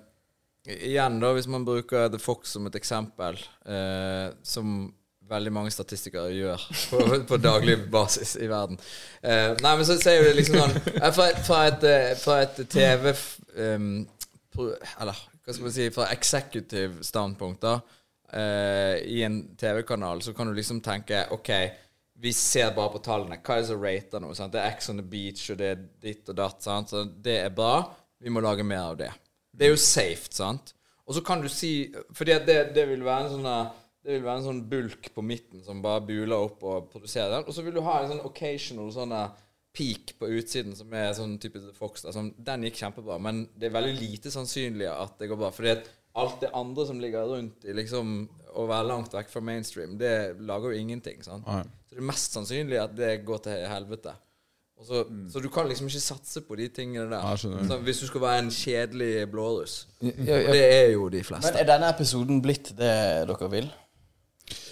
Speaker 6: Igjen, da, hvis man bruker The Fox som et eksempel, eh, som veldig mange statistikere gjør på, på daglig basis i verden eh, Nei, men så ser jo det liksom sånn eh, Fra, fra et, eh, fra et TV f- em, pro- Eller hva skal man si Fra executive standpunkt, da. Eh, i en TV-kanal, så kan du liksom tenke OK, vi ser bare på tallene. Hva er det som rater noe? Sant? Det er X on the beach, og det er ditt og datt. Sant? Så det er bra. Vi må lage mer av det. Det er jo safe, sant? Og så kan du si For det, det vil være en sånn eh, det vil være en sånn bulk på midten som bare buler opp og produserer den. Og så vil du ha en sånn occasional sånn eh, peak på utsiden som er sånn type The Fox. Da, som, den gikk kjempebra, men det er veldig lite sannsynlig at det går bra. Fordi at alt det andre som ligger rundt i liksom å være langt vekk fra mainstream, det lager jo ingenting. Sant? Så det er mest sannsynlig at det går til helvete. Og så, så du kan liksom ikke satse på de tingene der. Så hvis du skal være en kjedelig blåruss. Og det er jo de fleste.
Speaker 5: Men er denne episoden blitt det dere vil?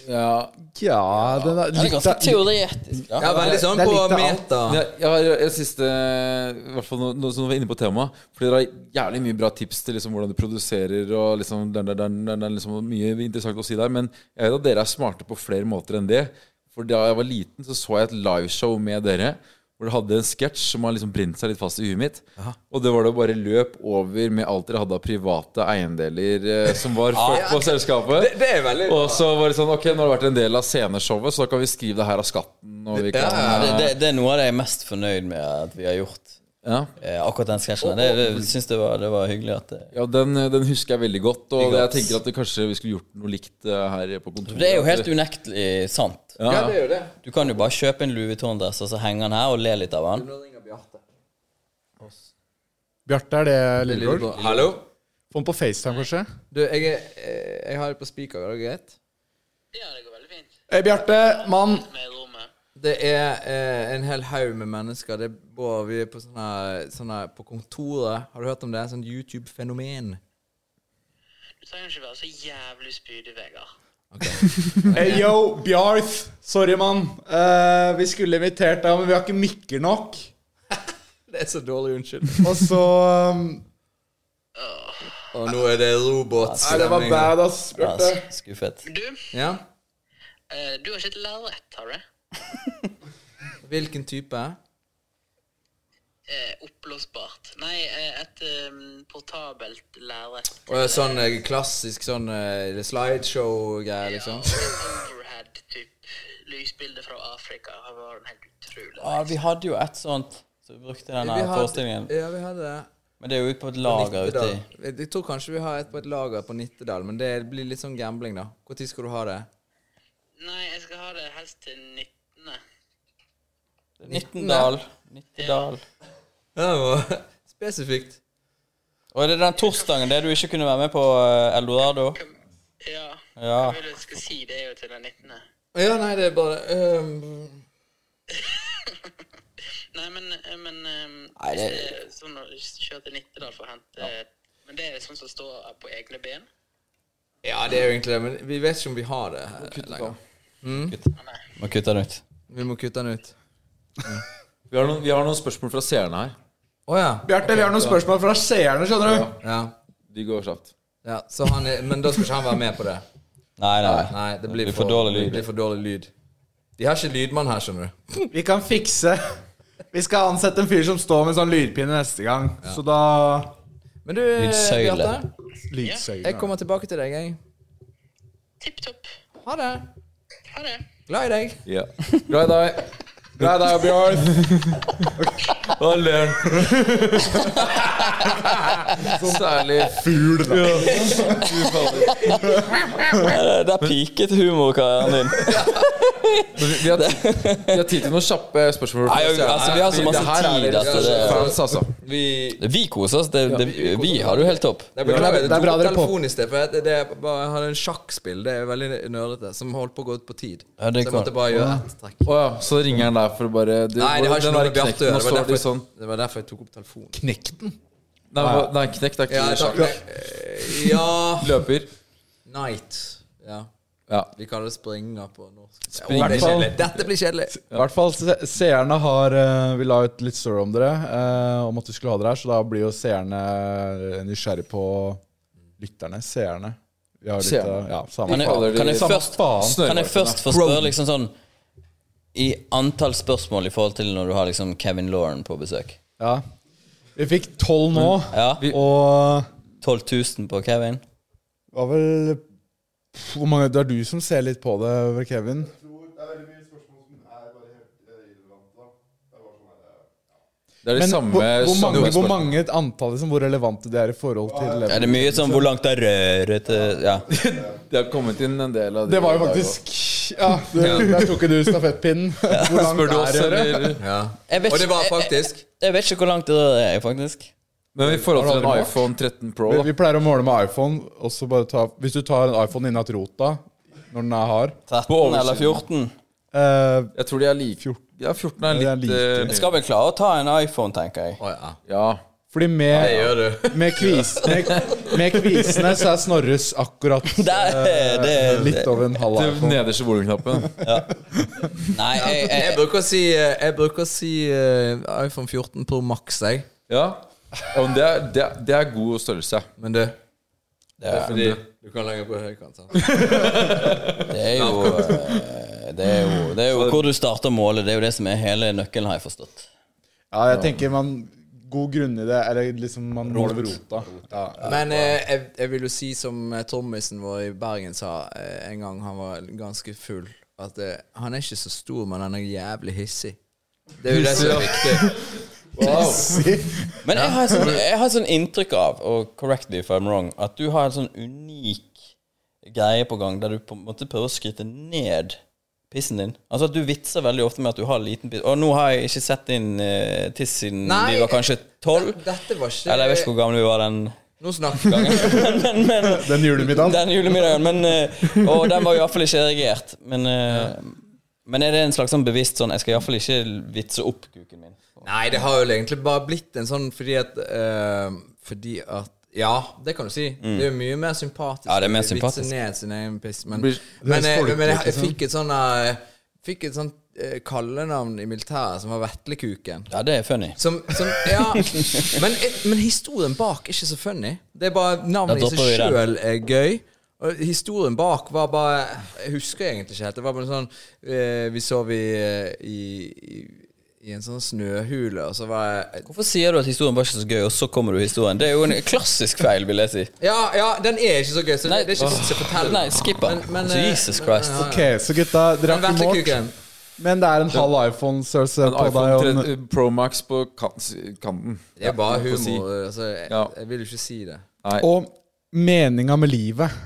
Speaker 4: Ja,
Speaker 8: Ja, den er
Speaker 5: Den er ganske
Speaker 8: litt-
Speaker 5: teoretisk. Ja.
Speaker 6: Ja, veldig sånn
Speaker 8: det er
Speaker 6: på
Speaker 8: litt av alt.
Speaker 6: meta.
Speaker 4: Ja, jeg har et siste I hvert fall nå nå som vi er inne på temaet. Fordi dere har jævlig mye bra tips til liksom hvordan du produserer. Og liksom, den, den, den, den, den, liksom mye interessant å si der Men jeg vet at dere er smarte på flere måter enn det. For da jeg var liten, så så jeg et liveshow med dere. Hvor dere hadde en sketsj som har liksom brent seg litt fast i huet mitt. Og det var det bare løp over med alt dere hadde av private eiendeler eh, som var ført på selskapet.
Speaker 6: Det, det er veldig
Speaker 4: Og så var det sånn Ok, nå har det vært en del av sceneshowet, så da kan vi skrive det her av skatten. Og vi kan, eh,
Speaker 5: Det, sånn, det, det er noe av det jeg er mest fornøyd med at vi har gjort.
Speaker 4: ja.
Speaker 5: Eh, akkurat den sketsjen. Det, det, jeg synes det, var, det var hyggelig at eh, det
Speaker 4: Ja, den, eh, den husker jeg veldig godt. Og
Speaker 5: Ikke
Speaker 4: jeg
Speaker 5: godt.
Speaker 4: tenker at det kanskje vi skulle gjort noe likt eh, her på kontoret.
Speaker 5: Det er jo helt unektelig sant.
Speaker 4: ja,
Speaker 6: Ja, det er jo det.
Speaker 5: Du kan jo bare kjøpe en Louis Vuitton-dress og så henge den her og le litt av den.
Speaker 6: Nå ringer Bjarte.
Speaker 8: Bjarte, er det lillebror?
Speaker 6: Lillebror. Hallo?
Speaker 8: Få den på FaceTime, kanskje?
Speaker 6: Du, jeg, er, eh, jeg har det på speaker, er det greit?
Speaker 9: Ja, det går veldig fint.
Speaker 8: Hey, Bjarte, mann!
Speaker 9: Med rommet.
Speaker 6: Det er eh, en hel haug med mennesker. Det bor, vi er på sånn sånne, sånne på kontoret. Har du hørt om det? Sånn YouTube-fenomen.
Speaker 9: Du trenger ikke være så jævlig spydig, Vegard.
Speaker 8: Hey, yo, Bjarth! Sorry, mann. Eh, vi skulle invitert deg, men vi har ikke mikker nok. eh,
Speaker 6: Det er så dårlig unnskyld.
Speaker 8: Og så um,
Speaker 6: Og nå er det robot.
Speaker 5: Nei, det
Speaker 3: var bad, ass.
Speaker 5: Ja,
Speaker 3: Bjarte.
Speaker 5: s- skuffet.
Speaker 9: Du,
Speaker 6: Ja.
Speaker 9: eh, du har ikke et lerret, har du?
Speaker 6: Hvilken type?
Speaker 9: Eh, oppblåsbart. Nei, eh, et eh, portabelt lerret.
Speaker 6: Og sånn eh, klassisk sånn eh, slideshow-greier, liksom.
Speaker 9: Lysbilde fra Afrika. Det var en helt utrolig
Speaker 5: Ja, Ah, vi hadde jo et sånt som vi brukte i denne
Speaker 6: Vi hadde-
Speaker 5: forestillingen.
Speaker 6: Ja, vi hadde det.
Speaker 5: Men det er jo ute på et lager ute i
Speaker 6: Nittedal. Jeg jeg tror kanskje vi har et på et lager på Nittedal, men det blir litt sånn gambling, da. Når skal du ha det?
Speaker 9: Nei, jeg skal ha det helst til 19.
Speaker 5: Nittendal. Nittedal.
Speaker 6: Ja, det var Spesifikt.
Speaker 5: Og er det den torsdagen det du ikke kunne være med på eh, Eldorado?
Speaker 9: Ja.
Speaker 5: Ja.
Speaker 9: Jeg vil jeg skal si det er jo til den 19.
Speaker 6: Ja, nei, det er bare øhm,
Speaker 9: Nei, men, men eh,
Speaker 5: Nei, det-
Speaker 9: hvis det er sånn å kjøre til Nittedal for å hente Men det er sånn som står på egne ben?
Speaker 6: Ja, det er jo egentlig det, men vi vet ikke om vi har det her lenger.
Speaker 5: Må kutte den ut.
Speaker 6: Vi må kutte den ut.
Speaker 4: Vi har, noen, vi har noen spørsmål fra seerne her.
Speaker 6: Å ja.
Speaker 3: Bjarte, vi har noen spørsmål fra seerne, skjønner du.
Speaker 6: ja.
Speaker 4: De går kjapt.
Speaker 6: Ja, så han er, Men da skal ikke han være med på det.
Speaker 5: Nei, nei.
Speaker 6: Nei, det blir,
Speaker 5: for dårlig lyd.
Speaker 6: Det blir for dårlig lyd. De har ikke lydmann her, skjønner du.
Speaker 3: Vi kan fikse Vi skal ansette en fyr som står med sånn lydpinne neste gang. Så da
Speaker 6: Men du,
Speaker 5: Lydsøyle.
Speaker 6: Bjarte. Jeg
Speaker 3: Lydsøyler.
Speaker 6: kommer tilbake til deg, jeg.
Speaker 9: Tipp topp.
Speaker 6: Ha det.
Speaker 9: Ha det.
Speaker 6: Glad i deg.
Speaker 4: Ja. Glad i deg.
Speaker 3: Glad i deg, Bjørn.
Speaker 4: Da ler han. Særlig fugl, da.
Speaker 5: Der, der Eh, piket humorkarrieren din.
Speaker 4: Vi har, tid- vi har tid til noen kjappe spørsmål.
Speaker 5: Nei, altså, vi har så masse
Speaker 4: her er
Speaker 5: tid,
Speaker 4: litt
Speaker 5: altså, det-
Speaker 4: fans, altså.
Speaker 6: Vi
Speaker 5: Vi koser oss. Det, det, vi har det jo helt topp.
Speaker 6: Jeg
Speaker 3: det er-
Speaker 6: beklager,
Speaker 3: det er
Speaker 6: jeg
Speaker 3: bra
Speaker 6: tok
Speaker 3: dere på-
Speaker 6: telefonen i sted, for jeg, det, det, bare, jeg hadde en sjakkspill, det er veldig nerdete, som holdt på å gå ut på tid.
Speaker 5: Ja, det
Speaker 6: så jeg
Speaker 5: kan-
Speaker 6: måtte bare gjøre ett trekk.
Speaker 4: Å ja, så ringer han der for å bare du,
Speaker 6: Nei, det har ikke
Speaker 4: den
Speaker 6: noe
Speaker 4: der
Speaker 6: med Bjarte å
Speaker 4: knekten,
Speaker 6: gjøre.
Speaker 4: og
Speaker 6: Det var
Speaker 4: står de
Speaker 6: derfor-
Speaker 4: Sånn,
Speaker 6: Det var derfor jeg tok opp telefonen.
Speaker 4: nei, hva- nei, knekt er ikke
Speaker 6: Ja,
Speaker 4: sjakk.
Speaker 6: takk. Eh, Ja
Speaker 4: Løper.
Speaker 6: Night. Ja.
Speaker 4: Ja.
Speaker 6: Vi kaller det springer på norsk.
Speaker 4: Springer.
Speaker 6: Å, det blir kjedelig. Dette blir kjedelig.
Speaker 3: I hvert fall se seerne har eh, Vi la ut litt story om dere, eh, om at vi skulle ha dere her, så da blir jo seerne eh, nysgjerrig på lytterne. Seerne. Vi har litt,
Speaker 4: Seerne.
Speaker 3: eh, ja, samme
Speaker 5: Kan jeg,
Speaker 4: fader, de-
Speaker 5: kan jeg
Speaker 4: Samme
Speaker 5: først,
Speaker 3: faen.
Speaker 5: kan jeg først få spørre liksom sånn I antall spørsmål i forhold til når du har liksom Kevin Lauren på besøk?
Speaker 3: Ja. Vi fikk tolv nå,
Speaker 5: Mm, Ja,
Speaker 3: og
Speaker 5: 12 000 på Kevin?
Speaker 3: det var vel pff, hvor mange, Det er du som ser litt på det, vel, Kevin?
Speaker 4: Det er de
Speaker 3: Men
Speaker 4: samme
Speaker 3: hvor, hvor, mange,
Speaker 4: samme
Speaker 3: hvor
Speaker 4: spørsmål.
Speaker 3: mange antall, liksom, hvor relevante de er i forhold til
Speaker 5: Ja, det er mye sånn hvor langt det er røret til Ja.
Speaker 4: Det har kommet inn en del av de
Speaker 3: Det var jo
Speaker 4: i dag
Speaker 3: faktisk Ja, det, der tok jo du stafettpinnen. Hvor
Speaker 4: også. Spør du
Speaker 3: langt
Speaker 4: oss,
Speaker 3: er det?
Speaker 4: eller?
Speaker 6: Ja.
Speaker 5: Jeg vet
Speaker 6: Og det var
Speaker 5: ikke-
Speaker 6: faktisk
Speaker 5: Jeg vet ikke hvor langt det røret er, faktisk.
Speaker 4: Men i forhold til
Speaker 3: Har
Speaker 4: en
Speaker 3: du
Speaker 4: iPhone 13 Pro,
Speaker 3: Vi,
Speaker 4: da.
Speaker 3: vi pleier å måle med iPhone. Og så bare ta, hvis du tar en iPhone innat rota når den er hard
Speaker 5: 13 eller 14?
Speaker 3: eh,
Speaker 4: Jeg tror de er like 14. Ja, 14 er
Speaker 3: de er
Speaker 4: litt
Speaker 3: like.
Speaker 5: Jeg
Speaker 4: eh,
Speaker 5: skal vel klare å ta en iPhone, tenker jeg.
Speaker 6: Å ja.
Speaker 4: Ja.
Speaker 3: Fordi
Speaker 6: Det
Speaker 3: med,
Speaker 6: gjør du.
Speaker 3: med, kvis, med, med kvisene så er Snorres akkurat
Speaker 5: Der,
Speaker 3: eh,
Speaker 5: det,
Speaker 3: litt over en halv
Speaker 4: Til
Speaker 3: iPhone.
Speaker 4: nederste volumknappen.
Speaker 5: nei, jeg,
Speaker 6: Jeg
Speaker 5: jeg,
Speaker 6: bruker å si, eh, jeg bruker å si eh, iPhone 14 Pro Max, jeg.
Speaker 4: Ja. Ja, men det, er, det, er, det er god størrelse.
Speaker 6: Men du
Speaker 5: det, er-
Speaker 6: Fordi du kan legge på høykant. sant?
Speaker 5: det er jo eh, Det er jo, det er jo hvor du starter målet. Det er jo det som er hele nøkkelen, har jeg forstått.
Speaker 3: Ja, jeg tenker man God grunn i det. Eller liksom man måler ved rota. Ja.
Speaker 6: Men eh, jeg, jeg vil jo si som eh, trommisen vår i Bergen sa eh, en gang han var ganske full, at eh, han er ikke så stor, men han er jævlig hissig. Det er jo det som er viktig.
Speaker 5: Men jeg har et sånt, jeg har et sånt inntrykk av, og correct me if I'm wrong, at du har en sånn unik greie på gang der du på en måte prøver å skryte ned pissen din. Altså at du vitser veldig ofte med at du har liten piss. Og nå har jeg ikke sett din eh, tiss siden
Speaker 6: Nei,
Speaker 5: vi var kanskje tolv.
Speaker 6: Dette var ikke
Speaker 5: Eller jeg vet ikke hvor gamle vi var den,
Speaker 6: Nå snakker jeg.
Speaker 5: men, men
Speaker 3: Den julemiddagen.
Speaker 5: Den julemiddagen. Men, eh, og den var iallfall ikke erigert. Men, eh, men er det en slags sånn bevisst sånn Jeg skal iallfall ikke vitse opp kuken min.
Speaker 6: Nei, det har jo egentlig bare blitt en sånn fordi at eh, Fordi at Ja, det kan du si. Det er jo mye mer sympatisk.
Speaker 5: Mm. Ja, det er mer
Speaker 6: å vitse
Speaker 5: sympatisk.
Speaker 6: Ned sin egen piss, men,
Speaker 4: Blir-
Speaker 5: liksom.
Speaker 6: men, jeg, men jeg, jeg eh, fikk et sånn eh, Fikk et sånt eh, kallenavn i militæret som var Vetlekuken.
Speaker 5: Ja, det er funny.
Speaker 6: Som, som Ja. Men, men historien bak er ikke så funny. Det er bare navnet i
Speaker 5: Da
Speaker 6: seg
Speaker 5: dropper vi
Speaker 6: sjøl er gøy. Og historien bak var bare Jeg husker egentlig ikke helt. Det var bare sånn eh, Vi sov i, eh, i, i, i en sånn snøhule, og så var jeg
Speaker 5: Hvorfor sier du at historien var ikke så gøy, og så kommer du i historien? Det er jo en klassisk feil, vil jeg si.
Speaker 6: Ja, ja, den er ikke så gøy, så det, det er ikke vits i å fortelle.
Speaker 5: Nei, skip den.
Speaker 6: Men- men, eh,
Speaker 5: Jesus Christ.
Speaker 6: men,
Speaker 3: Ok, så gutta, dere
Speaker 6: Men
Speaker 3: har ikke målt.
Speaker 6: Vetlekuken
Speaker 3: Men det er en halv iPhone-størrelse
Speaker 4: En
Speaker 3: på deg.
Speaker 4: iPhone
Speaker 3: og
Speaker 4: 13,
Speaker 3: en-
Speaker 4: eh, Pro Max på kan- kanten.
Speaker 6: Det er bare
Speaker 4: Må få si.
Speaker 6: humor. Altså, jeg,
Speaker 4: Ja.
Speaker 6: jeg vil jo ikke si det.
Speaker 3: Og meninga med livet.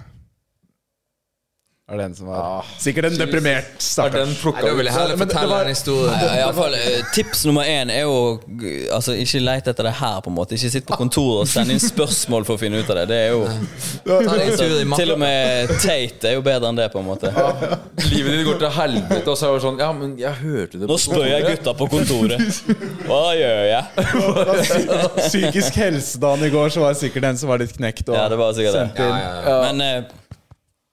Speaker 3: Er det en som var Sikkert en deprimert
Speaker 4: Ah. Er den
Speaker 3: stakkars.
Speaker 4: plukka
Speaker 6: Nei, da vil jeg heller fortelle en historie.
Speaker 5: Ja, i alle fall, eh, tips nummer én er jo g- Altså, ikke leit etter det her, på en måte. Ikke sitt på kontoret og send inn spørsmål for å finne ut av det. Det er jo
Speaker 6: Ta
Speaker 5: Altså,
Speaker 6: deg en tur i
Speaker 5: Til
Speaker 6: matta.
Speaker 5: og med Tate er jo bedre enn det, på en måte.
Speaker 4: Livet ditt går til helvete, og så er det sånn Ja, men jeg hørte det
Speaker 5: Nå spør jeg gutta på kontoret. Hva gjør jeg?
Speaker 3: Psykisk helsedagen i går, så var det sikkert en som var litt knekt. Og
Speaker 5: Ja, det var sikkert det.
Speaker 3: sendt inn.
Speaker 5: Men eh,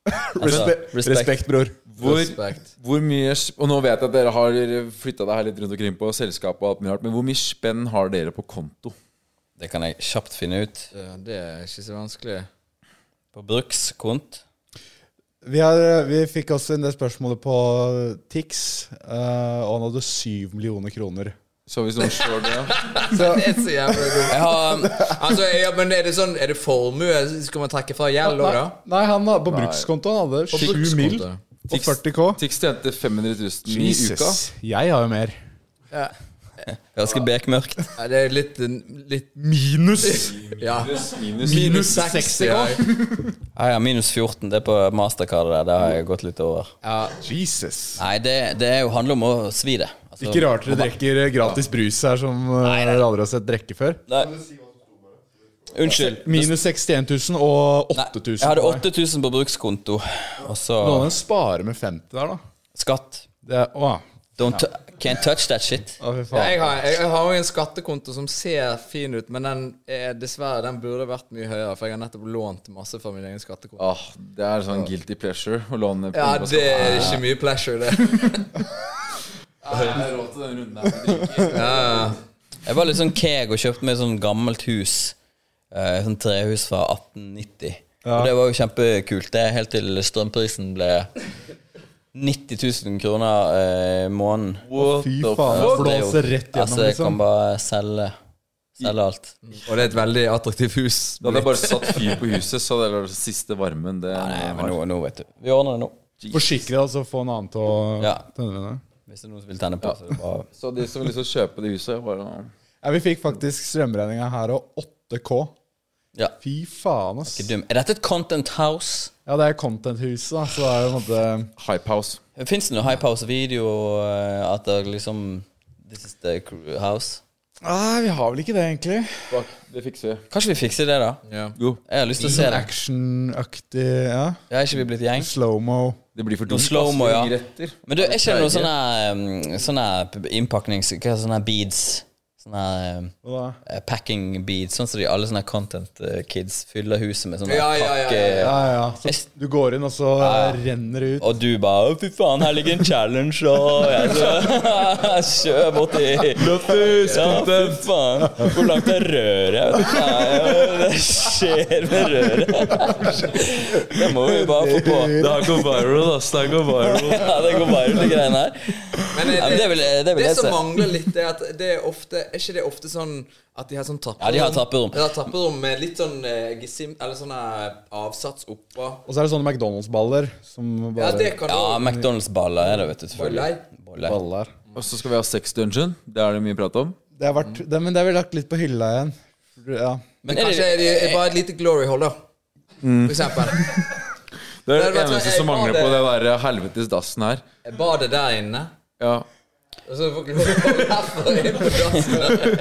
Speaker 5: altså,
Speaker 3: Respe
Speaker 5: respekt.
Speaker 3: respekt. bror.
Speaker 4: Hvor,
Speaker 6: Respekt.
Speaker 4: hvor mye sp- Og nå vet jeg at dere har flytta deg her litt rundt omkring på selskapet, og alt mye rart, men hvor mye spenn har dere på konto?
Speaker 5: det kan jeg kjapt finne ut.
Speaker 6: Ja, Det er ikke så vanskelig.
Speaker 5: På brukskont.
Speaker 3: Vi, har, vi fikk også inn det spørsmålet på Tix, eh, og han hadde syv millioner kroner.
Speaker 4: Så hvis noen slår det ja.
Speaker 6: Det er så jævlig dumt. altså, ja, men er det sånn Er det formue? Skal man trekke fra gjeld òg, da?
Speaker 3: Nei, han hadde, på brukskontoen han hadde sju mil
Speaker 6: brukskontoen.
Speaker 3: og 40K.
Speaker 4: Tix tjente 500 000 i uka.
Speaker 3: Jeg har jo mer.
Speaker 5: Ganske bekmørkt.
Speaker 6: Ja, det er litt, litt
Speaker 3: Minus!
Speaker 6: Ja.
Speaker 4: Minus
Speaker 6: Minus 60 år.
Speaker 5: Ja, ja, minus 14. Det er på mastercard. der. Det har jeg gått litt over.
Speaker 3: Jesus.
Speaker 5: Nei, det, det er jo handler om å svi det. Altså,
Speaker 3: Ikke rart dere drikker eh, gratis brus her, som eh, dere aldri har sett drikke før.
Speaker 5: Nei. Unnskyld.
Speaker 3: Minus 61 000 og 8000.
Speaker 5: Jeg hadde 8000 på brukskonto, og så
Speaker 3: Noen sparer med 50 der, da.
Speaker 5: skatt.
Speaker 3: Det er, å,
Speaker 5: Don't t can't touch that shit.
Speaker 3: å, fy
Speaker 6: Jeg
Speaker 3: faen.
Speaker 6: har, jeg har jo en skattekonto som ser fin ut, men den er dessverre Den burde vært mye høyere, for jeg har nettopp lånt masse fra min egen skattekonto.
Speaker 4: Ah, det er sånn guilty pleasure å låne
Speaker 6: Ja,
Speaker 4: penger på
Speaker 6: det
Speaker 4: skatten.
Speaker 6: er ikke mye pleasure, det.
Speaker 4: Nei, Jeg har råd til den runden her. med drikke.
Speaker 6: Ja.
Speaker 5: Jeg var litt sånn keeg og kjøpte meg et sånn gammelt hus. Eh, sånn trehus fra 1890. Og det var jo kjempekult. Det er helt til strømprisen ble 90 000 kroner eh, måneden.
Speaker 3: Fy
Speaker 4: What the
Speaker 3: faen.
Speaker 5: Ja, det er jo-
Speaker 3: Blåser rett
Speaker 5: Altså,
Speaker 3: gjennom,
Speaker 5: jeg kan
Speaker 3: liksom.
Speaker 5: bare selge Selge alt.
Speaker 6: Og det er et veldig attraktivt hus.
Speaker 4: Da hadde jeg bare satt fyr på huset, så det er den siste varmen det
Speaker 5: Nei, men nå, nå vet du. Vi ordner det nå.
Speaker 3: Forsikre deg, så få en annen til å
Speaker 5: Ja.
Speaker 3: tenne med det.
Speaker 5: Hvis det er noen som vil tenne på, så er det bare
Speaker 4: Så de som har lyst til å kjøpe det huset, bare sånn
Speaker 3: Ja, vi fikk faktisk strømregninga her og 8K.
Speaker 5: Ja.
Speaker 3: Fy faen, ass.
Speaker 5: Ikke dum. Er dette et content house?
Speaker 3: Ja, det er Contenthuset, da, så det er jo på en måte
Speaker 4: Hype House.
Speaker 5: Fins det noe high house video eh, at det liksom This is the crew house?
Speaker 3: Nei, vi har vel ikke det, egentlig.
Speaker 4: Fuck, Det fikser vi.
Speaker 5: Kanskje vi fikser det, da?
Speaker 6: Ja. Sånn
Speaker 4: Jo,
Speaker 5: Jeg har lyst til å se det.
Speaker 3: Sånn Actionaktig, ja.
Speaker 5: Jeg har ikke vi blitt gjeng.
Speaker 3: Slow-mo.
Speaker 4: det blir for
Speaker 5: Noe
Speaker 4: dumt.
Speaker 5: slow-mo, ja.
Speaker 4: Retter.
Speaker 5: Men du, er ikke det noe sånn her um, Sånn her innpaknings... Hva er sånn her beads? Sånn her um,
Speaker 3: Hva da?
Speaker 5: eh, packing beads, sånn som de alle sånne her content eh, kids fyller huset med sånne
Speaker 6: Ja,
Speaker 5: her
Speaker 6: ja, ja,
Speaker 5: pakke...
Speaker 6: ja,
Speaker 3: Ja, ja. Så du går inn, og så renner det ut.
Speaker 5: Og du bare «Å, 'Fy faen, her ligger en challenge', og jeg så Kjør borti Lottis, ja, fy faen. Hvor langt er røret? Jeg vet ikke. Nei, Det skjer med røret. Det må vi bare få på.
Speaker 4: Det her går viral, ass. Det her går viral.
Speaker 5: Ja, det går bare de greiene her.
Speaker 6: Men er
Speaker 5: Ja, men det vil, det vil
Speaker 6: Det
Speaker 5: jeg
Speaker 6: som
Speaker 5: se.
Speaker 6: mangler litt, det er at det er ofte Er ikke det ofte sånn at de har sånn trapperom?
Speaker 5: Ja, de har trapperom.
Speaker 6: De har trapperom med litt sånn eh, gesim... Eller sånn eh, avsats oppå.
Speaker 3: Og så er det sånne McDonald's-baller som
Speaker 6: Ja,
Speaker 3: bare
Speaker 6: det kan du
Speaker 5: Ja,
Speaker 6: ja,
Speaker 5: McDonald's-baller er det, vet du. selvfølgelig Boller.
Speaker 3: baller.
Speaker 4: Og så skal vi ha Sex Dungeon. Det er det mye prat om.
Speaker 3: Det har vært, det, men det har vi lagt litt på hylla igjen. Ja.
Speaker 5: Men er
Speaker 6: Kanskje
Speaker 5: det,
Speaker 6: er det er bare et lite glory hole, da. For eksempel.
Speaker 4: Det er
Speaker 6: Det
Speaker 4: det
Speaker 6: er-
Speaker 4: eneste som mangler på det der helvetes dassen her.
Speaker 6: Badet der inne.
Speaker 4: Ja.
Speaker 6: Og så får glory hole herfra inn på dassen.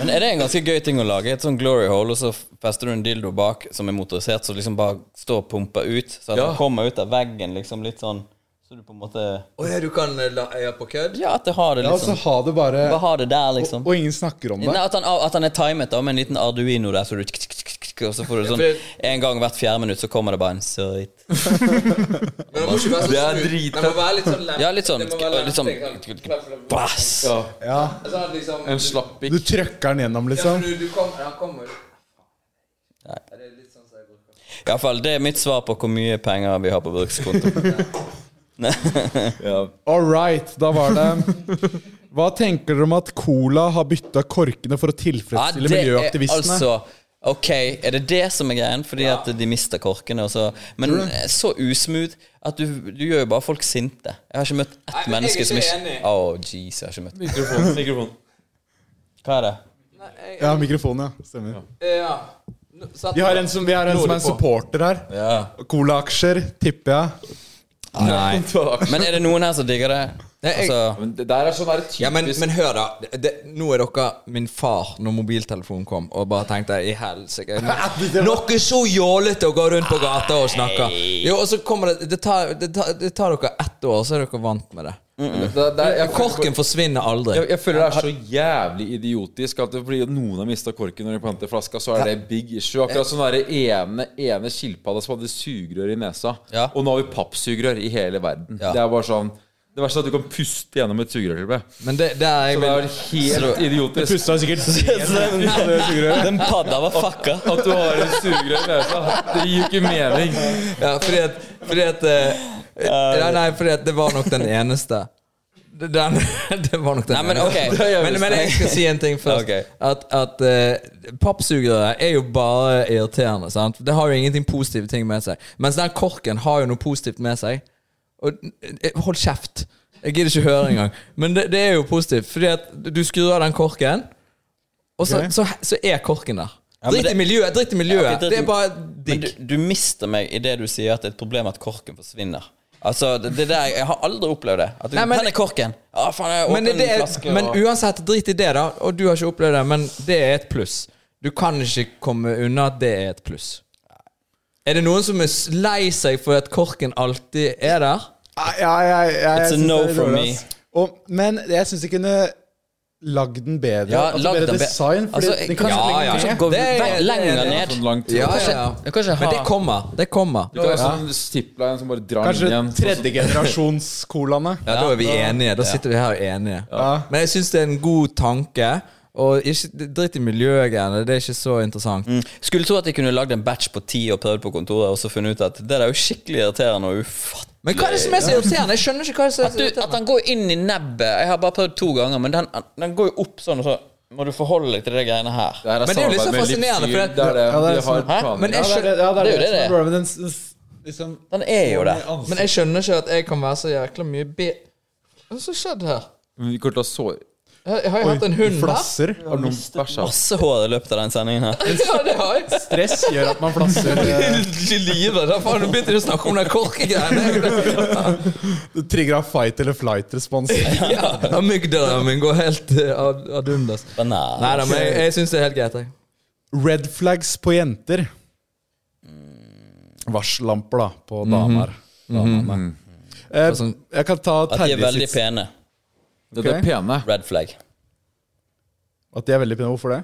Speaker 5: men er det en ganske gøy ting å lage? Et sånn glory hole, og så fester du en dildo bak som er motorisert, så liksom bare står og pumper ut. Så at
Speaker 4: Ja.
Speaker 5: den kommer ut av veggen, liksom litt sånn Så du på en måte
Speaker 6: Å ja, du kan eh, la øya på kødd?
Speaker 5: Ja, at det har det
Speaker 3: ja, og
Speaker 5: liksom
Speaker 3: så ha det bare
Speaker 5: Bare ha det der,
Speaker 3: og,
Speaker 5: liksom.
Speaker 3: og ingen snakker om
Speaker 5: Nei,
Speaker 3: det.
Speaker 5: at, han, at han er timet da med en liten Arduino der, så du musikk, og så får du sånn En gang hvert fjerde minutt så kommer det bare en sørit.
Speaker 6: Men det må ikke være så
Speaker 5: Det er
Speaker 6: smooth.
Speaker 5: dritfett.
Speaker 6: Det må være litt sånn lem-
Speaker 5: Ja, litt sånn-
Speaker 6: det må være lem-
Speaker 5: litt sånn- Bass!
Speaker 4: Ja,
Speaker 6: Sånn, liksom,
Speaker 4: en slappik.
Speaker 3: Du trøkker den gjennom,
Speaker 6: ja,
Speaker 3: liksom.
Speaker 6: du, du kom, han kommer Ja, det er litt sånn som jeg bruker.
Speaker 5: Iallfall, det er mitt svar på hvor mye penger vi har på brukskonto.
Speaker 3: All right, da var det Hva tenker dere om at Cola har bytta korkene for å
Speaker 5: Ja,
Speaker 3: tilfredsstille
Speaker 5: det er
Speaker 3: miljøaktivistene?
Speaker 5: altså Ok, er det det som er greien? Fordi at de mister korkene. Og så, men så usmooth at du, du gjør jo bare folk sinte. Jeg har ikke møtt ett
Speaker 6: Nei, men jeg er
Speaker 5: menneske som
Speaker 6: ikke
Speaker 5: ikke
Speaker 6: enig.
Speaker 5: Å, jeez, jeg har ikke møtt
Speaker 4: Mikrofon. mikrofon.
Speaker 5: Hva er det?
Speaker 3: Ja, mikrofonen, ja. Stemmer.
Speaker 6: Ja. Nå- sant.
Speaker 3: Vi har en som, vi har en, som er en supporter her. Cola-aksjer, tipper jeg.
Speaker 5: Nei. Men er det noen her som digger det? Altså,
Speaker 4: Men det der er sånn der typisk
Speaker 6: Ja, men, men hør, da. Det, det, nå er dere min far når mobiltelefonen kom, og bare tenkte i helsike no- Noe så jålete å gå rundt på gata og snakke. Jo, og så kommer det det tar, det, tar, det tar dere ett år, så er dere vant med det.
Speaker 4: Det- det er- jeg,
Speaker 6: Korken forsvinner aldri.
Speaker 4: jeg, jeg føler det er så jævlig idiotisk at det, fordi noen har mista korken når de planter flaska, så er det big issue. Akkurat som den der ene, ene skilpadda som hadde sugerør i nesa.
Speaker 5: Ja.
Speaker 4: Og nå har vi pappsugerør i hele verden.
Speaker 5: Ja.
Speaker 4: Det er bare sånn Det verste er at du kan puste gjennom et sugerørtilbud.
Speaker 6: Men det, det er jeg
Speaker 4: Det er
Speaker 6: vil
Speaker 4: jo helt idiotisk.
Speaker 3: Pusta sikkert
Speaker 5: den padda var fucka.
Speaker 4: At du har en sugerør i nesa, det gir jo ikke mening.
Speaker 6: Ja, fordi at, fordi at eh, Nei, nei, fordi at det var nok den eneste. Den, det var nok den
Speaker 5: Nei, men
Speaker 6: eneste.
Speaker 5: ok.
Speaker 6: men, men jeg skal si en ting først.
Speaker 5: Ok.
Speaker 6: At, at eh, pappsugere er jo bare irriterende. sant? Det har jo ingenting positive ting med seg. Mens den korken har jo noe positivt med seg. Og eh, Hold kjeft! Jeg gidder ikke høre engang. Men det, det er jo positivt, fordi at du skrur av den korken, og så, så, så er korken der.
Speaker 5: men
Speaker 6: Drit i
Speaker 5: det-
Speaker 6: miljøet! Drit i miljøet.
Speaker 5: Ja, ok, drit i-
Speaker 6: det er bare
Speaker 5: Men
Speaker 6: digg.
Speaker 5: du, du mister meg idet du sier at det er et problem at korken forsvinner. Altså, det, det der, Jeg har aldri opplevd det. At du,
Speaker 6: Nei, men-
Speaker 5: den er korken! Å, faen, jeg
Speaker 6: men, det,
Speaker 5: åpner
Speaker 6: det
Speaker 5: en
Speaker 6: er,
Speaker 5: flaske
Speaker 6: men
Speaker 5: og-
Speaker 6: uansett, drit i det, da. Og du har ikke opplevd det, men det er et pluss. Du kan ikke komme unna at det er et pluss. Er det noen som er s- lei seg for at korken alltid er der?
Speaker 3: Ja, ja, ja, ja, jeg
Speaker 5: It's a
Speaker 3: synes
Speaker 5: no
Speaker 3: det er
Speaker 5: from
Speaker 3: dårlig,
Speaker 5: me.
Speaker 3: ass. Og, men jeg syns de kunne lagd den bedre.
Speaker 5: Ja,
Speaker 3: altså
Speaker 5: lag
Speaker 3: bedre
Speaker 5: den be-
Speaker 3: design. Fordi
Speaker 5: Altså,
Speaker 3: den kan
Speaker 5: ja,
Speaker 3: ikke
Speaker 5: ja,
Speaker 3: legge
Speaker 5: ja.
Speaker 3: ned.
Speaker 5: Gå
Speaker 6: Det er-
Speaker 5: vei- lenger
Speaker 6: det er-
Speaker 5: ned.
Speaker 4: Sånn lang tid.
Speaker 6: Ja, ja.
Speaker 5: Du kan ikke
Speaker 6: Men
Speaker 5: ha-
Speaker 6: det kommer. Det kommer.
Speaker 4: Du kan ha sånn zipline som bare drar den
Speaker 3: Kanskje
Speaker 4: inn igjen.
Speaker 3: tredjegenerasjons-colaene.
Speaker 6: Ja, da er vi enige. Da sitter vi her og er enige. Men jeg syns det er en god tanke. Og ikke, drit i miljøgreiene. Det er ikke så interessant.
Speaker 5: Skulle tro at de kunne lagd en batch på ti og prøvd på kontoret, og så funnet ut at det der er jo skikkelig irriterende og ufattelig.
Speaker 6: Men hva er det som er så irriterende? Jeg skjønner ikke hva det er som er
Speaker 5: At,
Speaker 6: så
Speaker 5: du,
Speaker 6: irriterende.
Speaker 5: at han går inn i nebbet. Jeg har bare prøvd to ganger, men den, den går jo opp sånn, og så må du forholde deg til de greiene her.
Speaker 4: her
Speaker 6: Men det er jo litt
Speaker 4: samarbeid
Speaker 6: så
Speaker 4: med
Speaker 6: fascinerende,
Speaker 4: Livssyn.
Speaker 6: for det-
Speaker 4: det er
Speaker 3: Ja,
Speaker 4: det.
Speaker 3: det er
Speaker 4: de har
Speaker 3: sånn-
Speaker 6: Hæ?
Speaker 4: planer.
Speaker 6: Men jeg
Speaker 3: Ja, det
Speaker 6: skjønner
Speaker 3: er- ja, det er
Speaker 5: Det er
Speaker 3: det
Speaker 5: jo det det er.
Speaker 3: som er problemet. Den s- s- liksom
Speaker 5: Den er jo der.
Speaker 6: Men jeg skjønner ikke at jeg kan være så jækla mye be... Hva er det som skjedde her?
Speaker 4: Men Vi kommer til å såre
Speaker 6: Har har jeg hatt en hund her?
Speaker 3: Flasser.
Speaker 4: Har noen altså. bæsja?
Speaker 5: Masse hår i løpet av den sendingen her.
Speaker 6: Ja, det har jeg.
Speaker 3: Stress gjør at man flasser. eh,
Speaker 6: Livet, da faen, Nå begynte de å snakke om den korkegreiene.
Speaker 3: Det trigger av fight eller flight-respons.
Speaker 6: Ja, Amygdalaen min går helt eh, ad ad undas.
Speaker 5: Banan.
Speaker 6: Nei da, men jeg, jeg syns det er helt greit. Jeg.
Speaker 3: Red flags på jenter.
Speaker 5: Mm.
Speaker 3: Varsellamper, da, på
Speaker 5: Mhm.
Speaker 3: damer. Damene. Eh,
Speaker 6: Sånn-
Speaker 3: Jeg kan ta
Speaker 5: At de er
Speaker 3: Terje
Speaker 5: veldig
Speaker 3: sitt
Speaker 5: pene.
Speaker 4: Det er det pene.
Speaker 5: Red flag.
Speaker 3: At de er veldig pene. Hvorfor det?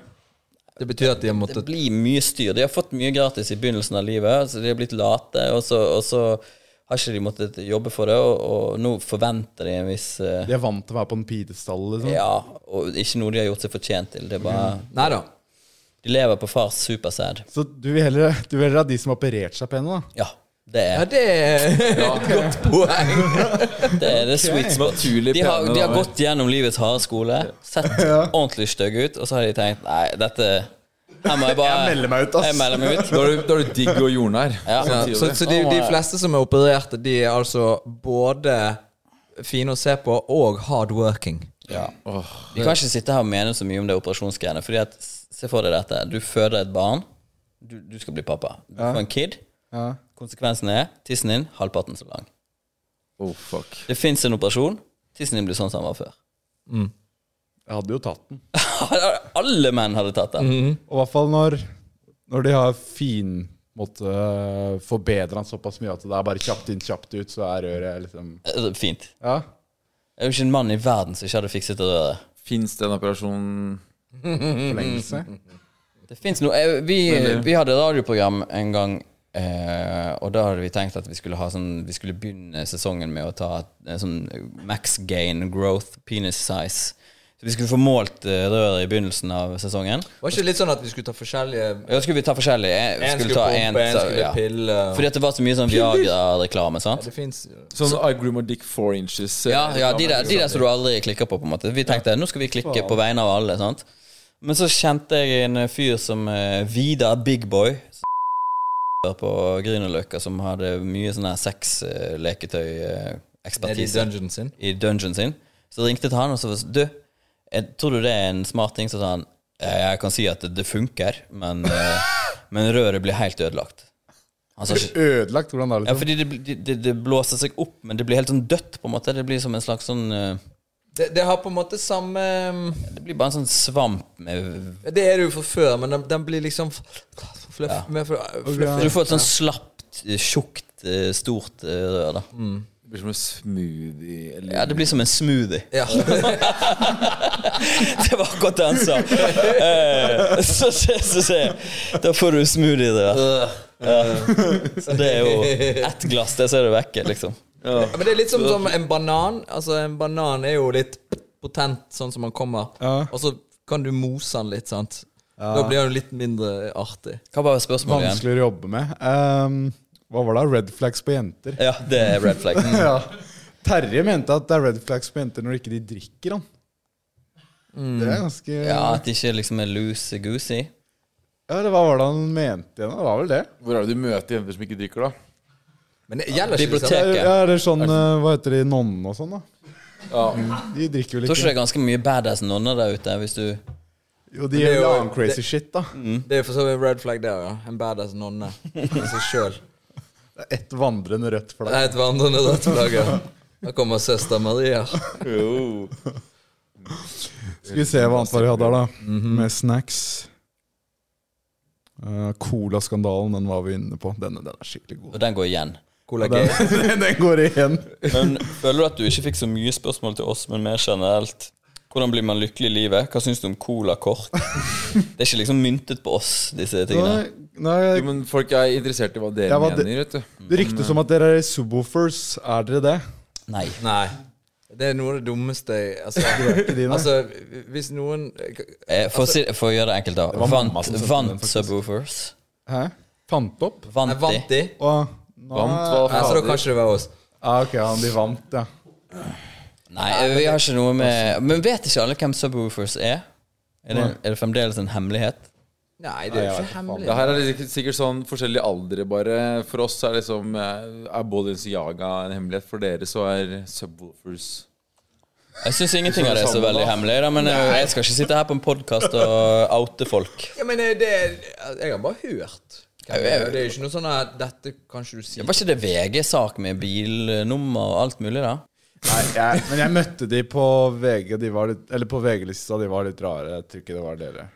Speaker 6: Det betyr at de har
Speaker 5: Det
Speaker 6: måttet
Speaker 5: blir mye styr. De har fått mye gratis i begynnelsen av livet, så de har blitt late, og så, og så har ikke de måttet jobbe for det, og, og nå forventer de en viss eh,
Speaker 3: De er vant til å være på en pidestall, liksom.
Speaker 5: Ja, og ikke noe de har gjort seg fortjent til. Det er bare
Speaker 6: Nei da.
Speaker 5: De lever på fars supersæd.
Speaker 3: Så du vil heller, du vil heller ha de som har operert seg pene, da?
Speaker 5: Ja. Det
Speaker 6: Ja,
Speaker 5: er
Speaker 6: det er et godt poeng.
Speaker 5: det, er det sweet spot.
Speaker 4: Naturlig
Speaker 5: De har,
Speaker 4: pene
Speaker 5: de har
Speaker 4: damer.
Speaker 5: gått gjennom livets harde skole, sett ordentlig stygge ut, og så har de tenkt Nei, dette Her må jeg bare
Speaker 3: Jeg melder meg ut, ass."
Speaker 5: Jeg melder meg ut.
Speaker 4: Da er du, da er du digg og jordnær.
Speaker 5: Ja.
Speaker 6: Ja,
Speaker 4: Samtidig.
Speaker 6: så så de, de fleste som er opererte, de er altså både fine å se på og hardworking.
Speaker 5: Vi kan ikke sitte her og mene så mye om det operasjonsgreiene. Fordi at, Se for deg dette. Du føder et barn. Du, du skal bli pappa. Du får en kid. Konsekvensen er tissen din halvparten så lang.
Speaker 4: Oh, fuck.
Speaker 5: Det fins en operasjon. Tissen din blir sånn som den var før.
Speaker 3: Jeg hadde jo tatt den.
Speaker 5: Alle menn hadde tatt den.
Speaker 4: Mhm.
Speaker 3: Og i hvert fall når, når de har fin måte forbedra den såpass mye at det er bare kjapt inn, kjapt ut, så er røret liksom
Speaker 5: Eh, Fint.
Speaker 3: Ja.
Speaker 5: Det er jo ikke en mann i verden som ikke hadde fikset det røret.
Speaker 3: Mm.
Speaker 4: Fins det en operasjon
Speaker 3: Forlengelse.
Speaker 5: Det finnes noe eh, vi, vi hadde et radioprogram en gang, eh, og da hadde vi tenkt at vi skulle, ha sånn, vi skulle begynne sesongen med å ta eh, sånn max gain growth penis size. Så vi skulle få målt eh, røret i begynnelsen av sesongen.
Speaker 6: Var ikke det litt sånn at vi skulle ta forskjellige
Speaker 5: Og da skulle vi ta forskjellig. Eh, Vi
Speaker 6: En skulle
Speaker 5: skulle ta
Speaker 6: pumpe,
Speaker 5: en,
Speaker 6: en skulle
Speaker 5: ja.
Speaker 6: pille, og-
Speaker 5: Fordi at det var så mye sånn Viagra-reklame, sant?
Speaker 6: Det fins
Speaker 4: Sånn I grew my dick four inches. eh,
Speaker 5: Ja, ja de, der, de der som du aldri klikker på, på en måte. Vi tenkte nå skal vi klikke på vegne av alle. sant? Men så kjente jeg en fyr som eh, Vidar Big Boy på Grünerløkka, som hadde mye sånn her
Speaker 6: nede i
Speaker 5: sexleketøyekspertise
Speaker 6: dungeonen sin.
Speaker 5: eh, i dungeon sin. Så ringte jeg til han og så var det sånn, Du, jeg, tror du det er en smart ting? Så sa han «Eh, jeg kan si at det- det funker, men, eh, men røret blir helt ødelagt. Han sa ikke
Speaker 3: Ødelagt, hvordan da?
Speaker 5: ja,
Speaker 3: Liksom?
Speaker 5: fordi det, bl- det, det blåser seg opp, men det blir helt sånn dødt, på en måte. Det blir som en slags sånn eh,
Speaker 6: Det, det har på en måte samme eh,
Speaker 5: Det blir bare en sånn svamp med
Speaker 6: Det er det jo fra før, men den, den blir liksom fluff, mer fluff,
Speaker 5: Så
Speaker 6: fluffy.
Speaker 5: du får et sånn slapt, eh, tjukt, eh, stort eh, rør, da.
Speaker 6: Mm.
Speaker 4: Det blir som en smoothie eller
Speaker 5: Ja, det blir som en smoothie.
Speaker 6: Ja.
Speaker 5: Det var akkurat det han sa. Eh, Så sier så, sier jeg Da får du smoothie,
Speaker 6: Øh.
Speaker 5: det. Ja. Så det er jo ett glass, det, så er det vekke, liksom.
Speaker 6: Ja, Men det er litt som, som en banan. Altså En banan er jo litt potent, sånn som man kommer. Og så kan du mose den litt, sant. Da blir den jo litt mindre artig.
Speaker 5: Hva var spørsmålet igjen?
Speaker 3: Vanskeligere å jobbe med. Ehm, hva var det? Red flags på jenter?
Speaker 5: Ja, det er red flag. Mm.
Speaker 3: Ja. Terje mente at det er red flags på jenter når ikke de drikker, han. Det er ganske
Speaker 5: Ja,
Speaker 3: Mm. ja.
Speaker 5: At det ikke liksom er loosey-goosey.
Speaker 3: Eller hva var det han mente igjen? Det var vel det?
Speaker 4: Hvor er det du møter jenter som ikke drikker, da?
Speaker 6: Men det gjelder ikke
Speaker 5: Bibliotek.
Speaker 3: Ja,
Speaker 5: Ikke.
Speaker 3: eller sånn eh, Hva heter de? Nonnene og sånn, da. De drikker vel
Speaker 5: Tror ikke
Speaker 3: ikke?
Speaker 5: det er ganske mye badass nonner der ute, hvis du
Speaker 3: Jo, de
Speaker 6: Det er
Speaker 3: gjør
Speaker 6: jo-
Speaker 3: annen crazy shit, da.
Speaker 6: Det er jo for så vidt en red flag der, ja. En badass nonne i seg sjøl.
Speaker 3: Det er ett vandrende rødt
Speaker 6: Det
Speaker 3: flagg.
Speaker 6: er et vandrende rødt flagg. ja. Da kommer søster Maria.
Speaker 3: Skal vi se hva annet var vi hadde her, da. Med snacks. Eh, Colaskandalen, den var vi inne på. Denne, den er skikkelig god.
Speaker 5: Og den går igjen.
Speaker 6: Cola G.
Speaker 3: Den, den går igjen.
Speaker 5: Men føler du at du ikke fikk så mye spørsmål til oss, men mer generelt? Hvordan blir man lykkelig i livet? Hva syns du om cola-kork? Det er ikke liksom myntet på oss, disse tingene.
Speaker 3: Nei, nei,
Speaker 4: Jo, men folk er interessert i hva dere
Speaker 3: Ja, hva de-
Speaker 4: mener, vet du.
Speaker 3: det ryktes om at dere er subwoofers. Er dere det?
Speaker 5: Nei.
Speaker 6: Nei. Det er noe av det dummeste jeg altså, altså, hvis noen
Speaker 5: Eh, For, å si, for å gjøre det enkelt, da. Vant, vant subwoofers?
Speaker 3: Hæ? Fant opp?
Speaker 6: Jeg
Speaker 5: Vant
Speaker 6: vant
Speaker 5: de?
Speaker 6: de,
Speaker 3: Og,
Speaker 4: Vant hva
Speaker 6: ja, så altså, da
Speaker 4: fader.
Speaker 6: kan ikke det være oss.
Speaker 3: ah, ok, han de vant, ja.
Speaker 5: Nei, eh, vi har ikke noe med Men vet ikke alle hvem subwoofers er? Er det, er det fremdeles en hemmelighet?
Speaker 6: Nei, det er jo ikke hemmelig.
Speaker 4: Det her er sikkert- sikkert sånn forskjellige aldre, bare. For oss er liksom eh, Er Balenciaga en hemmelighet? For dere så er Subwoolfers
Speaker 5: Jeg syns ingenting av det er så veldig hemmelig, da, men eh, jeg skal ikke sitte her på en podkast og oute folk.
Speaker 6: Ja, men eh, det Jeg har bare hørt. Det er jo ikke noe sånn at dette kan ikke du si.
Speaker 5: Eh, Var ikke det VG-sak med bilnummer og alt mulig, da?
Speaker 3: Nei, jeg, men jeg møtte de på VG, de var litt, eller på VG-lista. De var litt rare. Jeg tror ikke det var dere.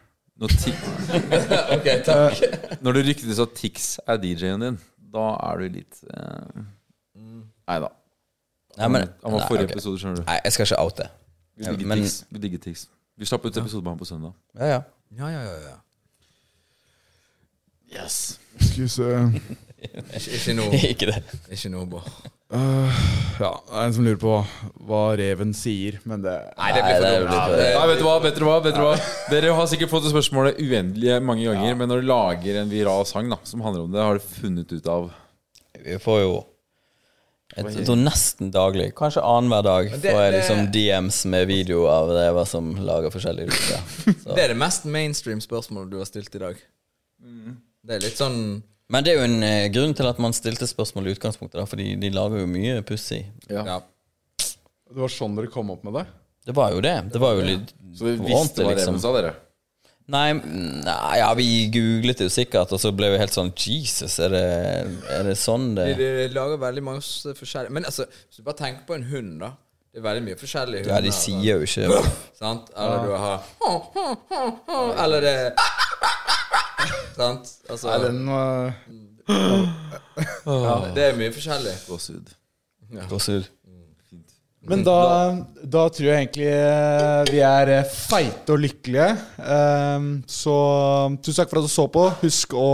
Speaker 4: Når, Tix-
Speaker 6: Ok, takk.
Speaker 4: Eh, når det ryktes at Tix er DJ-en din, da er du litt eh... Nei da.
Speaker 5: Nei, men,
Speaker 4: Han var
Speaker 5: nei,
Speaker 4: forrige
Speaker 5: ok.
Speaker 4: episode, skjønner du.
Speaker 5: Nei, jeg skal ikke oute.
Speaker 4: Vi digger
Speaker 5: men-
Speaker 4: Tix. Vi digger Tix. Vi slapp ut episode med ham på søndag.
Speaker 5: Ja, ja.
Speaker 6: Ja, ja, ja, ja.
Speaker 3: Skal vi se
Speaker 6: Ikke, ikke noe
Speaker 5: Ikke det.
Speaker 6: Ikke noe bra.
Speaker 3: Ja, det er en som lurer på hva reven sier, men det
Speaker 6: Nei, det blir
Speaker 5: Nei,
Speaker 6: for
Speaker 5: det blir
Speaker 6: dumt.
Speaker 5: for-
Speaker 6: Ja,
Speaker 4: Nei, vet du hva, vet du hva, vet du hva Dere har sikkert fått det spørsmålet uendelige mange ganger Men når du lager en viral sang da Som handler om det, har du funnet ut av
Speaker 5: Vi får jo jeg tror nesten daglig, kanskje annenhver dag,
Speaker 6: det-
Speaker 5: får jeg
Speaker 6: det-
Speaker 5: liksom DMs med video av rever som lager forskjellige lyder. Så.
Speaker 6: Det er det mest mainstream spørsmålet du har stilt i dag. Det er litt sånn
Speaker 5: Men det er jo en eh, grunn til at man stilte spørsmål i utgangspunktet, da, fordi de lager jo mye pussig.
Speaker 6: Ja.
Speaker 3: Det var sånn dere kom opp med det?
Speaker 5: Det var jo det. Det var jo litt
Speaker 4: Så vi
Speaker 5: ordentlig,
Speaker 4: visste hva Reven sa, dere
Speaker 5: Nei, nei, ja, vi googlet det jo sikkert, og så ble vi helt sånn Jesus, er det, er det sånn det
Speaker 6: De, de lager veldig mange s- forskjellige Men altså, hvis du bare tenker på en hund, da. Det er veldig mye forskjellige hunder.
Speaker 5: Ja, de sier jo ikke
Speaker 6: Sant? Eller du har Eller det Sant? Altså,
Speaker 3: Den uh, var
Speaker 6: det er mye forskjellig.
Speaker 4: Gåsehud
Speaker 5: Gåsehud.
Speaker 3: Men da, da tror jeg egentlig eh, vi er eh, feite og lykkelige. Ehm, Så tusen takk for at du så på. Husk å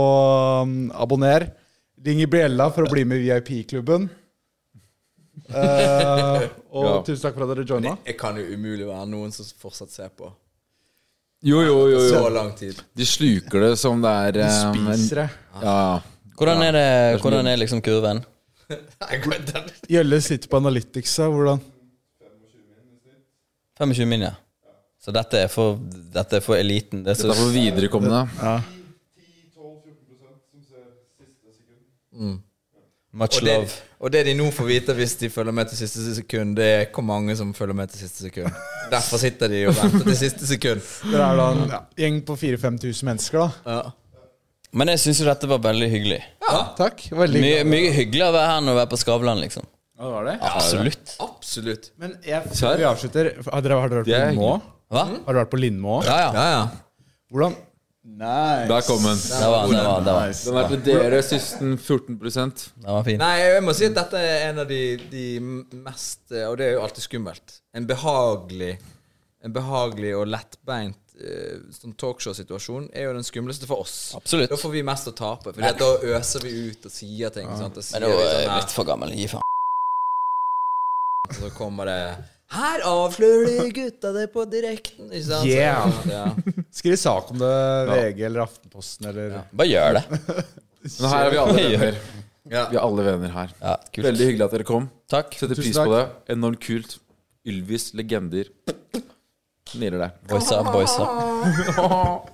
Speaker 3: mm, abonnere. Ring i bjella for å bli med i VIP-klubben. Eh, og
Speaker 4: Ja.
Speaker 3: tusen takk for at dere joina.
Speaker 6: Jeg kan jo umulig være noen som fortsatt ser på.
Speaker 4: Jo, jo, jo,
Speaker 6: Så
Speaker 4: jo.
Speaker 6: lang tid.
Speaker 4: De sluker det som det er De
Speaker 3: Spiser det.
Speaker 4: Ja,
Speaker 5: Hvordan er, det, hvordan er liksom kurven?
Speaker 3: Gjølle sitter på Analytics her. Hvordan?
Speaker 5: 25 min, ja. Så dette er for, dette er for eliten. Det er
Speaker 4: det
Speaker 5: så
Speaker 4: er for viderekomne.
Speaker 5: much
Speaker 6: Og det,
Speaker 5: love.
Speaker 6: og det de nå får vite hvis de følger med til siste sekund, det er hvor mange som følger med til siste sekund. Derfor sitter de og venter til siste sekund.
Speaker 3: Dere er da en ja,
Speaker 5: Mm.
Speaker 3: gjeng på 4000-5000 mennesker, da.
Speaker 6: Ja.
Speaker 5: Men jeg syns jo dette var veldig hyggelig.
Speaker 3: Takk. Veldig
Speaker 5: Mye, mye hyggeligere å være her enn å være på Skavlan, liksom.
Speaker 3: Ja, det var det.
Speaker 5: Absolutt.
Speaker 6: Absolutt.
Speaker 3: Men jeg, før vi avslutter Har dere, har dere vært på
Speaker 4: er
Speaker 3: Lindmo?
Speaker 5: Hva?
Speaker 3: Har dere vært på Lindmo?
Speaker 5: Ja, ja.
Speaker 6: Ja, ja.
Speaker 3: Hvordan? Nei
Speaker 4: Der kom den.
Speaker 5: Det var, det var, det var,
Speaker 4: Den er til dere, søsten 14
Speaker 5: det var fint.
Speaker 6: Nei, jeg må si at dette er en av de, de mest eh, Og det er jo alltid skummelt. En behagelig En behagelig og lettbeint eh, sånn talkshow-situasjon er jo den skumleste for oss.
Speaker 5: Absolutt.
Speaker 6: Da får vi mest å tape, for da øser vi ut og sier ting. Sant? Og sier
Speaker 5: Men nå eh,
Speaker 6: vi
Speaker 5: er jeg
Speaker 6: sånn her,
Speaker 5: blitt for gammel. Gi faen.
Speaker 6: Og så kommer det Her avslører de gutta det på direkten! Ikke sant? Så-
Speaker 3: Yeah.
Speaker 6: ja.
Speaker 3: Skriv sak om det VG eller Aftenposten eller
Speaker 5: Bare gjør det.
Speaker 4: Men her er vi alle venner.
Speaker 6: Ja.
Speaker 4: Vi er alle venner her.
Speaker 5: Ja, kult.
Speaker 4: Veldig hyggelig at dere kom.
Speaker 5: Takk.
Speaker 4: Setter pris på det. Enormt kult. Ylvis legender. Niler der.
Speaker 5: Boys up, boys up.